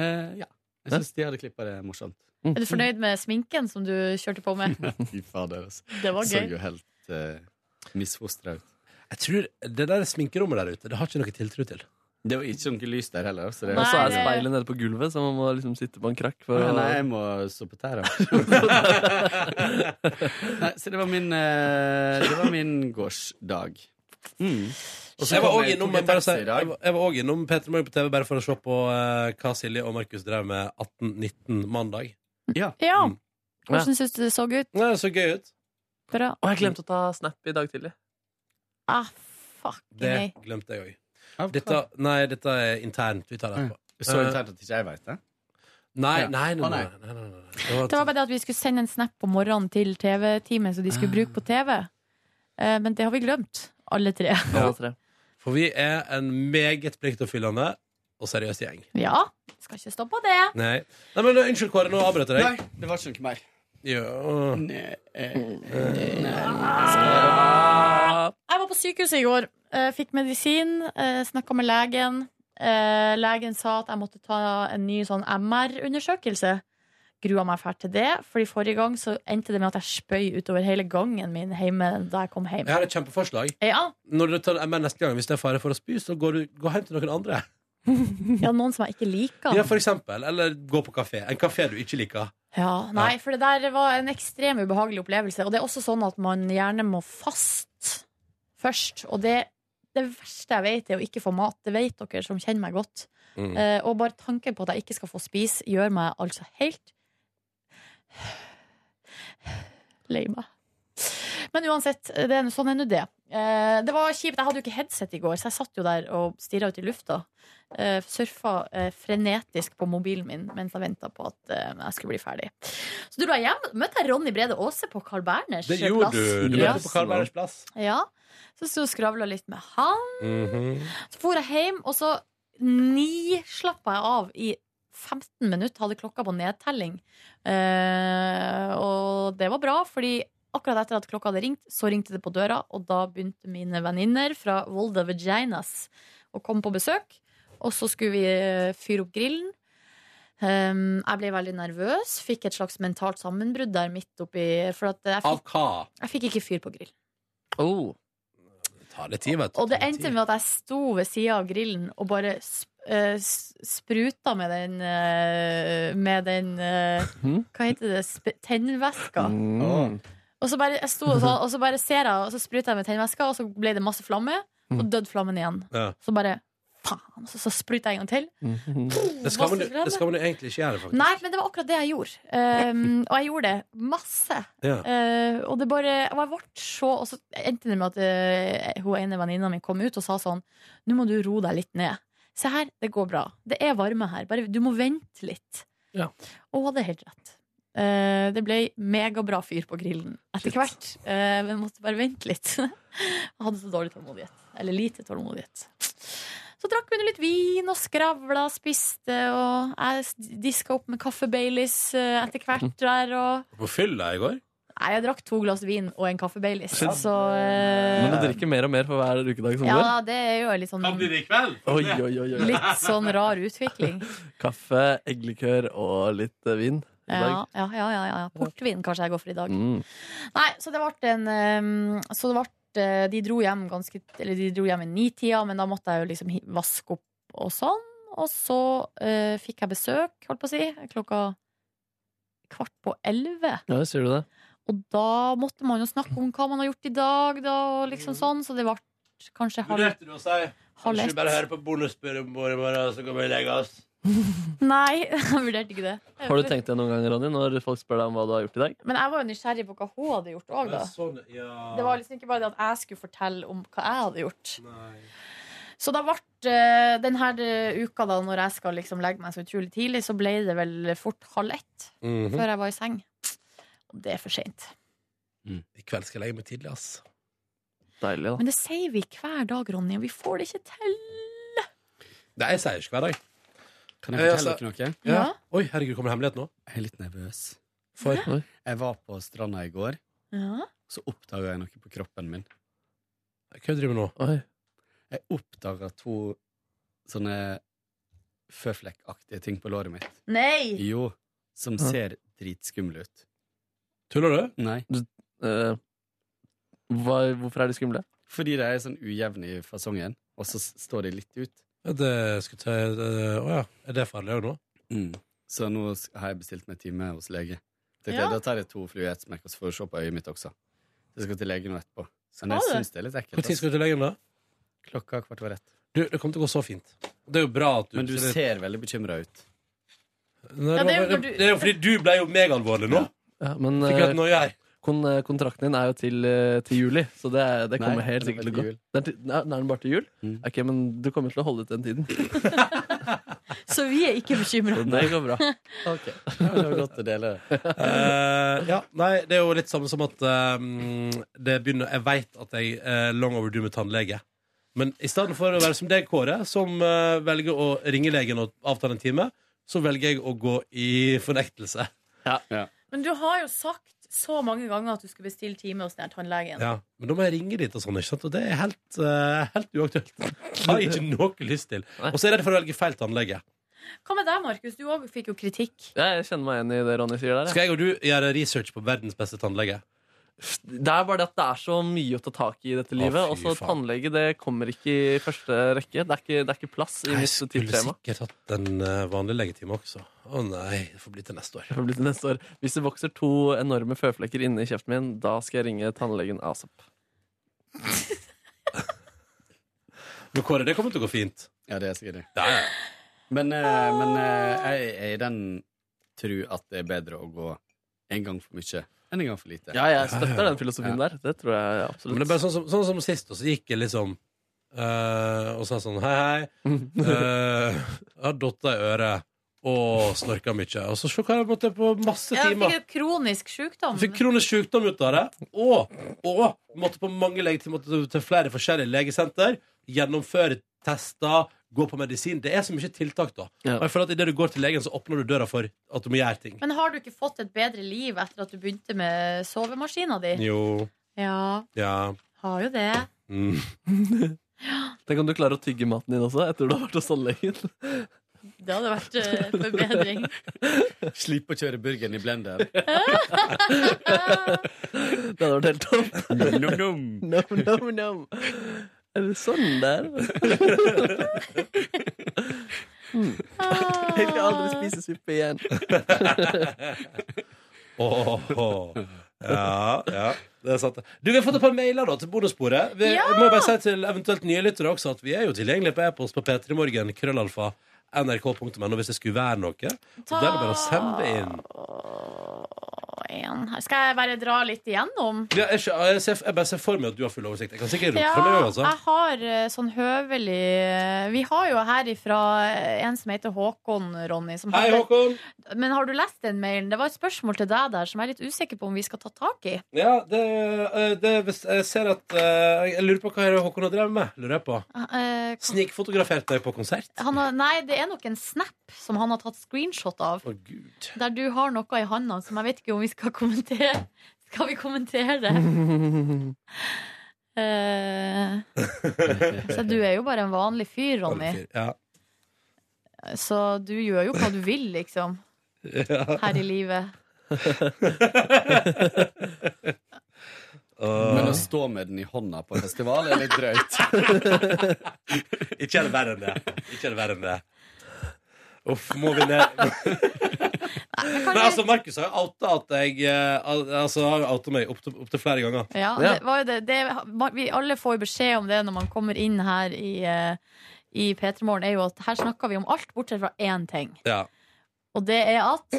Eh, ja. Jeg syns de hadde klippa det morsomt.
Er du fornøyd med sminken som du kjørte på med?
Fy fader, altså.
Det var
Så
gøy.
jo helt uh, misfostra ut.
Jeg tror Det der sminkerommet der ute, det har ikke noe tiltro til.
Det var ikke noe lys der heller. Så det
Og så er
eh,
speilet nede på gulvet, så man må liksom sitte på en krakk for
Nei,
å
nei, jeg må stå på tæra. nei, så det var min eh, Det var min gårsdag. Mm. Og så
jeg var
kom
også
jeg-
innom,
tok jeg
bare å si-
taxi i dag.
jeg var- jeg var også innom Peter Morgen på TV bare for å se på eh, hva Silje og Markus drev med 18-19 mandag.
Ja.
Ja. Hvordan syns du det så ut?
Nei, det så gøy ut.
Bra.
Og jeg glemte å ta snap i dag tidlig.
Ah, fuck
Det
nei.
glemte jeg Eh,
òg.
Dette, nei, dette er internt. Vi tar det etterpå.
Så internt at ikke jeg veit det?
Nei,
Mm. Ja.
nei, nei.
Å,
nei,
nei.
nei, nei, nei. Det var-
Det var bare det at vi skulle sende en snap på morgenen til TV-teamet som de skulle bruke på TV. Eh, Men det har vi glemt, alle tre.
For vi er en meget pliktoppfyllende og seriøs gjeng.
Ja, skal ikke stå på det.
Nei, nei men eh, Unnskyld, Kåre, nå avbrøt jeg deg.
Nei, det var ikke noe mer.
Ja.
Jeg var på sykehuset i går. eh, Fikk medisin, snakka med legen. Eh, Legen sa at jeg måtte ta en ny sånn MR-undersøkelse. Grua meg fælt til det, Fordi forrige gang så endte det med at jeg spøy utover hele gangen min hjemme da jeg kom hjem.
Jeg har et kjempeforslag.
Ja.
Når du tar MR neste gang, hvis det er fare for å spy, så går du gå hjem til noen andre.
ja, noen som jeg ikke liker.
Ja, for eksempel. Eller gå på kafé. En kafé du ikke liker.
Ja, nei, for det der var en ekstrem ubehagelig opplevelse. Og det er også sånn at man gjerne må fast først. Og det, det verste jeg vet, er å ikke få mat. Det vet dere som kjenner meg godt.
Mm.
Eh, og bare tanken på at jeg ikke skal få spise, gjør meg altså helt lei meg. Men uansett, det er, sånn er nå det. Eh, det var kjipt. Jeg hadde jo ikke headset i går, så jeg satt jo der og stirra ut i lufta. Eh, surfa eh, frenetisk på mobilen min mens jeg venta på at eh, jeg skulle bli ferdig. Så dro jeg hjem. Møtte jeg Ronny Brede Aase på Carl Berners
Det gjorde
plass.
du. Du
Ja.
møtte på Carl Berners plass.
Ja. Så sto jeg og skravla litt med han.
Mhm.
Så for jeg hjem, og så nislappa jeg av i 15 minutter, hadde klokka på nedtelling. Eh, og det var bra, fordi akkurat etter at klokka hadde ringt, så ringte det på døra, og da begynte mine venninner fra Volda Vaginas å komme på besøk. Og så skulle vi eh, fyre opp grillen. Eh, jeg ble veldig nervøs, fikk et slags mentalt sammenbrudd der midt oppi For at jeg
Av
fikk,
hva?
jeg fikk ikke fyr på grill.
Ta det tid, vet du.
Og det endte med at jeg sto ved sida av grillen og bare sp eh, s- spruta med den eh, Med den eh, Hva heter det? Sp tennvæska.
Mm.
Og så bare, jeg sto og sånn, og så bare ser jeg, og så spruta jeg med tennvæska, og så ble det masse flamme. Og døde flammen igjen.
Ja.
Så bare faen! Så, så spruta jeg en gang til.
Det skal, man, jo- det skal man jo egentlig ikke gjøre, faktisk.
Nei, men det var akkurat det jeg gjorde. Ehm, og jeg gjorde det masse.
Ja.
Eh, og det bare og jeg ble så, og så endte det med at eh, hun ene venninna mi kom ut og sa sånn Nå må du roe deg litt ned. Se her, det går bra. Det er varme her. Bare, du må vente litt. Og hun hadde helt rett. Eh, det ble megabra fyr på grillen etter hvert. Eh, men måtte bare vente litt. Jeg hadde så dårlig tålmodighet. Eller lite tålmodighet. Så drakk vi nå litt vin og skravla, spiste, og jeg diska opp med kaffe Baileys eh, etter hvert der, og
På fylla i går?
Nei, jeg drakk to glass vin og en kaffe Baileys,
Shit.
så eh,
Man må drikke mer og mer for hver ukedag som
Ja, det er jo en litt sånn
går.
Oi, oi, oi, oi.
Litt sånn rar utvikling.
Kaffe, egglikør og litt eh, vin. i
Ja,
dag.
ja, ja, ja, ja. Portvin kanskje jeg går for i dag.
Mm.
Nei, så det ble en ehm, Så det ble eh, De dro hjem ganske Eller de dro hjem i nitida, men da måtte jeg jo liksom hi- vaske opp og sånn. Og så eh, fikk jeg besøk, holdt på å si, klokka kvart på elleve.
Ja, sier du det?
Og da måtte man jo snakke om hva man har gjort i dag, da, og liksom sånn. Så det ble kanskje halv
Vurderte Mm. du å si
Halv
Kanskje
ett.
vi bare hører på bonussporet om våre morgener, så kan vi legge oss?
Nei, jeg vurderte ikke det.
Har du tenkt det noen gang, Ronny, når folk spør deg om hva du har gjort i dag?
Men jeg var jo nysgjerrig på hva hun hadde gjort òg, da.
sånn,
Det var liksom ikke bare det at jeg skulle fortelle om hva jeg hadde gjort. Så da ble eh, den her eh, uka, da, når jeg skal liksom legge meg så utrolig tidlig, så ble det vel fort halv ett
Mhm.
før jeg var i seng. Og det er for seint.
I kveld skal jeg legge meg tidlig, ass.
Deilig,
Men det sier vi hver dag, Ronny, og vi får det ikke til.
Det er seiers hver dag.
Kan jeg fortelle dere noe?
Ja. altså- Oi, herregud, kommer det hemmelighet nå?
Jeg er litt nervøs.
For?
Jeg var på stranda i går,
Ja.
så oppdaga jeg noe på kroppen min.
Hva driver du med nå?
Jeg oppdaga to sånne føflekkaktige ting på låret mitt.
Nei!
Jo, som ser dritskumle ut.
Tuller du?
Nei.
Eh, hvorfor er de skumle?
Fordi de er sånn ujevne i fasongen, og så s- står de litt ut.
Ja, det skulle jeg ta Å ja. Er det farlig òg nå?
Mm. Så nå s- har jeg bestilt meg time hos lege. Tenkte,
Ja.
jeg, Da tar jeg to fluer i ett smekk, og så får du se på øyet mitt også. Så jeg skal til legen nå etterpå. Men jeg
Skal du?
syns det er litt ekkelt.
Når
altså.
skal du til legen, da?
Klokka kvart over ett.
Du, det kommer til å gå så fint. Det er jo bra at du
Men du
så det-
ser veldig bekymra ut.
Nei,
Ja,
det, var,
det er
det,
jo når du-
det er jo fordi du ble jo megalvorlig nå.
Ja, men,
Fikk
eh,
jeg et noia her?
kon- eh, kontrakten din er jo til, eh, til juli, så det, er- det
Nei,
kommer helt
den er
sikkert til å
til
gå.
jul. Mm.
Den er til- Nei, den er den bare til jul? Ok, men du kommer til å holde ut den tiden.
Så vi er ikke bekymra.
Så det går bra.
det var godt å dele.
Eh, ja, nei, det er jo litt samme som at eh, det begynner, Jeg vet at jeg er long overdue med tannlege. Men i stedet for å være som deg, Kåre, som eh, velger å ringe legen og avtale en time, så velger jeg å gå i fornektelse.
Ja.
Men du har jo sagt så mange ganger at du skulle bestille time hos den her tannlegen.
Ja, men da må jeg ringe dit og sånn, ikke sant? Og det er helt, eh, helt uaktuelt. Har jeg ikke noe lyst til. Og så er jeg redd for å velge feil tannlege.
Hva med deg, Markus? Du òg fikk jo kritikk.
Jeg kjenner meg igjen i det Ronny sier der.
Skal jeg og du gjøre research på verdens beste tannlege?
Det er bare det at det er så mye å ta tak i i dette livet.
fy
Og så
faen.
tannlege det kommer ikke i første rekke. Det er ikke, det er ikke plass i
Jeg
mitt
skulle
tidsskjema.
sikkert hatt en eh, vanlig legetime også. Å nei, det får bli til neste år.
Det får bli til neste år. Hvis det vokser to enorme føflekker inne i kjeften min, da skal jeg ringe tannlegen ASAP.
Men Kåre, det kommer til å gå fint.
Ja, det er sikkert det.
Ja, ja.
Men, eh, men eh, jeg er i den tro at det er bedre å gå en gang for mye enn en gang for lite.
Ja, jeg støtter den filosofien der. Det tror jeg absolutt.
Men det er bare sånn som, sånn som sist, og så gikk jeg liksom eh, og sa sånn hei, hei. eh, jeg har dotta i øret og snorka mye. Og så se hva jeg har fått til på masse
Jeg fikk
timer.
jo kronisk sykdom.
Fikk kronisk sykdom ut av det. Og, og måtte på mange legetimer til- til flere forskjellige legesenter. Gjennomføre tester, gå på medisin. Det er så mye tiltak, da. Og jeg føler at idet du går til legen, så åpner du døra for at du må gjøre ting.
Men har du ikke fått et bedre liv etter at du begynte med sovemaskina di?
Jo.
Ja,
Ja.
har jo det.
Mm.
Tenk om du klarer å tygge maten din også etter du har vært hos tannlegen.
Det hadde vært eh, forbedring.
Slippe å kjøre burgeren i blender. det
hadde vært helt topp.
Nom-nom.
Er det sånn der? Mm. Jeg vil aldri spise suppe igjen.
Åh, Ja, ja, det er sant. det. Du, Vi har fått et par mailer da til bonussporet. Vi
Ja!
jeg må bare si til eventuelt nye lyttere også at vi er jo tilgjengelige på e-post på p3morgen, krøllalfa, nrk.no hvis det skulle være noe. Så Der er det bare å sende inn.
Og en her. Skal jeg bare dra litt igjennom?
Ja, jeg, skjø- jeg, ser, jeg bare ser for meg at du har full oversikt. Jeg kan sikkert rope
Ja,
fra meg òg, altså.
jeg har eh, sånn høvelig eh, Vi har jo her ifra eh, en som heter Håkon, Ronny. Som
Hei, Håkon!
Men har du lest den mailen? Det var et spørsmål til deg der som jeg er litt usikker på om vi skal ta tak i.
Ja, det, eh, det, hvis- jeg ser at eh, Jeg lurer på hva er det Håkon har drevet med. Lurer jeg på.
Eh,
Snikfotografert deg på konsert?
Han har, nei, det er nok en snap som han har tatt screenshot av.
Å, Gud.
Der du har noe i handa som jeg vet ikke om vi skal kommentere. Skal vi kommentere det? Eh, så du er jo bare en vanlig fyr, Ronny.
Ja.
Så du gjør jo hva du vil, liksom. Her i livet.
Men å stå med den i hånda på festival er litt drøyt.
Ikke er det verre enn det. Ikke er det verre enn det. Uff, må vi ned Nei, altså, Markus har jo outa at jeg eh, al- Altså, har jo outa meg opptil opp til flere ganger.
Ja, det var jo det. det vi alle får jo beskjed om det når man kommer inn her i, eh, i P3 Morgen, er jo at her snakker vi om alt bortsett fra én ting.
Ja.
Og det er at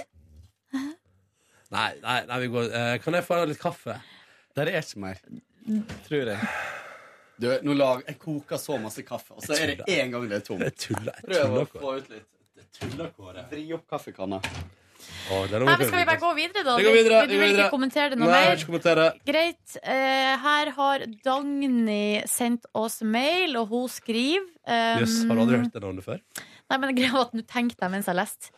Nei, nei, nei, vi går eh, Kan jeg få litt kaffe?
Der er ikke mer. Tror jeg. Du, nå lag, jeg koker så masse kaffe, og så er det én gang det er tomt.
Jeg tuller. Jeg
Prøv å
tuller, Kåre.
få ut litt. Jeg tuller, Kåre. Vri opp kaffekanna.
Å, det er noe
Nei,
vi
men Skal vi bare gå videre, da?
Vi går videre. vi går
Du- du vil
videre.
ikke kommentere det noe
Nei, jeg
mer?
vil ikke kommentere.
Greit. Eh, her har Dagny sendt oss mail, og hun skriver eh,
Jøss, har du aldri hørt det navnet før?
Nei, men greia var at nå tenkte jeg mens jeg leste.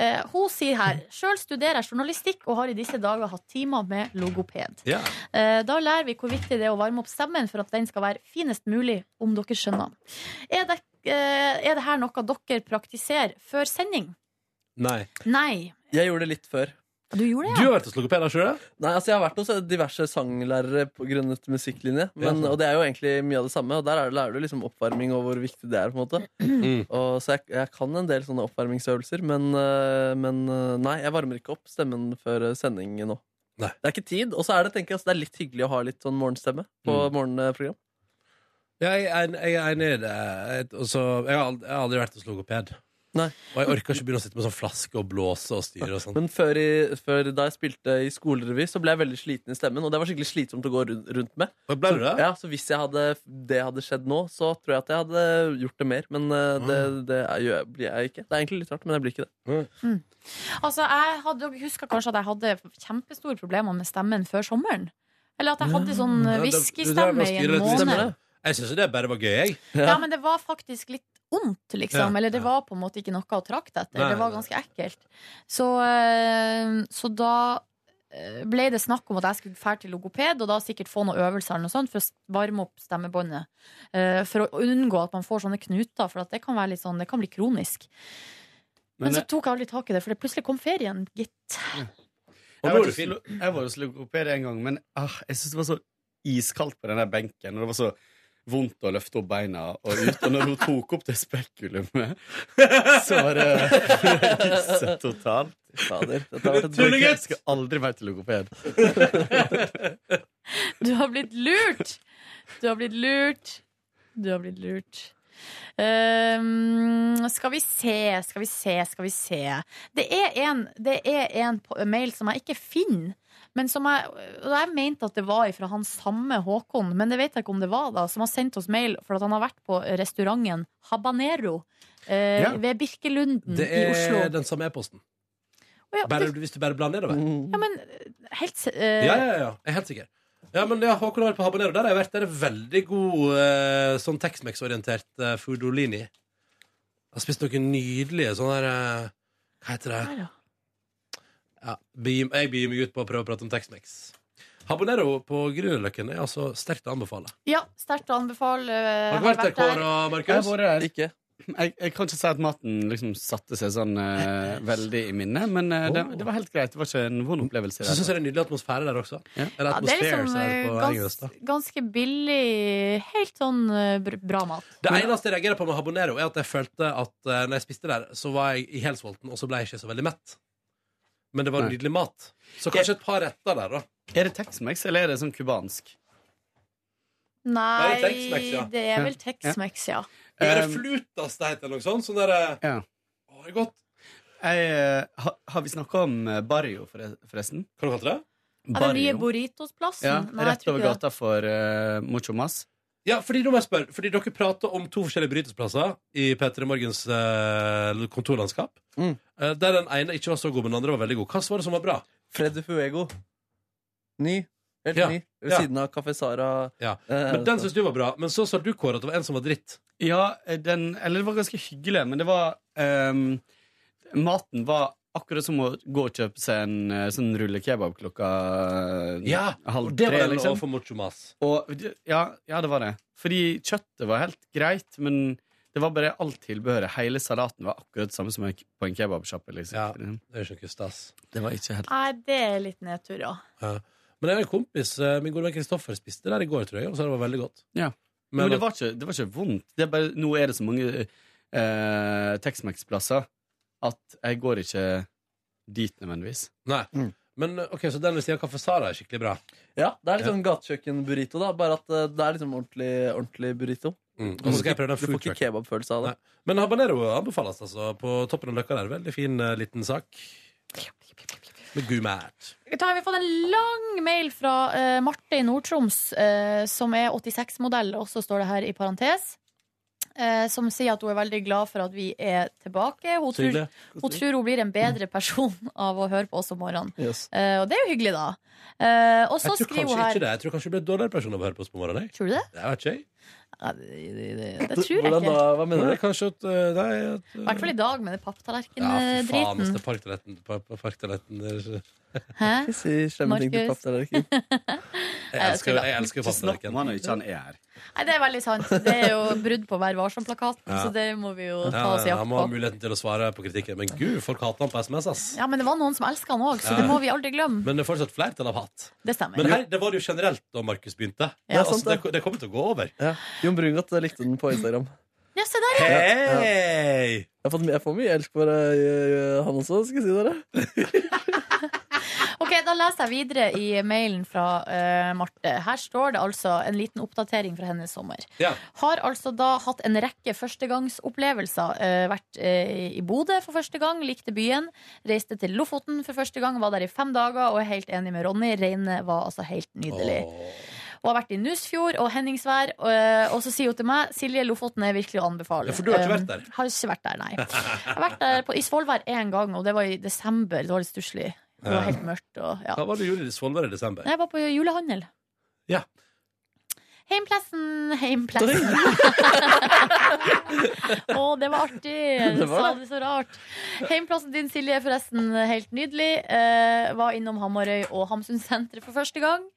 Eh, hun sier her Sjøl studerer jeg journalistikk og har i disse dager hatt timer med logoped.
Ja.
Eh, Da lærer vi hvor viktig det er å varme opp stemmen for at den skal være finest mulig, om dere skjønner. Er det, eh, er det her noe dere praktiserer før sending?
Nei.
Nei.
Jeg gjorde det litt før.
Du gjorde det, ja?
Du har vært hos logoped, har ikke du?
Nei, altså Jeg har vært hos diverse sanglærere på grunnet musikklinje. Men,
Ja, sant.
og det er jo egentlig mye av det samme. Og der er, lærer du liksom oppvarming og hvor viktig det er. på en måte
Mm.
og, Så jeg, jeg kan en del sånne oppvarmingsøvelser, men, øh, men øh, nei, jeg varmer ikke opp stemmen før øh, sending nå. Det er ikke tid. Og så er det tenker jeg, altså, det er litt hyggelig å ha litt sånn morgenstemme på
Mm.
morgenprogram.
Ja, jeg, er- jeg er enig i det. Jeg- og så- jeg, har aldri, jeg har aldri vært hos logoped. Og jeg orker ikke begynne å sitte med sånn flaske og blåse og styre og sånn.
Men før, i, før da jeg spilte i skolerevy, så ble jeg veldig sliten i stemmen. Og det var skikkelig slitsomt å gå rundt, rundt med.
ble du
så,
det?
ja, så hvis jeg hadde, det hadde skjedd nå, så tror jeg at jeg hadde gjort det mer. Men eh, det, det er, jo- jeg, blir jeg ikke. Det er egentlig litt rart, men jeg blir ikke det.
Altså, jeg hadde, dere husker kanskje at jeg hadde kjempestore problemer med stemmen før sommeren? Eller at jeg hadde sånn
Mm. Ja, det- det der
whiskystemme
med å
i
styre
en
litt stemmer,
måned.
det. Jeg syns jo det bare var gøy, jeg.
Ja, men det var faktisk litt ondt, liksom.
Ja,
Eller det var på en måte ikke noe å trakte etter.
Nei,
Det var
nei.
ganske ekkelt. Så, eh, så da eh, ble det snakk om at jeg skulle fære til logoped, og da sikkert få noen øvelser eller noe sånt for å s- varme opp stemmebåndet. Eh, For å unngå at man får sånne knuter, for at det kan, være litt sånn, det kan bli kronisk. Men,
Men
så
eh, det-
tok jeg aldri tak i det, for det plutselig kom ferien, gitt.
eh, Jeg
nå er
var,
du
hos, jeg var hos logoped en gang, men ah, jeg syntes det var så iskaldt på den der benken. Og det var så vondt å løfte opp beina og ut. Og når hun tok opp det spekkulumet, så var det gisset totalt.
Fader, dette har vært et
Tullegutt!
bruk.
Jeg skal aldri mer til logoped.
Du har blitt lurt! Du har blitt lurt. Du har blitt lurt. Ehm, skal vi se, skal vi se, skal vi se. Det er en, det er en på- mail som jeg ikke finner. Men som jeg, og jeg mente at det var fra han samme Håkon, men det vet jeg ikke om det var, da, som har sendt oss mail for at han har vært på restauranten Habanero eh,
Ja.
ved Birkelunden
Det
Mm. i Oslo.
er den samme e-posten.
Å ja, Mm.
Bare-
det-
Hvis du bare blander nedover.
Mm.
ja, men helt eh,
Ja, ja, ja. Jeg er helt sikker. Ja, men ja, Håkon har vært på Habanero. Der har jeg vært. Der er veldig god eh, sånn Tex-Mex-orientert eh, foodolini. Jeg har spist noen nydelige sånne der eh, Hva heter det? Ja, begir- jeg begir meg ut på å prøve å prate om Tex-Mex. Habanero på Grünerløkken er altså sterkt å anbefale.
ja, sterkt å anbefale. eh,
Har du
har
vært der, Kåre og
Jeg,
Markus?
har vært der.
Ikke.
jeg, jeg kan ikke si at maten liksom satte seg sånn eh, veldig i minnet, men eh, det, det var helt greit. Det var ikke en vond opplevelse.
Så syns jeg det er en nydelig atmosfære der også. Eller
Ja, det er
atmosfære,
liksom
som det
eh,
på
gans,
engelsk, da.
ganske billig, helt sånn eh, br- bra mat.
Det eneste jeg reagerer på med habanero, er at jeg følte at eh, når jeg spiste der, så var jeg ihelsvolten, og så ble jeg ikke så veldig mett. Men det var
Nei.
nydelig mat. Så kanskje et par retter der, da.
Er det Tex-Mex, eller er det sånn cubansk?
Nei,
Det er Tex-Mex, ja.
det er vel
Ja.
Tex-Mex, ja.
Er det flutas det heter, eller noe sånt? Sånn der, eh,
Um, Ja.
Å, det er godt.
Jeg, eh, ha, har vi snakka om eh, Barrio, forre- forresten?
Hva kalte du det?
Er det nye Burritosplassen?
Ja,
Nei, jeg
rett
tror
over
ikke det.
gata for uh, Mucho Mas.
Ja, fordi nå må jeg spørre, fordi dere prater om to forskjellige brytesplasser i P3 Morgens eh, kontorlandskap.
Mm.
Eh, der den ene ikke var så god, men den andre var veldig god. Hva var det som var bra?
Freddy Fuego. Ny. Helt
Ja,
ny. Ved
ja.
siden av Café Sara. Eh,
Ja. Men Den syns du var bra, men så sa du, Kåre, at det var en som var dritt.
Ja, eh, den Eller det var ganske hyggelig, men det var ehm, Maten var akkurat som å gå og kjøpe seg en eh, sånn rullekebab klokka eh,
Ja,
halv
og det var
tre,
den
liksom.
overfor Mucho Mas.
Og, det- ja, ja, det var det. Fordi kjøttet var helt greit, men det var bare alt tilbehøret. Hele salaten var akkurat det samme som en- på en kebabsjappe. Liksom.
det er ikke noe stas.
Det var ikke helt
Nei, det er litt nedtur, ja.
Ja. Men jeg har en kompis, eh, min gode venn Kristoffer, spiste det der i går, tror jeg, og sa det var veldig godt.
Ja. Men,
Men
det,
at-
var ikke, det var ikke vondt. Det er bare, nå er det så mange eh, Tex-Mex-plasser at jeg går ikke dit nødvendigvis.
Nei. Men eh, ok, så den ved siden av Kaffe Sara er skikkelig bra.
Ja, det er litt sånn gatekjøkken-burrito, da. Bare at eh, det er liksom ordentlig, ordentlig burrito.
Mm. Og så skal jeg prøve den
Du får ikke
foodtrucken.
kebabfølelse av det.
Men habanero anbefales altså på toppen av løkka der. Veldig fin eh, liten sak. Med god mat.
Da har vi fått en lang mail fra eh, Marte i Nord-Troms, eh, som er 86-modell, og så står det her i parentes. eh, som sier at hun er veldig glad for at vi er tilbake. Hun
Så
tror,
hyggelig.
hun tror hun blir en bedre person av å høre på oss om morgenen.
Yes.
Eh, og det er jo hyggelig, da. Eh, og så
Jeg tror
skriver
kanskje
hun her
ikke det. Jeg tror kanskje du blir en dårligere person av å høre på oss på morgenen. jeg.
Tror du det?
Jeg vet ikke, jeg.
det tror jeg Hvordan ikke. da? Hva mener du?
Nei, Kanskje at eh, nei, at,
I hvert fall i dag med den
Ja,
eh,
for faen, altså,
papptallerken-driten.
hvis det er parktoaletten pa- pa- parktoaletten der-
Hæ?
Ikke si slemme ting til
Markus?
papptallerken.
Jeg elsker, jeg elsker
Så snakk
papptallerken.
om han og ikke han er her.
Nei, det er veldig sant. Det er jo brudd på Vær varsom-plakaten,
Ja.
så det må vi jo
Ja,
ta oss i
ja,
akt
han må ha
på.
muligheten til å svare på kritikken. Men gud, folk hater han på SMS, ass.
Ja, men det var noen som elska han òg, så
Ja.
det må vi aldri glemme.
Men det er fortsatt flertall av hatt.
Det stemmer.
Men her, det var det jo generelt da Markus begynte.
Ja,
altså,
sant
det,
det.
det kommer til å gå over.
Ja. Jon Brungot eh, likte den på Instagram.
Ja, se der, ja.
Hei!
Jeg, har fått, jeg får mye elsk for eh, han også, skal jeg si dere.
Ok, Da leser jeg videre i mailen fra eh, Marte. Her står det altså en liten oppdatering fra hennes sommer.
Ja.
Har altså da hatt en rekke førstegangsopplevelser. Eh, vært eh, i Bodø for første gang, likte byen. Reiste til Lofoten for første gang, var der i fem dager og er helt enig med Ronny. Reinet var altså helt nydelig. Og har vært i Nusfjord og Henningsvær. eh, og så sier hun til meg Silje Lofoten er virkelig å anbefale.
Ja, for du har ikke
Eh,
vært der?
Har ikke vært der, nei. Jeg har vært der på, i Svolvær én gang, og det var i desember. Det var litt stusslig. Det var
Ja.
helt mørkt. Og, ja.
Hva var det du gjorde i Svolvær i desember?
Jeg var på julehandel.
Ja.
Heimplassen, heimplassen. Å, Å, det var artig! Du
Det var
sa
det.
det så rart. Heimplassen din, Silje, er forresten helt nydelig. Eh, var innom Hamarøy og Hamsunsenteret for første gang.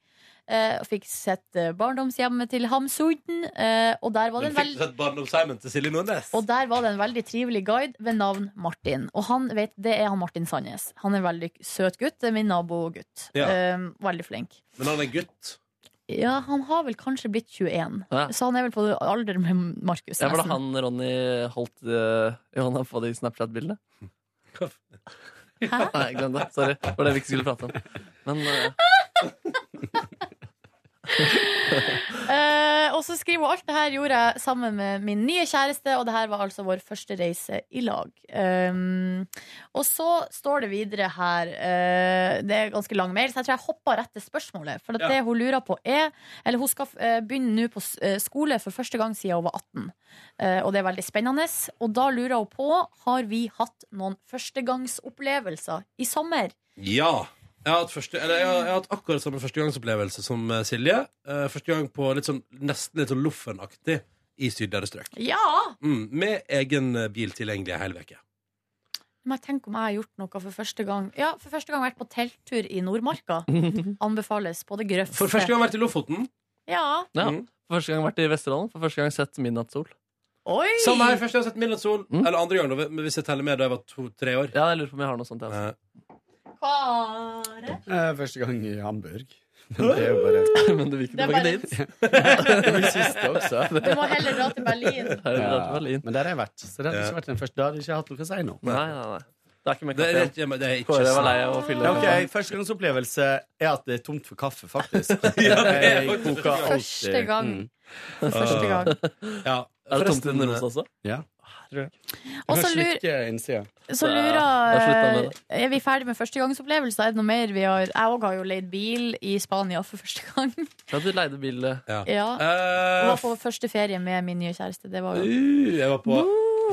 Eh, og fikk sett eh, barndomshjemmet til Hamsun. Eh, og der var det
Men fikk
en veldig
du sett barndomsheimen til Silje Nordnes?
og der var det en veldig trivelig guide ved navn Martin. Og han vet, det er han Martin Sandnes. Han er en veldig søt gutt. Det er min nabogutt.
Ja.
Eh, veldig flink.
Men han er gutt.
Ja, han har vel kanskje blitt 21,
Ja.
så han er vel på alder med Markus.
Ja, var det
nesten.
han Ronny holdt eh, i hånda på de Snapchat-bildene? Nei, glem det. Sorry. Det var det vi ikke skulle prate om. Men eh,
Eh, og så skriver hun alt det her gjorde jeg sammen med min nye kjæreste, og det her var altså vår første reise i lag. Um, og så står det videre her eh, Det er ganske lang mail, så jeg tror jeg hoppa rett til spørsmålet. For at
Ja.
det hun lurer på, er Eller hun skal eh, begynne nå på s- eh, skole for første gang siden hun var 18. Eh, og det er veldig spennende. Og da lurer hun på Har vi hatt noen førstegangsopplevelser i sommer.
Ja. Jeg har hatt, første, eller jeg har, jeg har hatt akkurat samme førstegangsopplevelse som eh, Silje. Eh, første gang på litt sånn, nesten litt sånn Loffen-aktig i sydligere strøk.
Ja!
Mm, med egen eh, bil tilgjengelig en hel uke.
Men jeg tenker om jeg har gjort noe for første gang Ja, for første gang vært på telttur i Nordmarka. Anbefales på det grøfte.
For første gang vært
i Lofoten?
Ja.
ja. For første gang vært i Vesterålen. For første gang sett midnattssol.
Oi!
Som her, første gang sett Midnattssol. Eller andre gang, da, hvis jeg teller med da jeg var to-tre år. Eh,
Ja, jeg lurer på om jeg har noe sånt. Jeg,
Kåre.
Eh, første gang i Hamburg. Men det er jo bare
Men du vil
Det er bare-
dit? det blir siste også.
Du må heller dra til Berlin.
Ja, men der har jeg vært. Så det hadde ikke vært den første. Da hadde jeg ikke hatt noe å si nå.
Nei, nei, nei. Det er ikke med
Det er
kaffe.
ikke- men det er ikke
Kåre var
sant.
lei av å fylle
Ok, Førstegangsopplevelse er at det er tomt for kaffe, faktisk. Eh,
er
Jeg
faktisk
koker alltid-
Første gang.
Mm.
For første gang.
Ja.
Er det tomt i den
rosa også?
Ja.
Og så lur- Så lurer jeg Er vi ferdig med førstegangsopplevelser? Er det noe mer vi har Jeg òg har jo leid bil i Spania for første gang.
Ja, du leide bil.
Ja.
Eh,
Og var på første ferie med min nye kjæreste. Det var jo
Uh, jeg var på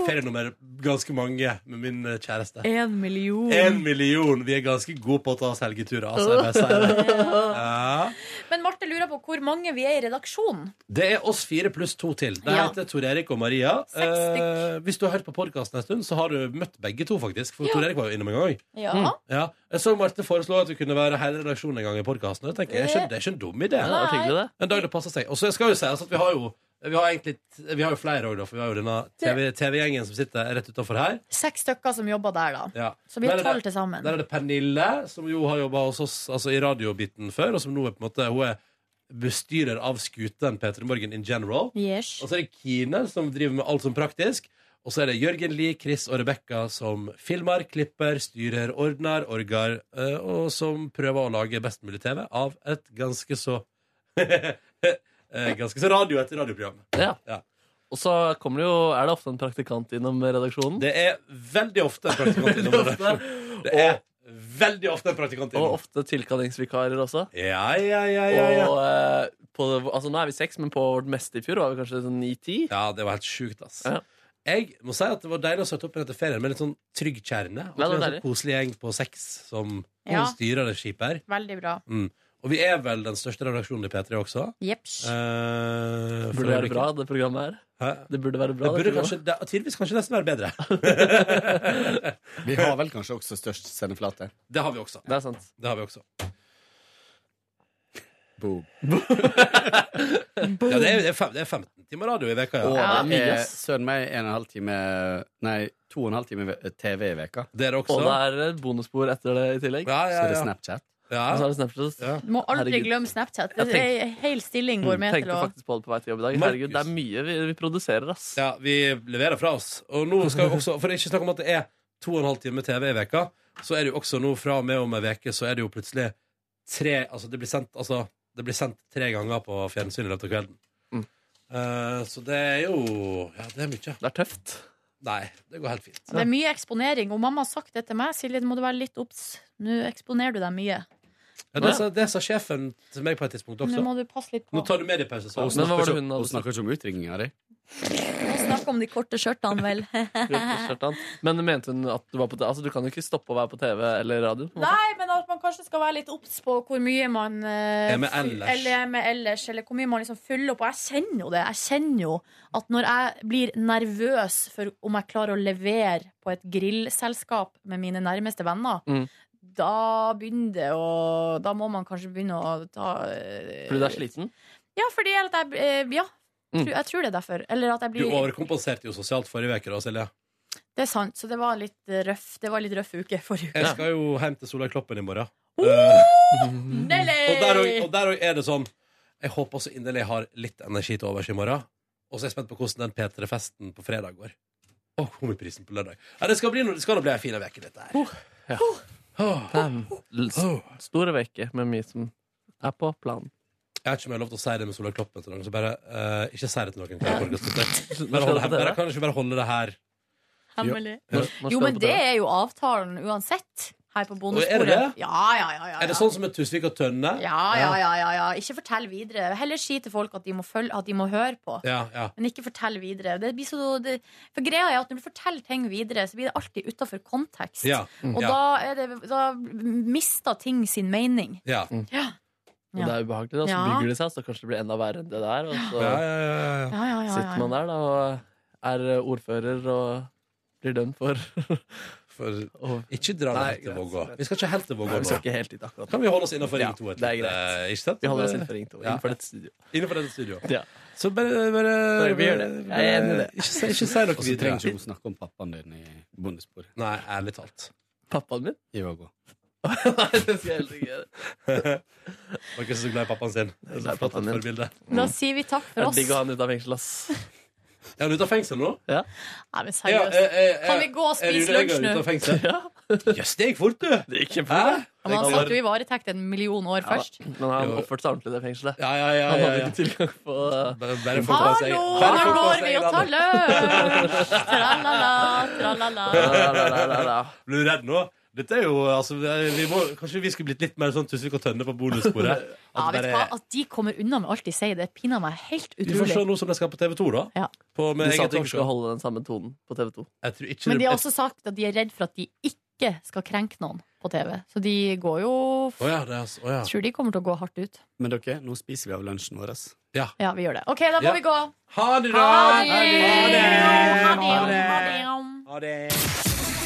ferienummer ganske mange med min eh, kjæreste.
én million.
En million! Vi er ganske gode på å ta oss helgeturer. Altså, jeg bare sier det. Ja.
Men Marte lurer på hvor mange vi er i redaksjonen.
Det er oss fire pluss to til. Det
Ja.
heter Tor Erik og Maria. Eh, hvis du har hørt på podkasten en stund, så har du møtt begge to, faktisk. For
Ja.
Tor Erik var jo innom en gang.
Ja.
Ja. Jeg så Marte foreslå at vi kunne være hele redaksjonen en gang i podkasten. Det er ikke det er ikke en dum idé.
Ja, det var hyggelig, det.
En dag det passer seg. Og så skal jo sies at vi har jo vi har, egentlig, vi har jo flere òg, da, for vi har jo denne TV TV-gjengen som sitter rett utafor her.
Seks stykker som jobber der, da.
Ja.
Så vi er
Der det-
tolv til sammen.
Der er det Pernille, som jo har jobba hos oss altså i radiobiten før, og som nå er på en måte Hun er bestyrer av skuten P3 Morgen in general.
Yes.
Og så er det Kine, som driver med alt som praktisk. Og så er det Jørgen Lie, Chris og Rebekka som filmer, klipper, styrer, ordner, orgar, eh, og som prøver å lage best mulig TV av et ganske så eh, Ganske så radio etter radioprogram.
Ja.
Ja.
Og så kommer det jo, er det ofte en praktikant innom redaksjonen.
Det er veldig ofte en praktikant innom redaksjonen. Det er veldig ofte en praktikant
innom. Og ofte tilkallingsvikarer også.
Ja, ja, ja, ja, ja.
Og eh, på, altså, nå er vi seks, men på vårt meste i fjor var vi kanskje sånn ni-ti.
Ja, det var helt sjukt, ass. Jeg må si at det var deilig å starte opp igjen etter ferien med litt sånn trygg kjerne. Og så en
Ja, det var
sånn
deilig.
koselig gjeng på seks som
Ja.
styrer det skipet her.
Veldig bra.
Mm. Og vi er vel den største redaksjonen i P3 også.
Jeps.
Eh,
Det
for
burde være
øyeblikket.
bra, det programmet her. Det burde være bra.
det burde
programmet.
kanskje, det, tidvis kanskje nesten være bedre.
Vi har vel kanskje også størst sendeflate.
Det har vi også.
Det er sant.
Det har vi også.
Boom.
Ja, det er, det er fem- det er 15 timer radio i veka,
Og
ja. eh,
det er søren meg en og en halv time Nei, to og en halv time ve- TV i veka.
Det er
Og det er et bonusspor etter det i tillegg.
Så er det Snapchat.
Ja.
Og så er det Snapchat.
Du må aldri
Herregud.
glemme Snapchat.
Jeg
Det
tenk-
er en hel stilling går med til
Tenkte
å
faktisk på det på vei til jobb i dag.
Markus.
Herregud, det er mye vi, vi produserer, ass.
Ja, vi leverer fra oss. Og nå skal vi også, for det er ikke snakk om at det er to og en halv time TV i veka, så er det jo også nå fra og med om ei veke så er det jo plutselig tre Altså, det blir sendt, altså, det blir sendt tre ganger på fjernsyn i løpet av kvelden. Eh, så det er jo Ja, det er mye.
Det er tøft.
Nei, det går helt fint.
Det er mye eksponering. Og mamma har sagt det til meg. Silje, nå må du være litt obs. Nå eksponerer du deg mye.
Ja, det, sa, det sa sjefen til meg på et tidspunkt
Nå
også.
må du passe litt på.
Nå tar du mediepause, sa
Og hun
Men hva var det
snakker, ikke,
hun hadde
hun snakker ikke om utringninga di.
Nå snakker om de korte skjørtene, vel.
Skjørtan. Men mente hun at du var på TV? Altså, du kan jo ikke stoppe å være på TV eller radio. på en måte.
Nei, men at man kanskje skal være litt obs på hvor mye man eh,
Er med ellers.
Eller er med ellers, eller hvor mye man liksom fyller på. Jeg kjenner jo det. Jeg kjenner jo at når jeg blir nervøs for om jeg klarer å levere på et grillselskap med mine nærmeste venner,
Mm.
da begynner det å Da må man kanskje begynne å ta eh,
Fordi du er sliten?
Ja, fordi at jeg eh, Ja.
Mm.
Tror, jeg tror det er derfor. Eller at jeg
Du
blir
overkompenserte jo sosialt forrige uke, da, Silje.
Det er sant. Så det var litt røff, det var litt røff uke forrige uke.
Jeg skal jo hjem til Solveig Kloppen i morgen. Eh,
Nelly!
Og der og- og der òg er det sånn Jeg håper så inderlig jeg har litt energi til overs i morgen. Og så er jeg spent på hvordan den P3-festen på fredag går. Og Komiprisen på lørdag. Ja, det skal bli, no- det skal da bli ei fin uke, dette her.
Oh, Ja. Det er en Store veke med mye som er på planen.
Jeg har ikke om jeg har lov til å si det med Solveig Kloppen til noen, så bare eh, ikke si det til noen. Kan jeg
skal
bare holde,
det på
bare,
TV?
kan jeg ikke bare holde det her?
Hemmelig.
Ja.
Jo, men det er jo avtalen uansett her
Å, er
på
det
bonusbordet.
det?
Ja, ja, ja, ja,
Er det sånn som med Tusvik og Tønne?
ja, ja, ja, ja, ja. Ikke fortell videre. Heller si til folk at de må, følge, at de må høre på.
Ja, ja.
Men ikke fortell videre. Det blir så, det, for greia er at Når du forteller ting videre, så blir det alltid utafor kontekst.
Ja. Mm.
Og
Ja.
da, er det, da mister ting sin mening.
Ja.
Mm.
Ja.
Og det er ubehagelig, da. Så
Ja.
bygger det seg, så kanskje det blir enda verre enn det der. Og
Ja,
så
ja, ja, ja.
Ja, ja, ja, ja, ja.
sitter man der da og er eh, ordfører og blir dømt for
For ikke dra det
Nei,
helt til
greit,
Vågå.
greit.
Vi skal ikke helt til Vågå
Nei, vi skal
nå.
ikke helt dit akkurat.
Kan vi holde oss innenfor Ring 2? et
det er
lite,
greit.
Ikke sant?
Vi holder oss innenfor Ring 2, innenfor dette studio.
Innenfor dette studio.
Ja.
Så bare, bare,
Bare vi gjør det. Jeg er enig i det.
Ikke, si- ikke si noe
Og så trenger ikke
videre.
hun snakke om pappaen din i bondesporet.
Nei, ærlig talt.
Pappaen min?
I Vågå.
Nei, det skal jeg heller ikke gjøre.
Var ikke så glad i pappaen sin. Det er flott forbilde.
Da sier vi takk
Det
for
er
oss.
digg å ha han ute av fengsel, ass.
Er han ute av fengsel nå?
Ja.
Nei, men
Ja,
seriøst.
eh, eh, eh,
Kan vi gå og
er
spise
Rune Eggen
lunsj nå?
ute av fengsel? Jøss, det gikk fort, du!
Det gikk kjempefort.
Ja, men han satt jo i varetekt en million år først.
Men han oppførte seg ordentlig i det fengselet.
ja,
han
ja,
hadde
ja.
ikke tilgang på eh,
Bare få ta seg
Hallo, nå går vi og tar lunsj! Tralala, tralala.
Blir du redd nå? Dette er jo, altså, vi må, Kanskje vi skulle blitt litt mer sånn Tusvik og Tønne på bonussporet?
Ja,
At
vet du
bare-
hva? Altså, At de kommer unna med alt de sier, det pinner meg helt
Vi får se
utrolig.
nå som de skal på TV2, da. På,
De sa at de ikke
talkshow.
skulle holde den samme tonen på TV 2.
Jeg tror ikke
Men
det-
de har også sagt at de er redd for at de ikke skal krenke noen på TV. Så de går jo
Å ja, det er altså- å ja.
Tror de kommer til å gå hardt ut.
Men dere, nå spiser vi av lunsjen vår. ass.
Ja, vi gjør det. OK, da må
Ja.
vi gå.
Ha det,
da!
Ha det.
Ha det.